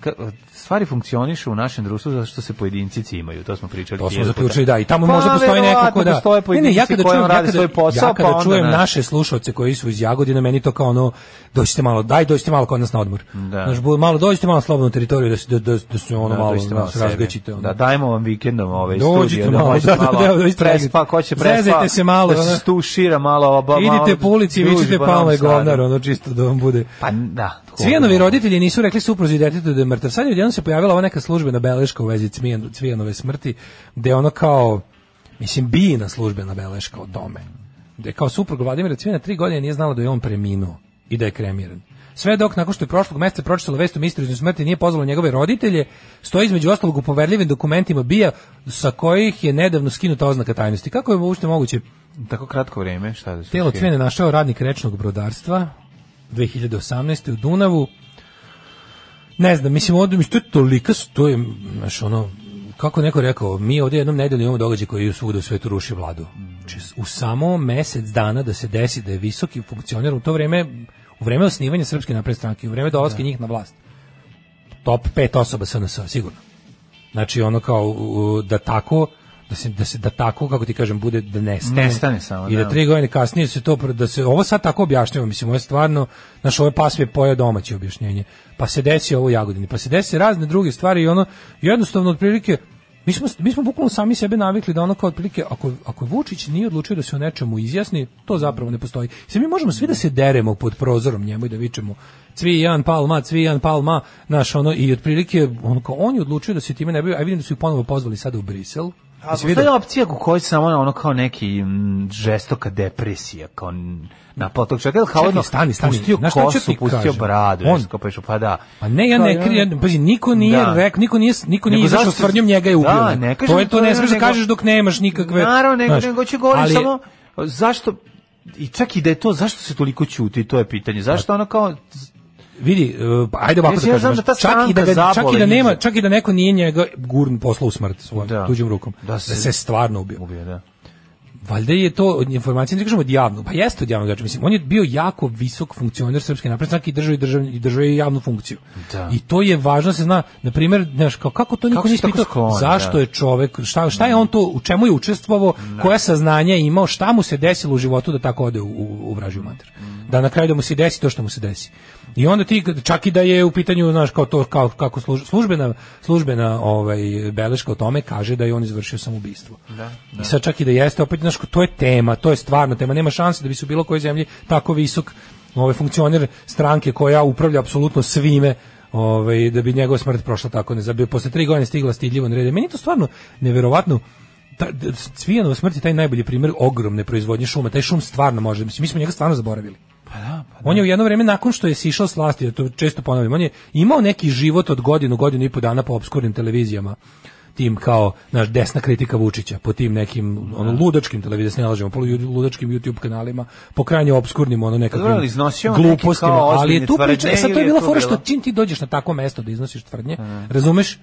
S6: ka, stvari funkcionišu u našem društvu zato što se pojedinci cimaju, to smo pričali.
S7: To smo
S6: hiljadu puta.
S7: zaključili da i tamo
S6: Pa,
S7: možda postoji neko
S6: verovatno
S7: ko da.
S6: postoje pojedinci
S7: ja kada
S6: koji
S7: čujem,
S6: ono
S7: ja
S6: rade
S7: kada-
S6: svoj posao,
S7: ja kada
S6: pa onda,
S7: čujem
S6: znaš.
S7: naše slušaoce koji su iz Jagodina, meni to kao ono dođite malo, daj dođite malo kod nas na odmor.
S6: Da.
S7: Znaš, bu- malo dođite malo na slobodnu teritoriju da se da, da, da se ono
S6: Da,
S7: malo
S6: dođite malo
S7: znaš,
S6: sebe.
S7: razgaćite ono.
S6: Da, dajmo vam vikendom ovaj
S7: Dođite
S6: studio, da
S7: malo,
S6: možete
S7: da, da,
S6: malo
S7: da, dođite
S6: prespa,
S7: vikend.
S6: ko će
S7: Zezajte
S6: prespa,
S7: se malo,
S6: da se
S7: ono.
S6: stušira malo, oba, malo.
S7: Idite po ulici i
S6: druži
S7: vičite
S6: po Novom
S7: palma je
S6: Sadu.
S7: govnar, ono čisto da vam bude.
S6: Pa da. ono. ko-
S7: Cvijanovi roditelji nisu rekli supruzi i detetu da je mrtav. Sad je odjednom se pojavila ova neka službena beleška u vezi Cvijan- Cvijanove smrti, gde je ono kao, mislim, bijina službena beleška o tome. Gde je kao suprug Vladimira Cvijana tri godine nije znala da je on preminuo i da je kremiran. Sve dok, nakon što je prošlog meseca pročitala vest o misteriznoj smrti, nije pozvalo njegove roditelje, stoji između ostalog u poverljivim dokumentima bija sa kojih je nedavno skinuta oznaka tajnosti. Kako je uopšte moguće
S6: Tako kratko vreme, šta da se...
S7: Telo Cvijana našao radnik rečnog brodarstva 2018. u Dunavu. Ne znam, mislim, ovdje mi to je tolika, to je, znaš, ono, kako je neko rekao, mi ovdje jednom nedeljno imamo događaj koji svuda u svetu ruši vladu. Znači, u samo mesec dana da se desi da je visoki funkcioner u to vreme, u vreme osnivanja Srpske napredne stranke, u vreme dolaske njih na vlast, top 5 osoba SNS, sigurno. Znači ono kao u, da tako da se da se da tako kako ti kažem bude da nestane.
S6: Nestane samo,
S7: I da
S6: da.
S7: tri godine kasnije se to pro- da se ovo sad tako objašnjava, mislim ovo je stvarno naš ovaj pas je pojeo domaće objašnjenje. Pa se desi ovo u Jagodini, pa se desi razne druge stvari i ono jednostavno otprilike mi smo mi smo bukvalno sami sebe navikli da ono kao otprilike ako ako Vučić nije odlučio da se o nečemu izjasni, to zapravo ne postoji. Sve mi možemo svi da se deremo pod prozorom njemu i da vičemo Cvijan Palma, Cvijan Palma, naš ono i otprilike ono kao on je odlučio da se time ne bavi, a vidim da su ih ponovo pozvali sada u Brisel.
S6: A
S7: Jesi
S6: postoji
S7: vidio?
S6: opcija u kojoj samo ono kao neki mm, žestoka depresija, kao n- napao tog čovjeka, ili kao
S7: Čekaj,
S6: ono,
S7: stani, stani,
S6: pustio
S7: znaš šta ću
S6: kosu,
S7: ti
S6: pustio
S7: kažem?
S6: bradu,
S7: On-
S6: on, kao pešo, pa da.
S7: Pa ne, ja ne krijem, pazi, niko nije
S6: Da.
S7: rekao, niko nije, niko nije
S6: Nego
S7: izašao
S6: zašto
S7: s
S6: si-
S7: tvrdnjom njega je ubio.
S6: Da, ne kažem
S7: to je to
S6: to,
S7: ne
S6: ne,
S7: smiješ da
S6: nego-
S7: kažeš dok nemaš nikakve.
S6: Naravno, nego,
S7: znaš,
S6: nego ću govorim
S7: ali-
S6: samo zašto, i čak i da je to, zašto se toliko ćuti, to je pitanje,
S7: Pa-
S6: zašto ono kao,
S7: vidi, uh, pa ajde ovako da
S6: Mislim, ja
S7: kažem,
S6: znam da ta
S7: znaš, čak i da ga,
S6: stranka
S7: čak i da
S6: zabole
S7: nema,
S6: njih.
S7: čak i da neko nije njega gurn poslao u smrt svojom
S6: Da.
S7: tuđim rukom, da
S6: Da
S7: se,
S6: se-
S7: stvarno ubio.
S6: ubio, da.
S7: Valjda je to od informacije, ne kažemo od javnog, pa jeste od javnog, znači, mislim, on je bio jako visok funkcioner Srpske napredne stranke i držao je državni- i držao je javnu funkciju.
S6: Da.
S7: I to je važno da se zna, na primjer, znaš, kao, kako to niko
S6: Kako
S7: nije
S6: se tako
S7: ispitao,
S6: skloni,
S7: zašto
S6: da.
S7: je čovek, šta, šta je on to, u čemu je učestvovao, koja saznanja je imao, šta mu se desilo u životu da tako ode u, u, u vražju mater. Da na kraju da mu se desi to što mu se desi. I onda ti, kad- čak i da je u pitanju, znaš, kao to, kao, kako služ- službena, službena ovaj, beleška o tome kaže da je on izvršio samoubistvo. I sad čak i da jeste, opet, znaš, to je tema, to je stvarno tema, nema šanse da bi se u bilo kojoj zemlji tako visok ovaj funkcioner stranke koja upravlja apsolutno svime ovaj, da bi njegova smrt prošla tako ne zabio. Posle tri godine stigla stidljivo na red. Meni je to stvarno neverovatno ta, da- Cvijanova smrt je taj najbolji primjer ogromne proizvodnje šuma. Taj šum stvarno može. Mislim, mi smo njega stvarno zaboravili.
S6: Pa
S7: On je u jedno vrijeme nakon što je sišao s vlasti, ja to često ponavljam, on je imao neki život od godinu, godinu i po dana po obskurnim televizijama tim kao naš desna kritika Vučića po tim nekim ono ludačkim televizijama ne lažemo po ludačkim YouTube kanalima po krajnje obskurnim ono nekakvim
S6: ali iznosio neki
S7: glupostima
S6: kao
S7: ali je
S6: ozbiljne
S7: tu priča
S6: tvrdnje
S7: e, sad to
S6: ili
S7: je
S6: je
S7: bila
S6: to
S7: fora što
S6: bilo?
S7: čim ti dođeš na tako mesto da iznosiš tvrdnje razumeš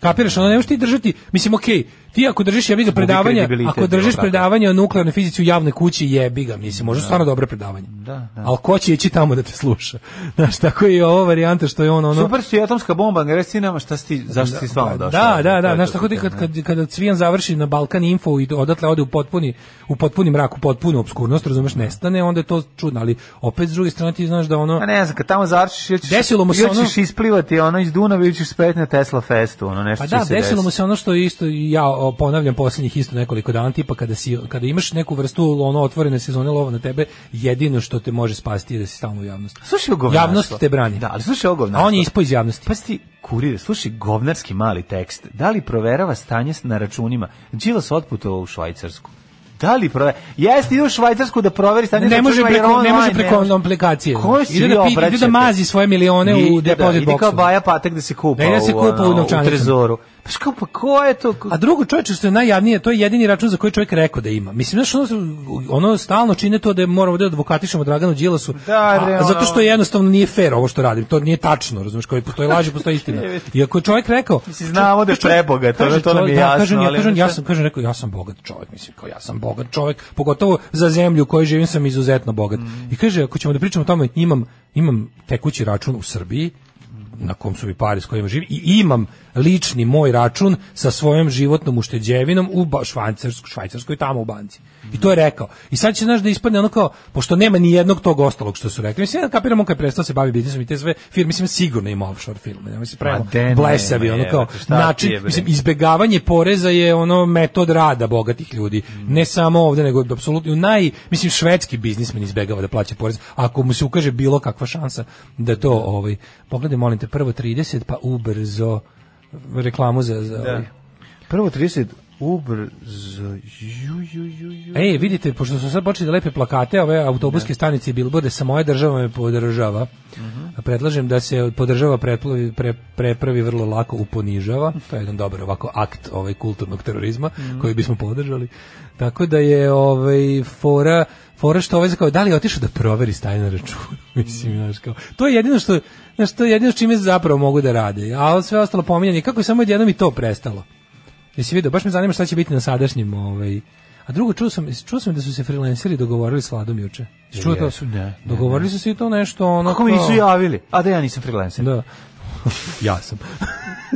S7: kapiraš ono ne možeš ti držati mislim okej ti ako držiš jebi ga
S6: Gubi
S7: predavanja
S6: kredibilitet,
S7: ako držiš
S6: jel tako?
S7: predavanje o nuklearnoj fizici u javnoj kući jebi ga mislim može stvarno dobro predavanje
S6: Da, da.
S7: ali ko će ići tamo da te sluša znaš tako je i ova varijanta što je on ono
S6: Super si atomska bomba, ne reci nama šta si, ti- zašto si stvarno došao.
S7: Da, da,
S6: To
S7: da,
S6: je
S7: znaš
S6: to
S7: tako da
S6: pitanje.
S7: kad, kad, kada Cvijan završi na Balkan Info i odatle ode u potpuni, u potpuni mrak, u potpunu obskurnost, razumeš, nestane, onda je to čudno, ali opet s druge strane ti znaš da ono...
S6: A Pa ne znam, kad tamo završiš, ili ćeš,
S7: Desilo mu se
S6: ili
S7: ono-
S6: ćeš isplivati ono iz Dunava ili ćeš spet na Tesla festu, ono nešto
S7: Pa
S6: će
S7: da,
S6: se
S7: desilo mu
S6: desiti.
S7: se ono što isto i ja o, ponavljam posljednjih isto nekoliko dana, tipa kada, si, kada imaš neku vrstu ono otvorene sezone lova na tebe, jedino što te može spasiti je da si stalno u javnosti.
S6: Slušaj ovo govnarstvo.
S7: Javnost te brani.
S6: Da, ali slušaj ovo
S7: A
S6: govnarstvo.
S7: on je ispao iz javnosti.
S6: Pa si kurir, slušaj govnarski mali tekst. Da li proverava stanje na računima? Đilas otputovao u Švajcarsku. Da li provera? Jeste, ide u Švajcarsku da proveri stanje na
S7: ne može
S6: računima, jer
S7: preko, ne
S6: online
S7: može preko
S6: može.
S7: aplikacije.
S6: Koji si
S7: Ide
S6: vi
S7: da, pi- ide da
S6: obraćate?
S7: mazi svoje milione
S6: Ide,
S7: u depozit
S6: Da, ide kao
S7: boxu.
S6: Baja Patek da se kupa,
S7: Ne, da se
S6: u,
S7: kupa
S6: ono,
S7: u
S6: u
S7: novčanicama.
S6: trezoru. Pa što, pa ko je to? Ko-
S7: A drugo čovječe što je najjadnije, to je jedini račun za koji čovjek rekao da ima. Mislim znaš, ono, ono stalno čine to da moramo da advokatišemo Draganu Đilasu.
S6: Da, bre,
S7: a,
S6: ono-
S7: zato što jednostavno nije fer ovo što radim. To nije tačno, razumiješ, koji postoji laži, postoji istina. I ako je čovjek rekao,
S6: Mislim, znamo da je prebogat, ono,
S7: Kaže
S6: to nam je
S7: čovjek, da,
S6: jasno,
S7: kažem, ja,
S6: ali
S7: kažem, ja
S6: šta-
S7: sam kažem, rekao, ja sam bogat čovjek, mislim, kao ja sam bogat čovjek, pogotovo za zemlju u kojoj živim sam izuzetno bogat. I kaže, ako ćemo da pričamo o tome, imam, imam tekući račun u Srbiji, na kom su mi pari s kojima živim, i imam lični moj račun sa svojom životnom ušteđevinom u ba- Švajcarskoj, Švajcarskoj tamo u banci. I to je rekao. I sad će, znaš, da ispadne ono kao, pošto nema ni jednog tog ostalog što su rekli. Mislim, ja kapiram, on kad je prestao se bavi biznisom i te sve firme, mislim, sigurno ima offshore firme. Ne, mislim, pravimo
S6: Ma de, nema,
S7: blesavi, ono kao,
S6: jebote, šta ti je,
S7: način,
S6: bre?
S7: mislim, izbegavanje poreza je ono metod rada bogatih ljudi.
S6: Mm.
S7: Ne samo ovdje, nego apsolutno naj, mislim švedski biznismen izbegava da plaća porez. Ako mu se ukaže bilo kakva šansa da to ovaj pogledaj molim te prvo 30 pa ubrzo reklamu za, za ovaj.
S6: Prvo 30 ubrzo. Ju, ju, ju, ju.
S7: Ej, vidite, pošto su sad počeli da lepe plakate, ove autobuske stanice i bilborde sa moje država me podržava. Mhm. Predlažem da se podržava preplavi, pre, prepravi vrlo lako u ponižava. To je jedan dobar ovako akt ovaj kulturnog terorizma koji bismo podržali. Tako da je ovaj fora fora što ovaj kao da li je otišao da proveri stanje na računu. Mislim, znaš, kao, to je jedino što znaš, to je jedino s čime zapravo mogu da rade. A ovo sve ostalo pominjanje kako je samo jednom i to prestalo. Jesi vidio, baš me zanima šta će biti na sadašnjem, ovaj. A drugo, čuo sam, čuo sam da su se freelanceri dogovorili s Vladom juče. Jesi čuo to?
S6: Jesu, ne, ne,
S7: Dogovorili su se i to nešto, ono...
S6: Kako mi
S7: kao-
S6: nisu javili? A da ja nisam freelancer.
S7: Da. ja sam.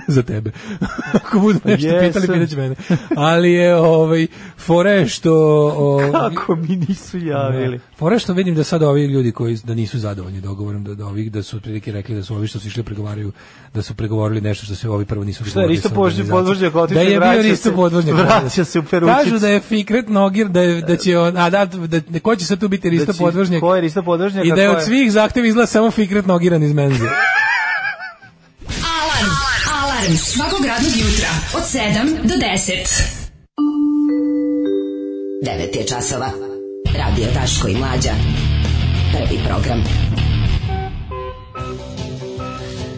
S7: Za tebe. Ako budu nešto
S6: Jesam.
S7: pitali, pitać mene. Ali je, ovaj, fora je što... ovaj,
S6: Kako mi nisu javili?
S7: da. Fora je što vidim da sad ovi ljudi koji da nisu zadovoljni dogovorom da, da ovih da su otprilike rekli da su ovi što su išli pregovaraju da su pregovorili nešto što se ovi prvo nisu
S6: Šta je Risto
S7: sa
S6: Podvožnjak
S7: organizacijom.
S6: Podvožnjak otišao
S7: Da
S6: i
S7: je bio
S6: vraća
S7: Risto
S6: se-
S7: Podvožnjak.
S6: vraća se u Peručicu.
S7: Kažu da je Fikret Nogir da je, da će on a da, da, da ko će sad tu biti Risto
S6: će-
S7: Podvožnjak.
S6: ko je Risto Podvožnjak,
S7: I
S6: a
S7: da je
S6: ko
S7: od
S6: je-
S7: svih zahteva izgleda samo Fikret Nogiran iz menze.
S9: Alarm. Alarm svakog radnog jutra od 7 do 10.
S12: 9 je časova. Radio Daško i Mlađa. Prvi program.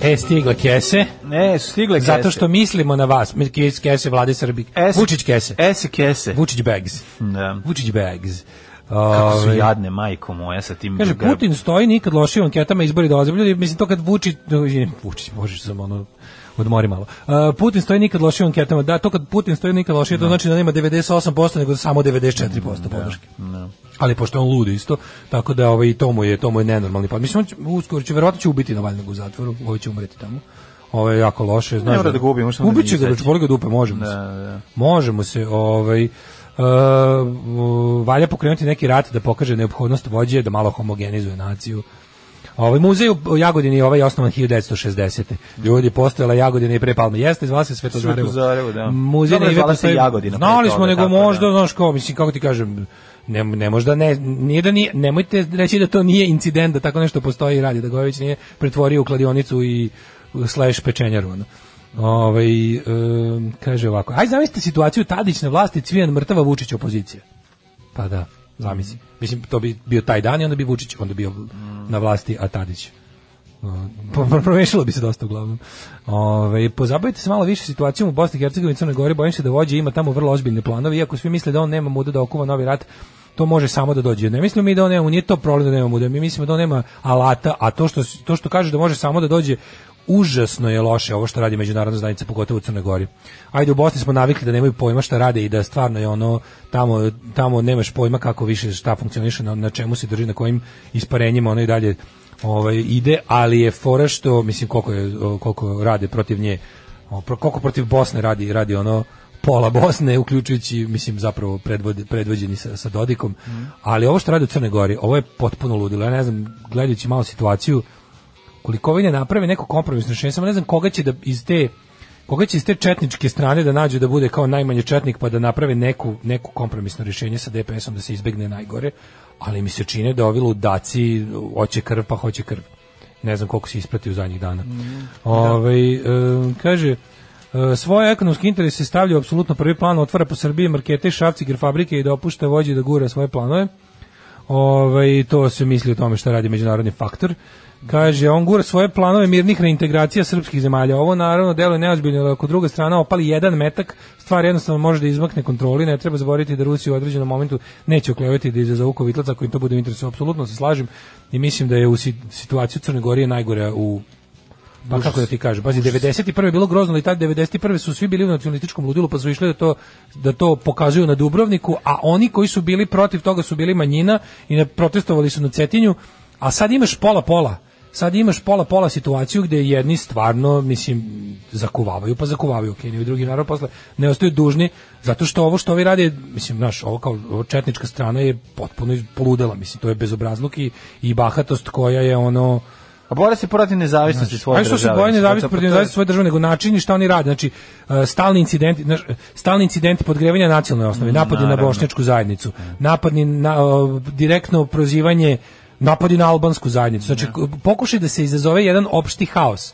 S7: E, stigle kese.
S6: Ne, su stigle kese.
S7: Zato što mislimo na vas. Mi- kes- Kese vlade Srbije.
S6: Es- E- Hmm.
S7: Vučić kese.
S6: Ese kese.
S7: Vučić bags.
S6: Da.
S7: Vučić bags.
S6: Kako su
S7: Ovaj,
S6: jadne, majko moja, sa tim...
S7: Kaže,
S6: grb-
S7: Putin stoji nikad lošije u anketama izbori dolaze. Ljudi, mislim, to kad Vučić... no, izvinim, Vučić, bože, sam ono... Odmori malo. Uh, Putin stoji nikad lošije u anketama. Da, to kad Putin stoji nikad lošije, to znači da nema 98%, nego samo 94% podrške. Ali pošto je on lud isto, tako da ovaj, to mu je, to mu je nenormalni pad. Mislim, on će, uskoro će, verovatno će ubiti Navalnog u zatvoru, ovaj će umreti tamo. Ovo je jako loše. Znaš,
S6: mora da ga ubije, može samo da
S7: Ubit će
S6: ga
S7: ga,
S6: izađe.
S7: boli ga dupe, možemo se. Možemo se, ovaj, e, valja pokrenuti neki rat da pokaže neophodnost vođe, da malo homogenizuje naciju. A Ovaj muzej u Jagodini je ovaj osnovan 1960. Ljudi, postojala Jagodina i pre Palme. Jeste, zvala se Svetozarevo.
S6: Svetozarevo, da.
S7: Muzej
S6: Dobro,
S7: na Ivi
S6: zvala se
S7: postoji-
S6: Jagodina pre
S7: Znali
S6: toga,
S7: smo, nego
S6: tako da.
S7: možda, znaš, kao, mislim, kako ti kažem, ne, ne možda ne, nije da nije, nemojte reći da to nije incident, da tako nešto postoji i radi, da Gojević nije pretvorio u kladionicu i slash pečenjaru, ono. Ovaj, em, kaže ovako, aj zamislite situaciju Tadić na vlasti, Cvijan mrtava, Vučić opozicija. Pa da. Zamisli. Mislim, to bi bio taj dan i onda bi Vučić, onda bio na vlasti, a Tadić. Uh, promešalo bi se dosta uglavnom. Ove, pozabavite se malo više situacijom u Bosni i Hercegovini i Crnoj Gori, bojim se da vođe ima tamo vrlo ozbiljne planove, iako svi misle da on nema muda da okuva novi rat, to može samo da dođe. Ne mislimo mi da on nema, nije to problem da nema muda, mi mislimo da on nema alata, a to što, to što kaže da može samo da dođe, užasno je loše ovo što radi međunarodna zajednica, pogotovo u Crnoj Gori. Ajde, u Bosni smo navikli da nemaju pojma šta rade i da stvarno je ono, tamo, tamo nemaš pojma kako više šta funkcioniše, na, na čemu se drži, na kojim isparenjima ono i dalje ovaj, ide, ali je fora što, mislim, koliko, je, koliko rade protiv nje, o, pro- koliko protiv Bosne radi, radi ono pola Bosne, uključujući, mislim, zapravo predvod, predvođeni sa, sa Dodikom, ali ovo što radi u Crnoj Gori, ovo je potpuno ludilo, ja ne znam, gledajući malo situaciju, koliko ovi ne naprave neko kompromisno rešenje, samo ne znam koga će da iz te koga će iz te četničke strane da nađu da bude kao najmanje četnik pa da naprave neku, neku kompromisno rješenje sa DPS-om da se izbegne najgore, ali mi se čine da ovi ludaci hoće krv pa hoće krv. Ne znam koliko se isprati u zadnjih dana. Ovaj, e, kaže, e, svoje ekonomske interese stavlja u apsolutno prvi plan, otvara po Srbiji markete, šavci, fabrike i dopušta vođi da gura svoje planove. Ovaj, to se misli o tome šta radi međunarodni faktor. Kaže, on gura svoje planove mirnih reintegracija srpskih zemalja. Ovo naravno deluje neozbiljno, ali ako druga strana opali jedan metak, stvar jednostavno može da izmakne kontroli, ne treba zaboraviti da Rusija u određenom momentu neće oklevati da izazovu kovitlac ako im to bude u interesu. Apsolutno se slažem i mislim da je u si- situaciju Crne Gorije najgore u Pa kako da ti kažem, pazi, 91. je bilo grozno, ali tad 91. su svi bili u nacionalističkom ludilu, pa su išli da to, da to pokazuju na Dubrovniku, a oni koji su bili protiv toga su bili manjina i ne protestovali su na Cetinju, a sad imaš pola-pola. Sad imaš pola-pola situaciju gdje jedni stvarno, mislim, zakuvavaju, pa zakuvavaju Keniju i drugi narod posle ne ostaju dužni, zato što ovo što ovi rade, mislim, naš, ovo kao ovo četnička strana je potpuno iz- poludela, mislim, to je bezobrazluk i, i bahatost koja je ono,
S6: A bore se protiv nezavisnosti svoje
S7: ali što
S6: države.
S7: se boje nezavisnosti
S6: Pa
S7: protiv
S6: to-
S7: nezavisnosti svoje države, nego način i šta oni rade. Znači, e, stalni incidenti, znaš, e, stalni incidenti podgrevanja nacionalne osnove, napadi na
S6: naravno.
S7: bošnjačku zajednicu, napadni na, e, direktno prozivanje, napadi na albansku zajednicu. Znači, k- pokušaj da se izazove jedan opšti haos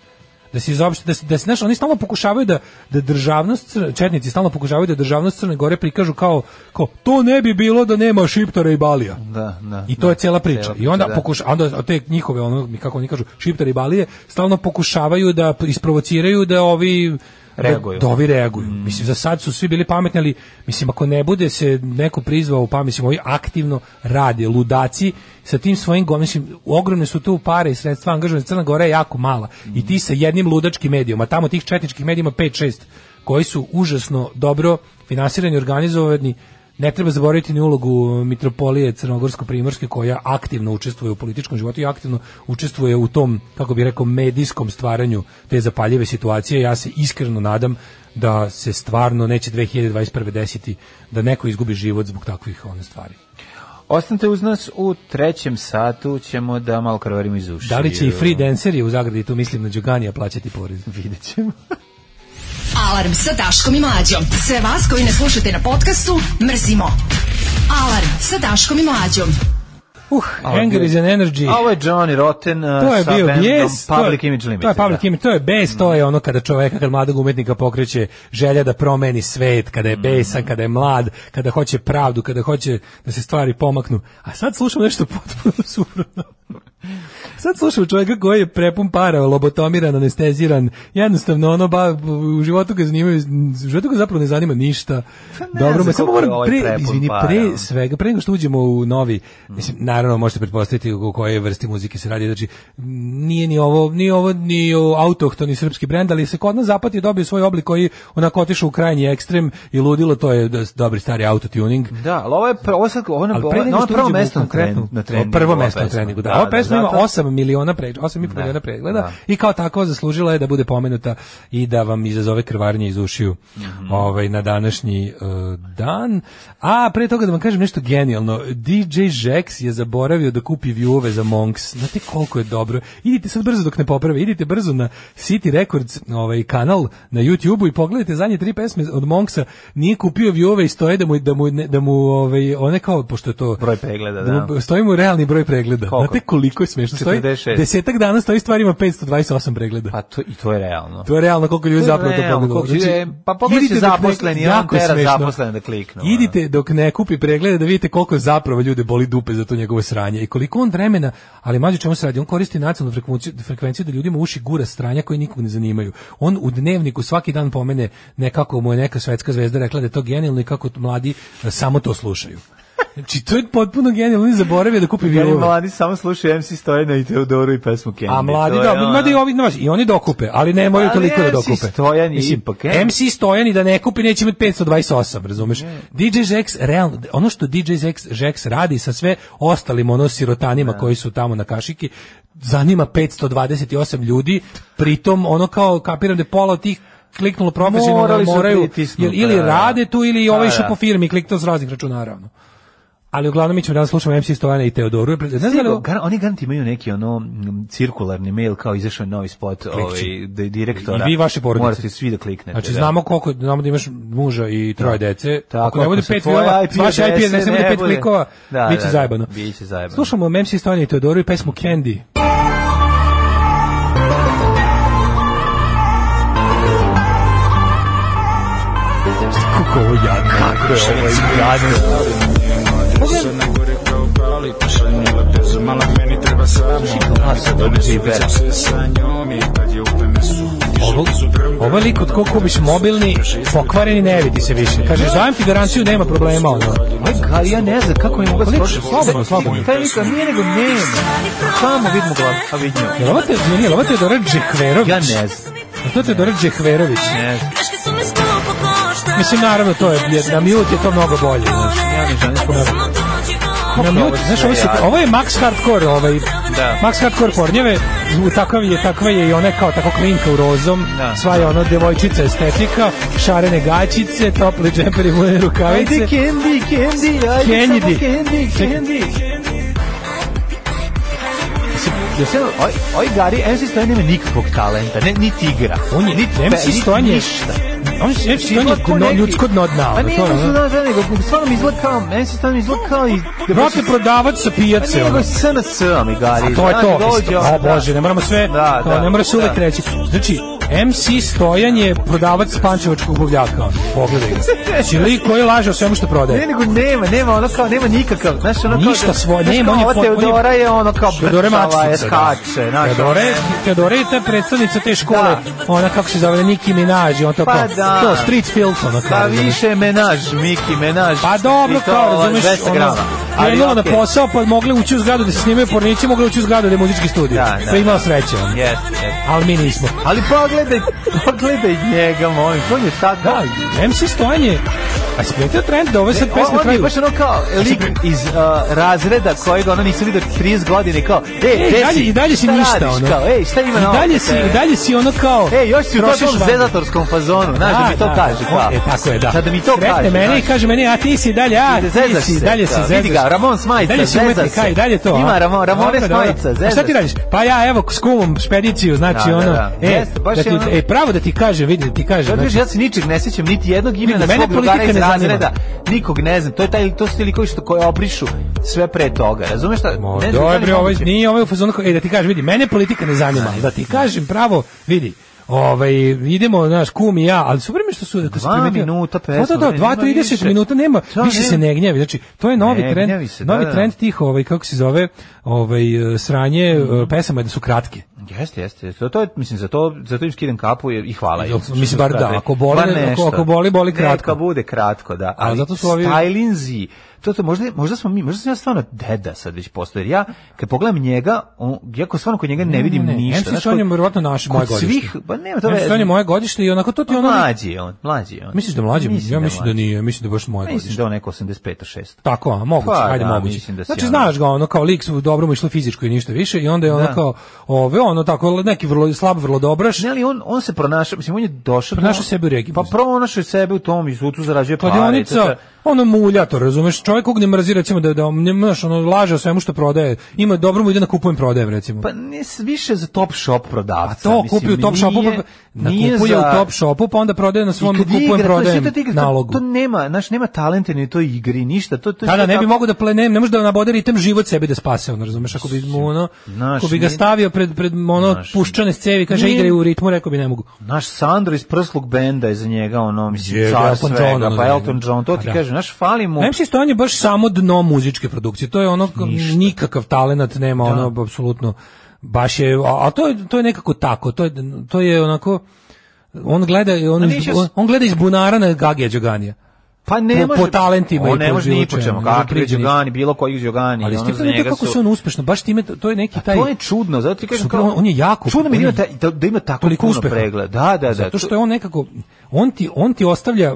S7: da se izopšte, da se, da se, znaš, oni stalno pokušavaju da, da državnost, Cr- četnici stalno pokušavaju da državnost Crne Gore prikažu kao, kao to ne bi bilo da nema Šiptara i Balija.
S6: Da, da.
S7: I to je cijela priča.
S6: Cijela
S7: I onda
S6: priča, da.
S7: pokuša, onda te njihove ono kako oni kažu, šiptari i balije stalno pokušavaju da isprovociraju da ovi da-
S6: Reaguju. Mm.
S7: Da, ovi reaguju. Mislim za sad su svi bili pametni, ali mislim ako ne bude se neko prizvao, pa mislim ovi aktivno rade ludaci sa tim svojim go- mislim ogromne su tu pare i sredstva angažovane Crna Gora je jako mala. I ti sa jednim ludačkim medijom, a tamo tih četničkih medijima 5-6 koji su užasno dobro finansirani, organizovani, ne treba zaboraviti ni ulogu mitropolije Crnogorsko-Primorske koja aktivno učestvuje u političkom životu i aktivno učestvuje u tom, kako bih rekao, medijskom stvaranju te zapaljive situacije. Ja se iskreno nadam da se stvarno neće 2021. desiti da neko izgubi život zbog takvih one stvari.
S6: Ostanite uz nas u trećem satu, ćemo da malo krvarimo iz uši.
S7: Da li će i free danceri u zagradi, tu mislim na Đoganija, plaćati porez?
S6: Vidjet ćemo.
S9: Alarm sa Daškom i Mlađom. Sve vas koji ne slušate na podcastu, mrzimo. Alarm sa Daškom i Mlađom.
S7: Uh, Anger is an energy.
S6: Ovo je Johnny Rotten uh,
S7: to je
S6: sa
S7: bio
S6: bandom
S7: bijes, to je-
S6: Public Image Limited.
S7: To je public
S6: da.
S7: image, to je bes, to je ono kada čoveka, kad mladog umetnika pokreće želja da promeni svet, kada
S6: Mm.
S7: je besan, kada je mlad, kada hoće pravdu, kada hoće da se stvari pomaknu. A sad slušam nešto potpuno suprotno. Sad slušam čovjeka koji je prepun para, lobotomiran, anesteziran, jednostavno ono ba, u životu ga zanimaju, u životu ga zapravo ne zanima ništa.
S6: Pa ne
S7: Dobro,
S6: znam
S7: me samo
S6: koliko je
S7: moram
S6: ovaj
S7: pre,
S6: prepun
S7: izvini,
S6: para,
S7: pre
S6: ono. Mm.
S7: svega, pre nego što uđemo u novi, mislim, naravno možete pretpostaviti o kojoj vrsti muzike se radi, znači nije ni ovo, ni ovo, ni o- autohtoni srpski brend, ali se kod nas zapad je dobio svoj oblik koji onako otišao u krajnji ekstrem i ludilo, to je d- dobri stari autotuning.
S6: Da, ali ovo je pr- ovo sad ovo na,
S7: Ali
S6: ovo,
S7: pre
S6: na
S7: nego
S6: ono
S7: što
S6: prvo
S7: uđemo u
S6: mesto na
S7: konkretnu-
S6: trenu, na treningu.
S7: Prvo
S6: ova
S7: mesto na
S6: pesma.
S7: treningu, da. Ova pesma ima
S6: zato-
S7: 8 miliona pregleda, 8,5 miliona pregleda i kao tako zaslužila je da bude pomenuta i da vam izazove krvarnje iz ušiju ovaj, na današnji eh, dan. A pre toga da vam kažem nešto genijalno. DJ Jax je zaboravio da kupi view za Monks. Znate koliko je dobro. Idite sad brzo dok ne poprave. Idite brzo na City Records ovaj, kanal na YouTube-u i pogledajte zadnje tri pesme od Monksa. Nije kupio view i stoje da mu, da mu, ne- da mu ovaj, one kao, pošto je to
S6: Broj pregleda, da.
S7: Stoji mu realni broj pregleda.
S6: Koliko?
S7: Znate koliko je smiješno. Stoji,
S6: 176.
S7: Desetak dana stoji stvarima 528 pregleda.
S6: Pa to, i to je realno.
S7: To je realno koliko ljudi zapravo to pogledalo.
S6: Znači, pa pogledaj se zaposleni, on tera zaposleni da kliknu. ono.
S7: Idite dok ne kupi preglede da vidite koliko zapravo ljude boli dupe za to njegovo sranje i koliko on vremena, ali mađo čemu se radi, on koristi nacionalnu frekvenciju, frekvenciju da ljudima uši gura stranja koje nikog ne zanimaju. On u dnevniku svaki dan pomene nekako mu je neka svetska zvezda rekla da je to genijalno i kako mladi e, samo to slušaju. Znači, to je potpuno genijalno, on je zaboravio da kupi
S6: Jer
S7: vilu.
S6: mladi samo slušaju MC Stojena i Teodoru i pesmu Candy.
S7: A mladi,
S6: To je
S7: da,
S6: ono-
S7: mladi i ovi, znaš, i oni dokupe, ali ne moraju
S6: Ali
S7: toliko da
S6: MC
S7: dokupe.
S6: Stojan je
S7: Mislim,
S6: ipak, e.
S7: MC Stojan i da ne kupi, neće imati 528, razumeš? DJ Jax, realno, ono što DJ Jax, Jax radi sa sve ostalim ono sirotanima koji su tamo na kašiki, zanima 528 ljudi, pritom ono kao, kapiram da je pola od tih kliknulo profesionalno,
S6: Morali su
S7: moraju,
S6: pritisnuti,
S7: jer, ili
S6: da, da.
S7: rade tu, ili ovaj
S6: Da,
S7: išao
S6: da.
S7: po firmi, kliknuo s raznih računara, ono. Ali uglavnom mi ćemo danas slušamo MC Stojana i Teodoru. Ne znam da li
S6: Stigo,
S7: ovo-
S6: gar, oni garanti imaju neki ono m, cirkularni mail kao izašao je novi spot ovaj di- direktora.
S7: I vi vaše porodice.
S6: Morate svi da kliknete.
S7: Znači
S6: da.
S7: znamo koliko znamo da imaš muža i troje dece.
S6: Tako,
S7: ako ne bude
S6: se
S7: pet
S6: tvoja
S7: viola,
S6: IP
S7: vaše IP
S6: adrese
S7: adrese bude
S6: ne
S7: pet
S6: bude.
S7: klikova,
S6: Da,
S7: biće
S6: da, da,
S7: zajebano.
S6: biće zajebano.
S7: Slušamo MC Stojana i Teodoru i pesmu Candy. Kako ovo jadno. Kako je ovo jadno. Ovo, ovo je lik od koliko biš mobilni, pokvareni, ne vidi se više. Kaže, dajem ti garanciju, nema problema. Ono.
S6: Ovaj gar, ja ne znam kako je mogu
S7: Koliko-
S6: složiti.
S7: slobodno, slobodno.
S6: Taj lik, a nije nego nema. Samo vidimo glavu. A vidimo.
S7: Jel ovo te, meni, jel ovo te Dora Džekverović?
S6: Ja ne znam.
S7: Jel to te Dora Džekverović?
S6: Ne znam.
S7: Mislim, naravno, to je, je- na mute je to mnogo bolje. Znaš.
S6: Ja ne znam.
S7: Na
S6: Kako
S7: mute, znaš, ovo, su,
S6: sve
S7: ovo je Max Hardcore, ovaj,
S6: Da.
S7: Max Hardcore pornjeve, zvu- takav je, takva je i ona je kao tako klinka u rozom,
S6: Da.
S7: sva je ono devojčica estetika, šarene gaćice, topli džeperi, vojne rukavice.
S6: Ajde Candy, Candy, ajde
S7: Candy.
S6: samo Candy, Candy. Ja se, oj, oj Gari, MC Stojan nema nikakvog talenta, ne, niti igra.
S7: On je,
S6: niti pe-
S7: MC
S6: niti
S7: Stojan je,
S6: ništa.
S7: on je, MC Stojan je
S6: Izgleda ko
S7: dno,
S6: neki-
S7: ljudsko dno dna.
S6: Pa
S7: ono,
S6: nije,
S7: to je
S6: to
S7: ono.
S6: su da, da, nego stvarno mi izgleda kao, MC Stojan mi izgleda kao i...
S7: Brate, prodavac sa
S6: Pa
S7: pijace.
S6: nije,
S7: ono.
S6: nego SNS mi Gari.
S7: A to je
S6: znaš,
S7: to.
S6: dođe
S7: O
S6: on, da.
S7: bože, ne moramo sve,
S6: Da,
S7: kao,
S6: da,
S7: ne mora se uvek
S6: da.
S7: reći. Znači, MC Stojan je prodavac pančevačkog buvljaka. ono. Pogledaj ga. Znači, lik koji laže o svemu što
S6: Ne,
S7: prodaje.
S6: nego nema, nema ono kao, nema nikakav, znaš, ono kao...
S7: Ništa svoje,
S6: znaš,
S7: nema,
S6: kao
S7: on je
S6: ova
S7: pot- on je-
S6: Teodora je ono kao
S7: Teodore
S6: brcava, je
S7: Mačica, da.
S6: skače, znaš, ono-
S7: Teodore, Teodore je ta predstavnica te škole, ona kako se zove, Niki Minaj, on to
S6: Pa
S7: kao,
S6: da.
S7: to street filth, ono kao.
S6: Pa
S7: razumeš.
S6: više menaž, Miki, menaž.
S7: Pa dobro,
S6: I to,
S7: kao, razumeš,
S6: 200
S7: ono,
S6: grama.
S7: krenula na
S6: okej.
S7: posao, pa mogli ući u zgradu da se snimaju pornići, mogli ući u zgradu da je muzički studio.
S6: Da, da.
S7: Pa imao sreće, ono.
S6: Jes, jes.
S7: Ali mi nismo.
S6: Ali pogledaj, pogledaj njega, molim, on je tako...
S7: Da, MC Stojan je... A si primetio trend da ove sad
S6: On-
S7: pesme
S6: on je
S7: traju?
S6: baš ono kao lik iz uh, razreda kojeg ono nisu vidio 30 godine kao, e,
S7: E, i
S6: gde
S7: dalje,
S6: si?
S7: i dalje si
S6: Šta
S7: ništa,
S6: radiš?
S7: ono.
S6: Kao, ej, šta ima na
S7: I
S6: ovom
S7: dalje
S6: kod
S7: si,
S6: tebe?
S7: i dalje si ono kao...
S6: E, još si u
S7: trošiš
S6: tom
S7: vagin.
S6: zezatorskom fazonu, ono, znaš, da mi to kaže,
S7: on-
S6: kao.
S7: E, tako je, da.
S6: Sad da mi to
S7: Sretne
S6: kaže,
S7: mene i
S6: znaš.
S7: kaže meni, a ti si dalje, a
S6: I da
S7: ti
S6: zezaš
S7: si,
S6: se,
S7: dalje si,
S6: da.
S7: zezaš.
S6: Vidi ga, Ramon s majica,
S7: Dalje si
S6: zeza
S7: umetnik,
S6: se.
S7: aj, dalje to.
S6: Ima
S7: a?
S6: Ramon- Ramone
S7: Dobro,
S6: s
S7: dobro.
S6: majica,
S7: A
S6: zeza
S7: šta ti
S6: se.
S7: radiš? Pa ja, evo, s kumom, špediciju, znači,
S6: Da, da,
S7: ono,
S6: da.
S7: e,
S6: Jeste, baš
S7: da ti,
S6: je ono-
S7: e, pravo da ti kažem, vidi, da ti kažem,
S6: Sad
S7: znači,
S6: vidiš, ja se ničeg ne sjećam, niti jednog imena
S7: Mene
S6: svog drugara
S7: politika
S6: iz
S7: ne zanima.
S6: razreda. Nikog ne znam. To je taj to su ti likovi što koje obrišu sve pre toga. Razumeš šta?
S7: Ma,
S6: Ne znam da li
S7: Dobro,
S6: je
S7: ovaj
S6: moguće.
S7: nije ovaj u fazonu, kao, ej da ti kažem, vidi, mene politika ne zanima, da ti kažem pravo, vidi. Ovaj idemo naš kum i ja, ali super mi je što su ako si
S6: Dva
S7: primetio-
S6: minuta pesma,
S7: Pa Da, da,
S6: bre,
S7: 2
S6: nema
S7: 30
S6: više.
S7: minuta nema.
S6: Da,
S7: više se
S6: nema.
S7: ne gnjavi. Znači, to je novi
S6: Ne,
S7: trend,
S6: gnjavi se, da,
S7: novi
S6: da.
S7: trend tih, ovaj kako se zove, ovaj eh, sranje
S6: Mhm.
S7: eh, pesama je da su kratke.
S6: Jeste, jeste. To, to je, mislim, za to, za to im skidam kapu i i hvala. im.
S7: Zato- mislim, bar da, ako boli,
S6: Bar
S7: ako-
S6: nešto.
S7: ako boli, boli kratko.
S6: Neka bude kratko, da. Ali
S7: zato su ovi-
S6: Stylinzi, to, to možda, možda smo mi, možda sam ja stvarno deda sad već postao, jer ja, kad pogledam njega, on, ja ko stvarno kod njega ne vidim ništa.
S7: MC
S6: Znaš,
S7: Stonj je
S6: kod-
S7: verovatno naš
S6: kod
S7: moje godište.
S6: svih- pa nema to
S7: MC
S6: veze.
S7: Stonj je moje godište i onako to ti
S6: Pa
S7: ono
S6: Mlađi je on, mlađi je on.
S7: Misliš da je mlađi? Ja
S6: je
S7: mislim da
S6: mlađi.
S7: nije, Pa mislim da je baš moje godište.
S6: Mislim da je on neko 85 6
S7: Tako, a moguće,
S6: Pa,
S7: ajde
S6: da,
S7: moguće.
S6: mislim da si
S7: znači,
S6: ono-
S7: znaš ga, ono, kao lik su dobro mu išlo fizičko i ništa više i onda je ono
S6: Da.
S7: kao, ove, ono, tako, neki vrlo, slab, vrlo dobraš.
S6: Ne, ali on, on se pronašao, mislim, on je došao...
S7: Pronašao sebe u regiji,
S6: Pa
S7: mislim. Pa
S6: pronašao je sebe u tom izvucu, zarađuje pare.
S7: Kladionica,
S6: to je-
S7: ono mulja to, razumeš? Čovjek kog ne mrazi recimo da da ne znaš, ono laže o svemu što prodaje. Ima dobro mu ide na kupujem prodajem recimo.
S6: Pa ne više za top shop prodavca.
S7: A to kupi u top shopu, pa kupuje u top shopu, pa onda prodaje na svom kupujem prodajem nalogu.
S6: To, to nema, znaš, nema talente ni to igri, ništa. To, to
S7: da, da, ne bi mogu da plenem, ne može da nabode ritem život sebi da spase, ono, razumeš? Ako bi mu ono, ako bi ga stavio pred, pred ono, puščane s cevi, kaže, igraj u ritmu, rekao bi ne mogu.
S6: Naš Sandro iz prslog benda je za njega, ono, mislim, car svega,
S7: ono
S6: pa Elton John, to ti kaže, znaš, fali mu.
S7: MC Stojan je baš samo dno muzičke produkcije, to je ono, nikakav talenat nema, ono, apsolutno, baš je, a, a to, je, to je nekako tako, to je, to je onako, on gleda, on, iz, on, on gleda iz bunara na Gagija Đoganija.
S6: Pa ne
S7: po,
S6: može
S7: po talentima
S6: on ne
S7: i po
S6: može ni po čemu, kakvi je Đogani, bilo koji Đogani.
S7: Ali
S6: ono
S7: Stefan
S6: za
S7: je
S6: njega
S7: kako
S6: su-
S7: se on uspešno, baš time to je neki
S6: A
S7: taj
S6: to je čudno, zato ti kažem
S7: Super, on- on je jako-
S6: Čudno mi je da,
S7: on
S6: ima
S7: je-
S6: taj- da, ima tako
S7: toliko
S6: puno
S7: uspeha.
S6: pregleda. Da, da, da.
S7: zato što je on nekako on ti on ti ostavlja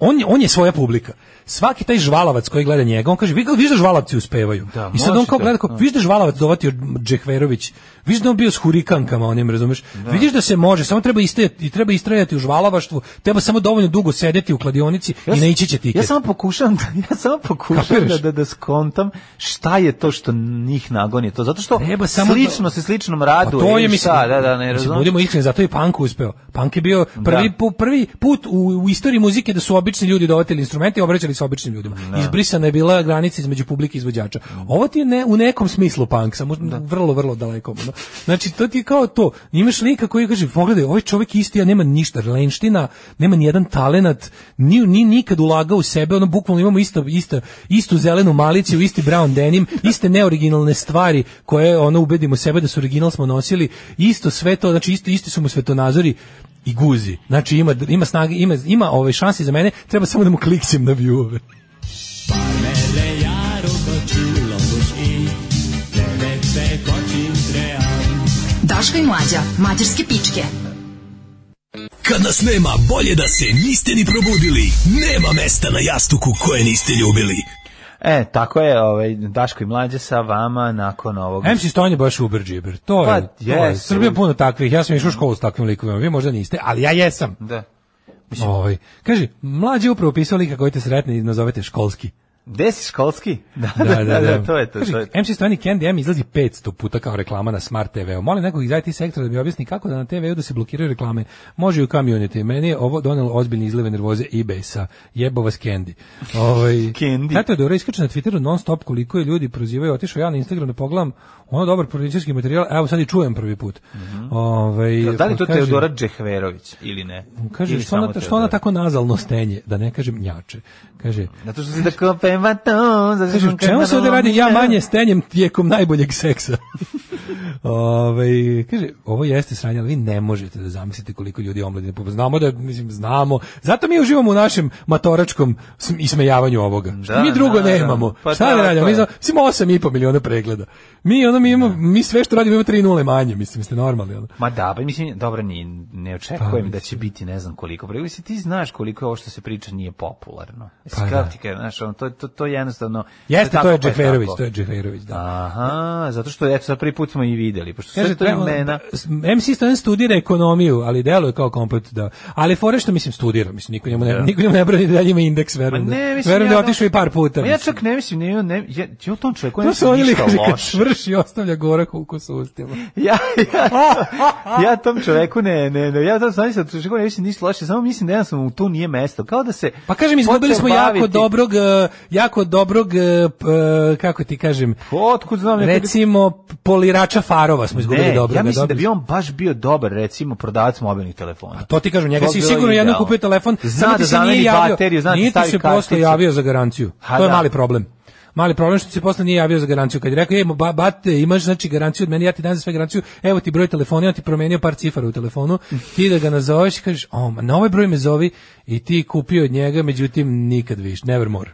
S7: on, je- on je svoja publika. Svaki taj žvalavac koji gleda njega, on kaže, vi vidiš da žvalavci uspevaju.
S6: Da,
S7: I sad on
S6: može
S7: kao
S6: to,
S7: gleda, kao,
S6: da.
S7: vidiš da je žvalavac dovati od Džehverović, vidiš da je on bio s hurikankama, onim, razumeš? Vidiš da se može, samo treba istajati, i treba istrajati u žvalavaštvu, treba samo dovoljno dugo sedeti u kladionici i
S6: s-
S7: naići će
S6: Ja
S7: tiket.
S6: samo pokušam, da, ja samo pokušam
S7: Kapiraš?
S6: da, da, da skontam šta je to što njih nagoni to. Zato što
S7: Treba samo
S6: slično se sličnom radu.
S7: Pa to je
S6: ili
S7: mislim,
S6: šta, da, da, ne
S7: mislim,
S6: razumem.
S7: budemo iskreni, zato je i punk uspeo. Punk je bio prvi, pu- prvi put u, u istoriji muzike da su obični ljudi dovatili instrumente i obraćali se običnim ljudima. Izbrisana je bila granica između publike i izvođača. Ovo ti je ne, u nekom smislu punk, samo vrlo, vrlo daleko. ono. Znači, to ti je kao to. Imaš lika koji kaže, pogledaj, ovaj čovjek isti, a nema ništa, lenština, nema nijedan talenat, ni, ni nikad ulagao u sebe, ono bukvalno imamo isto, isto, istu zelenu maliciju, isti brown denim, iste neoriginalne stvari koje ono ubedimo sebe da su original smo nosili, isto sve to, znači isti, isti su mu svetonazori i guzi. Znači ima ima snage, ima ima ove šanse za mene, treba samo da mu klikćem na view-ove.
S9: Daško i mlađa, mađarske pičke.
S1: Kad nas nema, bolje da se niste ni probudili. Nema mesta na jastuku koje niste ljubili.
S6: E, tako je, ovaj, Daško i mlađe sa vama nakon ovog...
S7: MC Stojan je baš uber džiber. To
S6: Pa,
S7: je, to je.
S6: jesu.
S7: Srbija je puno takvih. Ja sam išao u školu s takvim likovima. Vi možda niste, ali ja jesam.
S6: Da.
S7: Ovaj. Kaže, mlađi je upravo pisao lika koji te sretne i nazovete školski.
S6: Gde si školski? Da, to je to.
S7: Kaže,
S6: to je to.
S7: MC Stojani Candy M izlazi 500 puta kao reklama na Smart TV-u. Molim nekog iz IT sektora da mi objasni kako da na TV-u da se blokiraju reklame. Može i u kamionite. Meni je ovo donelo ozbiljne izlive nervoze i besa. Jebo vas Candy. Ovaj,
S6: Candy.
S7: Tato je dobro iskače na Twitteru non stop koliko je ljudi prozivaju. Otišao ja na Instagram da pogledam ono dobar politički materijal. Evo sad i čujem prvi put. Ovaj,
S6: Mhm. Da li je to
S7: kaže-
S6: Teodora Džehverović ili ne?
S7: Kaže,
S6: Ili
S7: što ona,
S6: samo
S7: što ona
S6: Teodora?
S7: tako nazalno stenje, da ne kažem njače. Kaže,
S6: Zato što si da kopem vaton, zato
S7: Kaže,
S6: što
S7: u čemu se
S6: ono
S7: ovde radi ja manje stenjem tijekom najboljeg seksa? Ove, kaže, ovo jeste sranje, ali vi ne možete da zamislite koliko ljudi omladine popa. Znamo da, mislim, znamo. Zato mi uživamo u našem matoračkom sm- ismejavanju ovoga. Što mi drugo
S6: da, da.
S7: nemamo.
S6: Pa
S7: Šta da
S6: da,
S7: radimo?
S6: to
S7: Mi
S6: je.
S7: znamo, mislim, 8,5 miliona pregleda. Mi, ono, mi, imamo, mi sve što radimo imamo 3 nule manje, mislim, ste normalni. Ono.
S6: Ma da, pa mislim, dobro, ni, ne očekujem
S7: Pa,
S6: da će biti ne znam koliko. Pa, mislim, ti znaš koliko je ovo što se priča nije popularno. Mislim,
S7: Pa
S6: kako
S7: da.
S6: ti kažem, znaš, ono, to, to, to je jednostavno...
S7: Jeste, to
S6: tako,
S7: je
S6: pa
S7: Džeferović,
S6: tako.
S7: to je Džeferović, da.
S6: Aha, zato što, eto, sad prvi put smo i videli, pošto
S7: Kaže,
S6: sve to
S7: treba-
S6: imena...
S7: s- MC Stojan studira ekonomiju, ali deluje kao komplet, da. Ali fore što mislim studira, mislim niko njemu ne, niko njemu ne brani da dalje ima indeks, verujem.
S6: Ma ne,
S7: da,
S6: mislim,
S7: verujem da
S6: ja
S7: je otišao
S6: ne-
S7: i par puta.
S6: Ma ja
S7: mislim.
S6: čak ne mislim, ne, ne, ja, ja u tom čovjeku ne
S7: to su oni
S6: mislim ništa
S7: kaže kad
S6: loše.
S7: svrši ostavlja gorak ukus u ustima.
S6: ja, ja, ja tom čoveku ne, ne, ne, ja tom sam sam čoveku ne mislim ništa loše, samo mislim da ja sam u to nije mesto. Kao da se...
S7: Pa kažem, izgubili
S6: počeo
S7: smo jako
S6: baviti-
S7: dobrog, eh, jako dobrog, eh, p- eh, kako ti kažem,
S6: Otkud znam neko-
S7: recimo polirača farova smo izgubili
S6: Ne,
S7: dobro.
S6: ja mislim da bi on baš bio dobar, recimo, prodavac mobilnih telefona.
S7: To ti kažem, njega
S6: To
S7: si
S6: bi bilo
S7: sigurno jedno
S6: idealno.
S7: kupio telefon,
S6: Zna
S7: samo ti
S6: da
S7: se nije
S6: zameni
S7: javio,
S6: bateriju, zna da
S7: nije ti
S6: stavi
S7: se posle
S6: karticu.
S7: javio za garanciju.
S6: Ha,
S7: to je
S6: da.
S7: mali problem. Mali problem što ti se posle nije javio za garanciju. Kad je rekao, ej, ba, bate, imaš znači garanciju od mene, ja ti dajem za sve garanciju, evo ti broj telefona, ja ti promenio par cifara u telefonu, ti da ga nazoveš i kažeš, o, ma na ovaj broj me zovi i ti kupio od njega, međutim, nikad više, nevermore.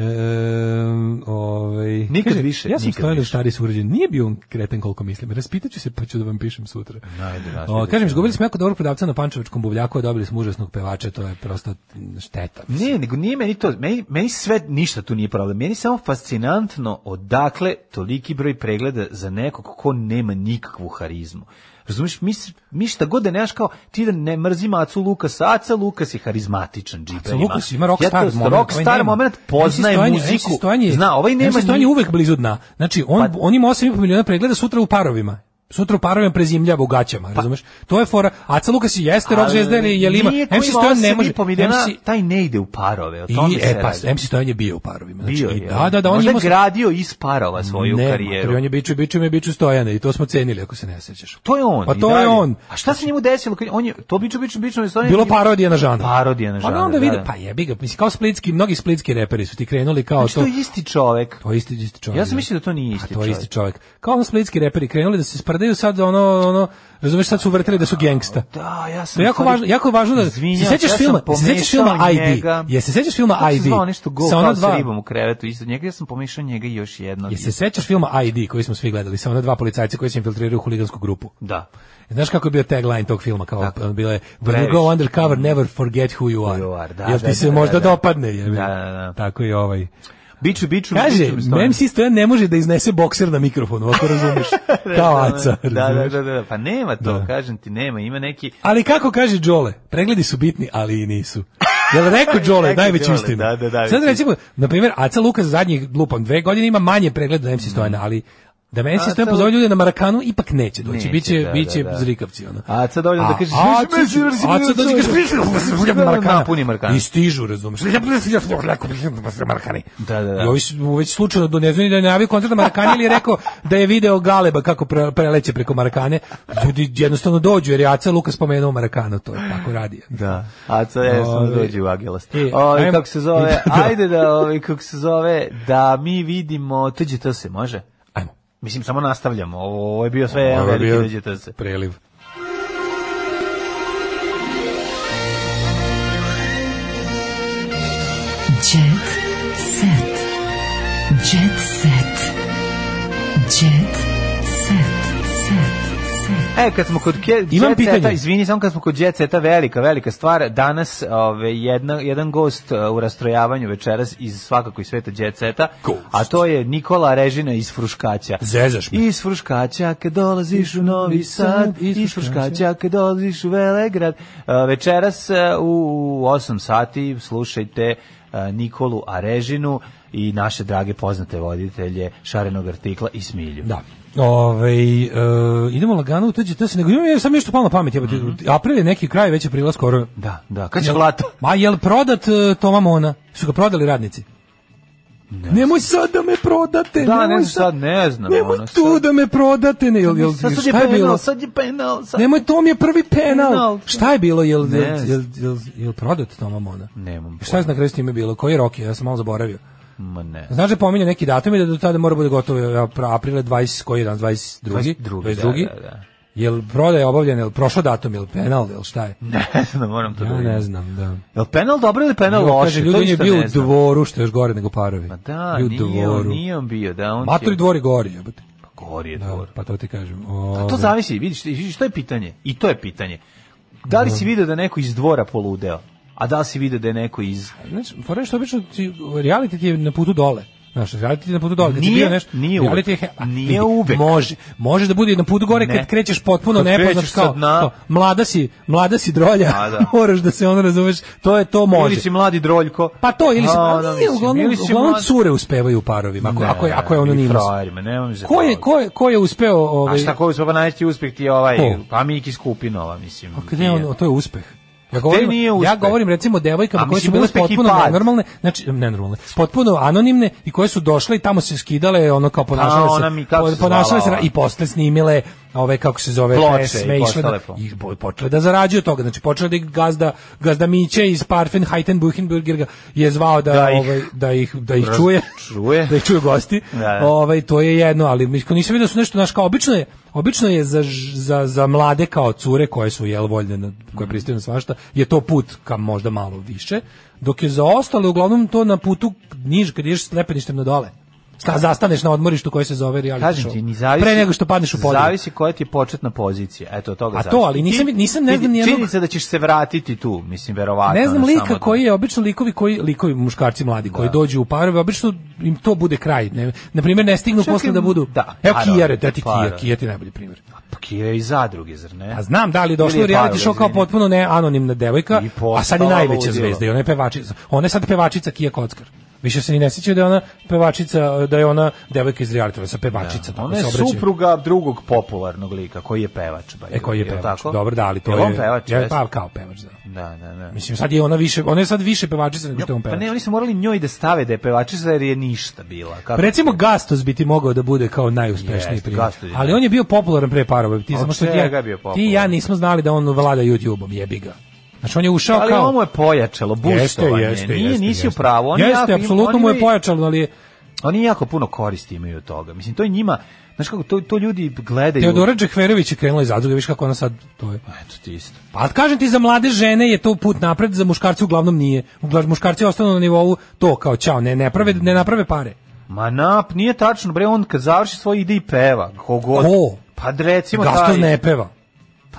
S7: Ehm, ovaj,
S6: Nikad više,
S7: Ja sam
S6: nikad
S7: stojao u
S6: više.
S7: stari sugrađan. Nije bio on kreten koliko mislim. Raspitaću se pa ću da vam pišem sutra.
S6: Ajde, našli
S7: O,
S6: bi
S7: kažem,
S6: se.
S7: izgubili smo jako dobrog prodavca na Pančevačkom buvljaku, a dobili smo užasnog pevača, to je prosto šteta.
S6: Ne, nego nije meni to, meni, meni sve ništa tu nije problem. Meni je samo fascinantno odakle toliki broj pregleda za nekog ko nema nikakvu harizmu. Razumeš, mi, mi šta god da nemaš kao, ti da ne mrzi Acu Lukasa, Aca Lukas je harizmatičan džipa.
S7: Aca Lukas ima rockstar
S6: ja to,
S7: moment. ovaj
S6: Rockstar moment, poznaje
S7: Stojanje-
S6: muziku.
S7: MC Stojanje-
S6: zna, ovaj nema
S7: MC Stojanje
S6: ni- Pa-
S7: uvek blizu dna. Znači, on, on ima 8,5 miliona pregleda sutra u parovima. Sutra u parovima prezimljava u gaćama, razumeš? To je fora. Aca Lukas i jeste rock
S6: Pa- Ali
S7: zvezda ili je lima.
S6: nije ko
S7: MC
S6: ima
S7: Stojan ne
S6: osam i
S7: može.
S6: po miliona,
S7: MC
S6: taj ne ide u parove, o
S7: I,
S6: tome se
S7: e, pa,
S6: radi.
S7: MC Stojan je bio u parovima. Znači,
S6: Bio
S7: i-
S6: je.
S7: Da, da, da, on
S6: Možda
S7: je imao-
S6: je gradio iz parova svoju
S7: Ne,
S6: karijeru.
S7: mater, on je biču, biču, mi je biču Stojane i to smo cenili, ako se ne sećaš.
S6: To je on.
S7: Pa
S6: i
S7: to
S6: dalje.
S7: je on.
S6: A šta se njemu desilo? kad je- On je, to biću, biću, biću, biću,
S7: Bilo parodija na žanr.
S6: Parodija na žanr.
S7: Pa
S6: da,
S7: onda vide,
S6: da.
S7: pa jebi ga, mislim, kao splitski, mnogi splitski reperi su ti krenuli kao
S6: Znači, to je isti čovek.
S7: To je isti, isti čovjek.
S6: Ja sam
S7: da. Pa
S6: mislio da to nije isti
S7: To je isti
S6: čovek.
S7: čovjek. Kao ono splitski reperi krenuli da se sprdaju sad ono, ono, razumeš, sad su vrtili da su gengsta.
S6: Da, ja sam...
S7: To je jako važno, jako važno da
S6: Izvinjam,
S7: se sećaš
S6: ja sam
S7: filma, se sećaš filma
S6: pomešao
S7: ID.
S6: njega.
S7: Je se sećaš filma
S6: Kako se
S7: ID.
S6: zvao nešto go,
S7: Sa ona
S6: kao sa
S7: dva-
S6: ribom u krevetu, isto njega, ja sam pomešao njega i još jedno.
S7: Je se sećaš filma ID koji smo svi gledali sa ona dva policajca koji se infiltriraju u huligansku grupu.
S6: Da.
S7: Znaš kako je bio tagline tog filma kao dakle. bilo je When you
S6: Previše.
S7: go undercover never forget who you are.
S6: Dobar, da,
S7: Jel ti
S6: da,
S7: se
S6: da,
S7: možda
S6: da, da.
S7: dopadne? jel?
S6: Da, da, da.
S7: Tako i ovaj.
S6: Biću, biću,
S7: Kaže,
S6: biću, mi stoji.
S7: MC Stojan ne može da iznese bokser na mikrofonu, ako razumeš. Kao aca.
S6: Da, da,
S7: razumeš?
S6: da, da, pa nema to,
S7: Da.
S6: kažem ti, nema, ima neki...
S7: Ali kako kaže Đole, pregledi su bitni, ali i nisu. Jel rekao Đole,
S6: Rekao
S7: najveću
S6: Đole,
S7: istinu.
S6: da, da, da,
S7: Sad
S6: veću
S7: recimo, na primjer, Aca Lukas zadnjih lupam dve godine ima manje pregleda na MC Stojana, ali da me MC
S6: Mm. Aca
S7: Stojan
S6: Lu-
S7: pozove ljude na Marakanu, ipak neće doći.
S6: Neće,
S7: biće,
S6: da,
S7: biće
S6: da, da.
S7: zrikavci. Ono.
S6: A sad dovoljno da
S7: A-
S6: kažeš...
S7: a,
S6: "Biću, biću, biću,
S7: a, sad dođe i kaže,
S6: biću, biću, biću,
S7: Marakana.
S6: Napuni Markana.
S7: I stižu, razumeš.
S6: Da, da,
S7: I
S6: da.
S7: ovi su već slučajno donezu da je najavio koncert na Marakani ili je rekao da je video Galeba kako pre- preleće preko Marakane. Ljudi jednostavno dođu jer je Aca Lukas spomenuo Marakanu, to je tako radi.
S6: Da. A to je sam
S7: Ove.
S6: dođe u Agelast.
S7: E,
S6: Ovaj
S7: ajmo-
S6: kako se zove? Ajde da ovaj kako se zove da mi vidimo tuđe to se može.
S7: Ajmo.
S6: Mislim samo nastavljamo. Ovo, ovo je bio sve
S7: Ovo je
S6: veliki
S7: bio
S6: tuđe to se.
S7: Preliv.
S3: Jet set. Jet set. Jet set. Set. Set.
S6: E, kad smo kod ke,
S7: Imam
S6: Jet
S7: pitanje.
S6: Seta, izvini, samo kad smo kod Jet Seta, velika, velika stvar, danas ove, jedna, jedan gost e, u rastrojavanju večeras iz svakako iz sveta Jet Seta, a to je Nikola Režina iz Fruškaća.
S7: Zezaš mi.
S6: Iz Fruškaća kad dolaziš u Novi Sad, iz Fruškaća kad dolaziš u Velegrad. E, Večeras e, u 8 sati slušajte e, Nikolu Arežinu i naše drage poznate voditelje Šarenog artikla i Smilju.
S7: Da. Ove, e, idemo lagano u tuđe, to se nego imam ja sam nešto palo na pamet, jebote. April je neki kraj, već je prilaz skoro.
S6: Da, da, kad će
S7: Jel-
S6: Vlato?
S7: Ma jel prodat e, Toma Mona? Su ga prodali radnici? Nemoj sad da me prodate.
S6: Da,
S7: nemoj
S6: ne znam sad, ne znam,
S7: Nemoj
S6: ono,
S7: tu
S6: sad-
S7: da me prodate. Ne, jel, jel,
S6: sad, sad je
S7: šta je
S6: penal,
S7: bilo?
S6: sad je penal, sad...
S7: Nemoj, to mi je prvi penal.
S6: Penal.
S7: Šta je bilo? Jel,
S6: Ne
S7: jel, jel,
S6: znam.
S7: jel, jel prodat Toma Mona?
S6: Nemam
S7: Šta je na kraju s time bilo? Koji rok je? Ja sam malo zaboravio.
S6: Ma ne.
S7: Znaš da pominje neki datum i da do tada mora bude gotovo apr- aprila 20, koji je dan, 22.
S6: 22., da,
S7: 22..
S6: da, da.
S7: Jel prodaja obavljena, jel prošao datum, jel penal, jel šta je?
S6: Ne znam, moram to da
S7: Ja
S6: vidim.
S7: ne znam, da.
S6: Jel penal dobro ili penal
S7: Evo,
S6: loše?
S7: Kaže,
S6: To
S7: ljudi, on je
S6: isto
S7: bio
S6: ne
S7: u
S6: znam.
S7: dvoru, što je još gore nego parovi.
S6: Ma da,
S7: Bio u
S6: nije on,
S7: dvoru.
S6: nije on bio, da, on
S7: Matori
S6: će-
S7: dvori gori, jebote.
S6: Gori je
S7: Da,
S6: dvor.
S7: pa to ti kažem.
S6: A to
S7: Ove.
S6: zavisi, vidiš, vidiš, to je pitanje. I to je pitanje. Da li si video da je neko iz dvora poludeo? A da li si video da je neko iz...
S7: Znači, fora je što obično ti, reality ti je na putu dole. Znaš, reality ti je na putu dole. Kad si
S6: Nije-
S7: bio nešto,
S6: nije
S7: reality
S6: uvek.
S7: je- a,
S6: Nije
S7: vidi,
S6: uvek.
S7: Može, može da bude na putu gore
S6: Ne.
S7: kad krećeš potpuno
S6: Kad
S7: nepoznat
S6: krećeš sa
S7: kao,
S6: dna.
S7: kao, mlada si, mlada si drolja,
S6: A, da.
S7: moraš da se ono razumeš, to je to može.
S6: Ili si mladi droljko?
S7: Pa to, ili se,
S6: A,
S7: pa
S6: ono,
S7: nije,
S6: mislim,
S7: uglavnom,
S6: ili si
S7: uglavnom
S6: mlad-
S7: cure uspevaju u parovima, ako,
S6: Ne,
S7: ako, je, ako je
S6: ili
S7: anonimus.
S6: frajerima, nemam za
S7: Ko je,
S6: frajerima.
S7: ko je, ko je uspeo... Ovaj,
S6: A šta ko je uspeo najveći uspeh ti je ovaj,
S7: Ko?
S6: pa Miki Skupinova, mislim.
S7: Pa gde on, to je uspeh. Ja govorim,
S6: nije
S7: ja
S6: uspeh?
S7: govorim recimo
S6: A,
S7: o devojkama koje su
S6: mislim,
S7: bile
S6: uspeh i
S7: potpuno
S6: pad.
S7: nenormalne, znači nenormalne, potpuno anonimne i koje su došle i tamo se skidale ono kao ponašale
S6: A, ona
S7: se,
S6: mi, kako se
S7: ponašale se
S6: zvala ova?
S7: i posle snimile ove kako se zove
S6: Ploče
S7: pesme
S6: i
S7: išle da,
S6: postale po-
S7: i bo- počele da zarađuju od toga, znači počele da ih gazda gazda Miće iz Parfen Buchenburger je zvao da,
S6: Da ih-
S7: ovaj, da ih da ih
S6: Raz-
S7: čuje,
S6: čuje.
S7: da ih čuje gosti.
S6: Da, da.
S7: Ovaj to je jedno, ali mi nisam vidio da su nešto naš kao obično je, obično je za, ž- za, za mlade kao cure koje su jel voljne, na- koje pristaju na svašta, je to put ka možda malo više, dok je za ostale uglavnom to na putu niž kad ideš s lepeništem na dole. sta, zastaneš na odmorištu koje se zove reality
S6: Kažem
S7: show.
S6: ti, ni zavisi,
S7: Pre nego što padneš u podijel.
S6: Zavisi koja ti je početna pozicija. Eto, od toga
S7: A to,
S6: zavisi.
S7: ali nisam-
S6: Ti-
S7: nisam, ne
S6: vidi,
S7: znam nijednog-
S6: Činjenica da ćeš se vratiti tu, mislim, verovatno.
S7: Ne znam
S6: ono,
S7: lika
S6: samo
S7: koji je obično likovi koji likovi muškarci mladi koji dođu u parove, obično im to bude kraj. Ne, na primjer ne stignu
S6: Čekaj,
S7: posle da budu.
S6: da,
S7: Evo
S6: parove,
S7: Kijare, da ti
S6: parove.
S7: Kija, Kija ti je najbolji primjer.
S6: Pa Kira i zadruge, zar ne?
S7: A znam da li je došlo
S6: Ili
S7: u reality
S6: parove,
S7: show kao
S6: izvini.
S7: potpuno ne anonimna devojka, a sad je
S6: postala
S7: najveća
S6: ludilo.
S7: zvezda i ona je pevačica. Ona je sad pevačica Kija Kockar. Više se ni ne sjećaju da je ona pevačica, da je ona devojka iz reality, sa pevačica. tako
S6: Ona
S7: se
S6: je
S7: obraćaju.
S6: supruga drugog popularnog lika, koji je pevač. Ba,
S7: E koji je
S6: jel
S7: pevač?
S6: tako?
S7: Dobro, da, ali to
S6: Jel
S7: je.
S6: on pevač,
S7: Ja,
S6: jeste?
S7: pa kao pevač, da.
S6: Da, da, da.
S7: Mislim sad je ona više, ona je sad više pevačica nego što je on
S6: Pa
S7: pevač.
S6: ne, oni su morali njoj da stave da je pevačica jer je ništa bila. Kako?
S7: Recimo Gastos bi ti mogao da bude kao najuspešniji
S6: Jeste,
S7: primjer.
S6: Gastos je-
S7: Ali on je bio popularan pre parova. Ti
S6: A
S7: samo
S6: od
S7: što ti
S6: čega
S7: ja,
S6: je bio
S7: ti i ja nismo znali da on vlada YouTube-om, jebi ga. Znači on je ušao
S6: ali
S7: kao...
S6: ovo mu je pojačalo, buštovanje. Nije, nisi u pravu. Oni
S7: jeste,
S6: jako im-
S7: apsolutno
S6: oni
S7: mu je
S6: imaju-
S7: pojačalo, ali je...
S6: Oni jako puno koristi imaju od toga. Mislim, to je njima, znaš kako, to, to ljudi gledaju.
S7: Teodora Džehverović je krenula iz zadruge, viš kako ona sad to je.
S6: Eto ti isto.
S7: Pa kažem ti, za mlade žene je to put napred, za muškarce uglavnom nije. Uglavnom, muškarci ostanu na nivou to, kao čao, ne, ne, prave, ne naprave pare.
S6: Ma nap, nije tačno, bre, on kad završi svoj ide i peva. Kogod.
S7: Ko?
S6: Pa recimo
S7: Gastos ne peva.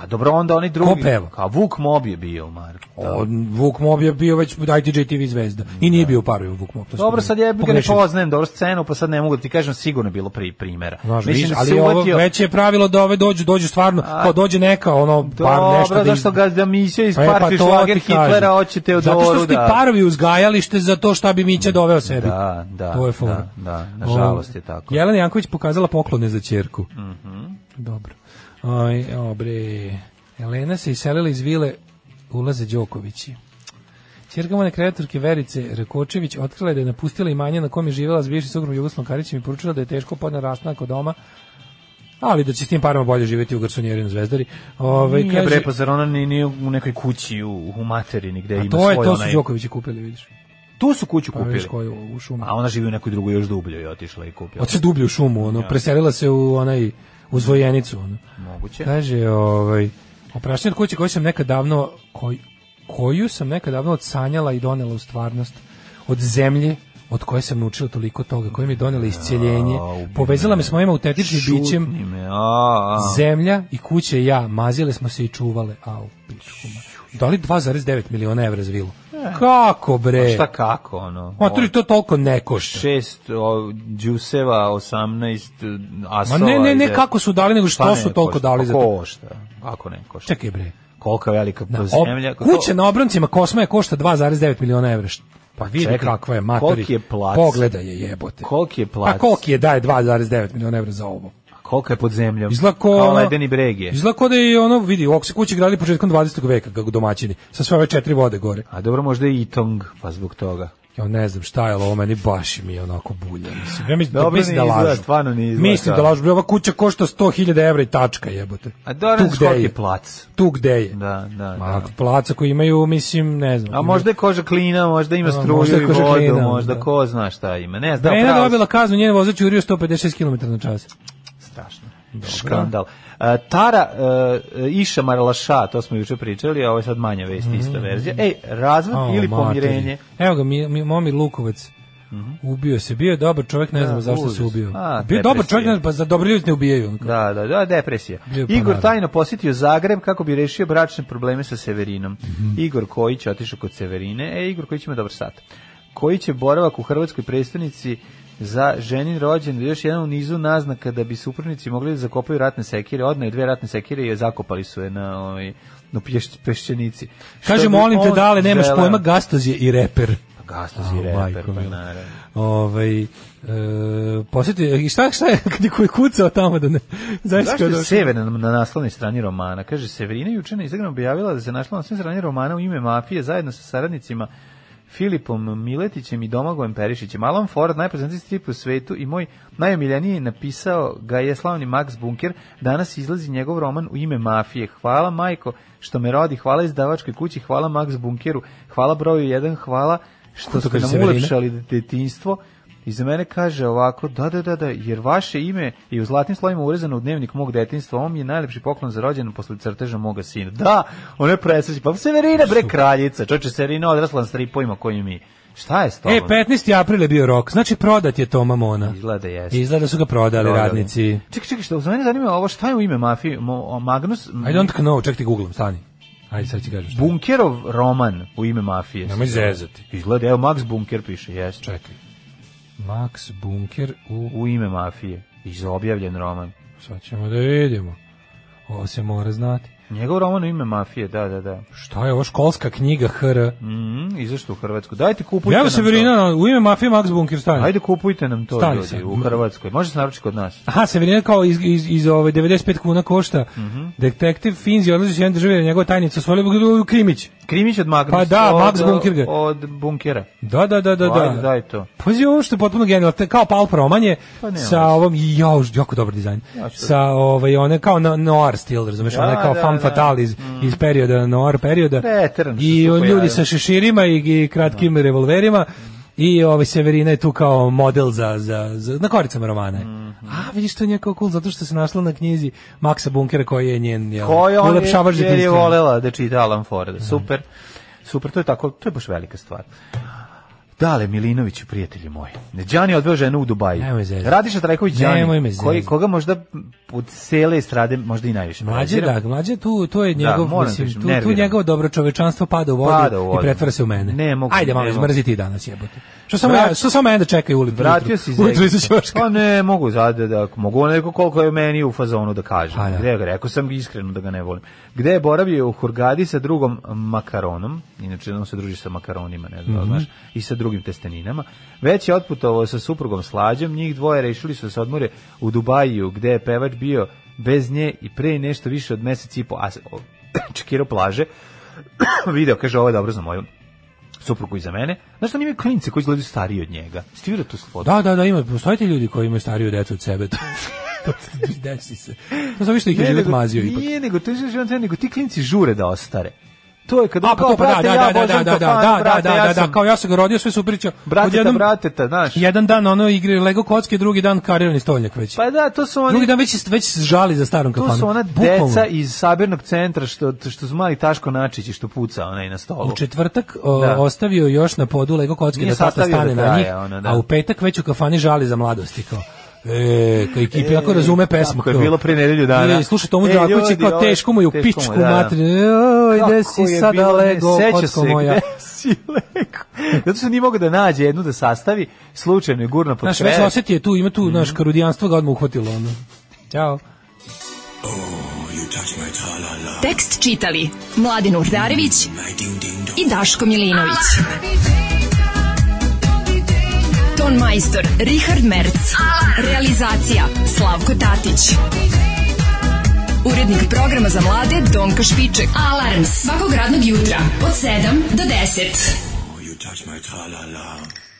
S6: Pa dobro, onda onaj drugi.
S7: Ko peva?
S6: Kao Vuk Mob je bio, Marko.
S7: On, Vuk Mob je bio već ITJ TV zvezda. I nije bio u paru Vuk Mob. to smo-
S6: Dobro, sad ja ga ne
S7: pogrešili smo.
S6: poznajem dobro scenu, pa sad ne mogu da ti kažem, sigurno je bilo pri primera.
S7: Znaš,
S6: Mislim,
S7: viš,
S6: da se
S7: ali ovo
S6: uvatio-
S7: već je pravilo da ove dođu, dođu stvarno, kao dođe neka, ono, par
S6: Dobro,
S7: nešto da iz-
S6: zašto ga da misija iz
S7: E, pa
S6: partije
S7: to
S6: šlager
S7: ti kažem.
S6: Hitlera hoće Teodoru
S7: Zato što su ti
S6: da-
S7: parovi uzgajalište za to šta bi Mića doveo sebi.
S6: Da, da,
S7: To je fora.
S6: da, da, nažalost je tako. Mhm.
S7: Jelena Janković pokazala poklone za ćerku. Dobro. Aj, obre. Elena se iselila iz vile Ulaze Đokovići. Ćerka mone kreatorke Verice Rakočević otkrila je da je napustila imanje na kom je živjela s bivšim sugrom Jugoslavom Karićem i poručila da je teško podna rastanak od doma, ali da će s tim parama bolje živjeti u garsonjeri na Zvezdari. Ove,
S6: Nije
S7: kaže-
S6: bre, pa zar ona nije, nije u nekoj kući u, u materini gde
S7: A
S6: ima
S7: to je,
S6: svoj
S7: to su
S6: onaj-
S7: Đokovići kupili, vidiš.
S6: Tu su kuću
S7: Pa
S6: kupili.
S7: vidiš koju, u šumi.
S6: A ona živi u nekoj drugoj još dubljoj, otišla i kupila.
S7: Otišla dublje u šumu, ono,
S6: Ja.
S7: preselila se u onaj, u zvojenicu, ono.
S6: Moguće.
S7: Kaže, ovaj, oprašnje od kuće koju sam nekad davno, koj- koju sam nekad davno odsanjala i donela u stvarnost, od zemlje, od koje sam naučila toliko toga, koja mi je donela isceljenje, povezala me s mojim autentičnim bićem,
S6: Šutni me, a, a.
S7: zemlja i kuće i ja, mazile smo se i čuvale, au, pičku ma. Dali 2,9 miliona evra za vilu. Kako bre?
S6: Pa šta kako, ono?
S7: Ma to, to toliko ne košta.
S6: Šest o, džuseva, osamnaest
S7: Ma
S6: asova.
S7: ne, ne, ne,
S6: ide.
S7: kako su dali, nego što
S6: Pa ne,
S7: su toliko
S6: košta.
S7: dali
S6: Pa
S7: za to.
S6: Košta, ako ne košta.
S7: Čekaj bre.
S6: Kolika je velika
S7: Na, ob-
S6: zemlja. kako-
S7: kuća na obroncima Kosma je košta 2,9 miliona evra. Št- Pa vidi
S6: Čekaj,
S7: kakva je matori.
S6: koliki je plac?
S7: Pogledaj je jebote.
S6: Koliki je plac?
S7: Pa koliki je daje 2,9 miliona evra za ovo?
S6: Kolika je pod zemljom?
S7: Izgleda ko
S6: Kao
S7: ono-
S6: ledeni breg je.
S7: Izgleda kao da je ono, vidi, ovako se kuće gradili početkom 20. veka kako domaćini, sa sve ove četiri vode gore.
S6: A dobro, možda i Itong, pa zbog toga.
S7: Ja ne znam šta je ali ovo, meni baš mi je onako bulja. Mislim, ja mislim, da,
S6: Dobro
S7: mislim
S6: ne
S7: da
S6: izgleda,
S7: lažu.
S6: stvarno ne izgleda
S7: mislim da
S6: tako.
S7: lažu. Bre, Ova kuća košta 100.000 evra i tačka jebote.
S6: A dobro,
S7: Tu
S6: znaš
S7: gde
S6: koliki
S7: je?
S6: je plac.
S7: Tu gde je.
S6: Da, da,
S7: Ma,
S6: da.
S7: placa koji imaju, mislim, ne znam.
S6: A možda je koža klina, možda ima
S7: A,
S6: struju
S7: možda je
S6: i
S7: koža
S6: vodu,
S7: klina,
S6: možda
S7: da.
S6: ko zna šta ima. Ne znam,
S7: Brena
S6: pravo si.
S7: dobila kaznu, njen vozač je urio 156 km na čas.
S6: strašno. Skandal. E, Tara e, Iša Marlaša, to smo juče pričali, a ovo je sad manja vest, ista verzija. Ej, razvod
S7: Mhm. O,
S6: ili
S7: materi.
S6: pomirenje? Mhm.
S7: Evo ga, mi, mi, Momir Lukovac. Ubio se, bio je dobar čovjek, ne
S6: Da,
S7: znam zašto
S6: užas.
S7: se ubio.
S6: A,
S7: bio je dobar
S6: depresija.
S7: čovjek, ne znam, pa za dobri ljudi ne ubijaju.
S6: Da, da, da, depresija.
S7: Bio pa
S6: Igor
S7: naravno.
S6: tajno posjetio Zagreb kako bi rešio bračne probleme sa Severinom.
S7: Mhm.
S6: Igor Kojić je otišao kod Severine. E, Igor Kojić ima dobar sat. Kojić je boravak u hrvatskoj predstavnici za ženin rođen, još jedan u nizu naznaka da bi suprnici mogli da zakopaju ratne sekire, odneo je dve ratne sekire i je zakopali su je na, ovaj, na pješ- peščenici.
S7: Kaže,
S6: Što bi
S7: molim te,
S6: on
S7: dale, nemaš
S6: želeo.
S7: pojma, Gastoz je i reper.
S6: Gastos
S7: A,
S6: i reper,
S7: majko
S6: pa
S7: mila.
S6: naravno.
S7: Ovaj, e, posjetio, i šta, šta je kad je koji kucao tamo da ne... ono- Znaš
S6: Zašto
S7: kada-
S6: je Severina na naslovnoj strani romana? Kaže, Severina je juče na Instagramu objavila da se našla na svim strani romana u ime mafije zajedno sa saradnicima Filipom Miletićem i Domagojem Perišićem. Alan Ford, najpoznatiji strip u svetu i moj najomiljeniji napisao ga je slavni Max Bunker. Danas izlazi njegov roman u ime mafije. Hvala majko što me rodi, hvala izdavačkoj kući, hvala Max Bunkeru, hvala broju 1, hvala što
S7: Kako to
S6: ste
S7: kaže
S6: nam
S7: Severina?
S6: ulepšali detinstvo. I za mene kaže ovako, da, da, da, da, jer vaše ime je u zlatnim slovima urezano u dnevnik mog detinstva, on mi je najlepši poklon za rođen posle crteža moga sina. Da, ona je presreći, pa Severina, bre, kraljica, čoče, Severina odrasla na stripovima koji mi Šta je s tobom?
S7: E, 15. april je bio rok. Znači, prodat je Toma Mona.
S6: Izgleda jeste.
S7: Izgleda su ga prodali, radnici.
S6: Čekaj, čekaj, što za mene zanima ovo, šta je u ime mafije? Mo- Magnus...
S7: I don't know, ček ti googlam, stani. Ajde, sad ti kažem šta.
S6: Bunkerov roman u ime mafije.
S7: Nemoj zezati.
S6: Izgleda, evo, Max Bunker piše, jeste.
S7: Čekaj. Max Bunker u...
S6: U ime mafije. Iz objavljen roman.
S7: Sad ćemo da vidimo. Ovo se mora znati.
S6: Njegov roman u ime mafije, da, da, da.
S7: Šta je ovo školska knjiga HR?
S6: Mm, izašto u Hrvatsku? Dajte kupujte
S7: Evo
S6: nam
S7: se
S6: to.
S7: Verina, u ime mafije Max Bunker stani.
S6: Ajde kupujte nam to
S7: Stani
S6: ljudi
S7: sad.
S6: u Hrvatskoj. Može se naručiti kod nas.
S7: Aha, Severina kao iz, iz, iz ove 95 kuna košta.
S6: Mhm.
S7: Detektiv Finzi odlazi iz jedne države, jer njegova tajnica osvojila ga u Krimić.
S6: Krimić od Magnusa.
S7: Pa da,
S6: od,
S7: Max Bunker ga.
S6: Od Bunkera.
S7: Da, da, da, da, da.
S6: Ajde, daj to.
S7: Pazi ovo što je potpuno genijalno, te- kao Palp Roman je
S6: Pa nema
S7: sa ovom, jau, jako dobar dizajn,
S6: Ja ću-
S7: sa ovaj, one kao no- noir stil, razumeš,
S6: Da,
S7: one kao
S6: da,
S7: femme
S6: da.
S7: fatale iz, iz perioda, noir perioda,
S6: Preterano što
S7: i
S6: su
S7: on, ljudi
S6: pojavili.
S7: sa šeširima i, i kratkim revolverima, i ovaj Severina je tu kao model za, za, za na koricama romana. je.
S6: Mhm.
S7: A, vidiš to je njako cool, zato što se našla na knjizi Maksa Bunkera koji je njen jel,
S6: Ko je on
S7: ulepšavač
S6: je, jer je
S7: detinjstva.
S6: volela da čita Alan Ford. Super. Super, to je tako, to je baš velika stvar. Dale Milinoviću, prijatelji moji. Đani je odveo ženu u Dubaju.
S7: Nemoj zezati.
S6: Radiša Trajković
S7: Nemoj me
S6: Đani,
S7: zezati.
S6: koji, koga možda od cele estrade možda i najviše.
S7: Mlađe,
S6: prezirem.
S7: da, mlađe tu, to je
S6: Da,
S7: njegov,
S6: moram
S7: mislim,
S6: kažem,
S7: tu, tu
S6: nerviram.
S7: njegovo dobro čovečanstvo pada u vodu,
S6: Pada u vodu.
S7: i pretvara se u mene.
S6: Ne mogu,
S7: Ajde,
S6: ne
S7: malo,
S6: mogu.
S7: izmrziti i danas jebote. Što samo
S6: Vrati-
S7: ja, što samo mene da čekaju u litru.
S6: Vratio si iz
S7: Ujutru iz
S6: Egipta.
S7: ćoška.
S6: Pa ne, mogu zada da, mogu neko koliko je meni u fazonu da kažem.
S7: A, da.
S6: Gde ga, rekao sam iskreno da ga ne volim. Gde je boravio u Hurgadi sa drugom makaronom, inače on se druži sa makaronima, ne znam, da li
S7: Mhm.
S6: znaš, i sa drugim testeninama. Već je otputovao sa suprugom Slađom, njih dvoje rešili su da se odmore u Dubaju, gde je pevač bio bez nje i pre nešto više od meseci i po, a se- o, čekirao plaže, video, kaže, ovo je dobro za moju suprugu i za mene. Znaš što on ima klinice koji izgledaju stariji od njega? Stivira tu slobodu.
S7: Da, da, da, ima, postoje ti ljudi koji imaju stariju decu od sebe. To- to se desi se. To sam više ih je
S6: Ne,
S7: život
S6: nego-
S7: mazio ipak.
S6: Nije, nego to je život, nego ti klinci žure da ostare. To je kad on
S7: A, pa to,
S6: kao,
S7: pa da,
S6: brate,
S7: da,
S6: ja
S7: da, da, da,
S6: Božan
S7: da, da,
S6: Kafan,
S7: da,
S6: brate,
S7: da,
S6: ja
S7: da, da,
S6: sam
S7: kao ja sam ga rodio, sve super će.
S6: brateta,
S7: odjednom-
S6: brateta, znaš.
S7: Jedan dan ono igre Lego kocke, drugi dan karirani stoljak već.
S6: Pa da, to su
S7: Drugi
S6: oni...
S7: dan već, se- već se žali za starom kafanom.
S6: To su ona
S7: Bukvalno.
S6: deca iz sabirnog centra što što su mali Taško Načić i što puca onaj na stolu.
S7: U četvrtak o,
S6: Da.
S7: ostavio još na podu Lego kocke
S6: Nije
S7: da tata
S6: sastavio
S7: stane
S6: do
S7: na
S6: kraja,
S7: njih,
S6: ono, da.
S7: a u petak već u kafani žali za mladosti kao. E, kao ekipi, ako razume pesmu.
S6: Tako je
S7: kao.
S6: bilo pre nedelju dana.
S7: E, sluša Tomu
S6: E,
S7: Draković je
S6: ljudi,
S7: kao
S6: ovo-
S7: teško mu je u
S6: teško mu
S7: pičku
S6: je, da, da.
S7: materinu. Joj, gde
S6: Kako
S7: si
S6: je
S7: sada
S6: bilo, ne
S7: Lego,
S6: seća
S7: kocko
S6: se,
S7: moja.
S6: gde si Lego? Zato što nije mogao da nađe jednu da sastavi, slučajno je gurno pod
S7: Znaš, već
S6: krevet.
S7: osjeti je tu, ima tu,
S6: Mhm.
S7: znaš, karudijanstvo ga odmah uhvatilo. Ono. Ćao.
S9: Tekst čitali Mladin Urdarević i Daško Milinović. Ton majstor Richard Merc. Realizacija Slavko Tatić. Urednik programa za mlade Donka Špiček. Alarms svakog radnog jutra od 7 do 10.
S15: You touch my tra-la-la.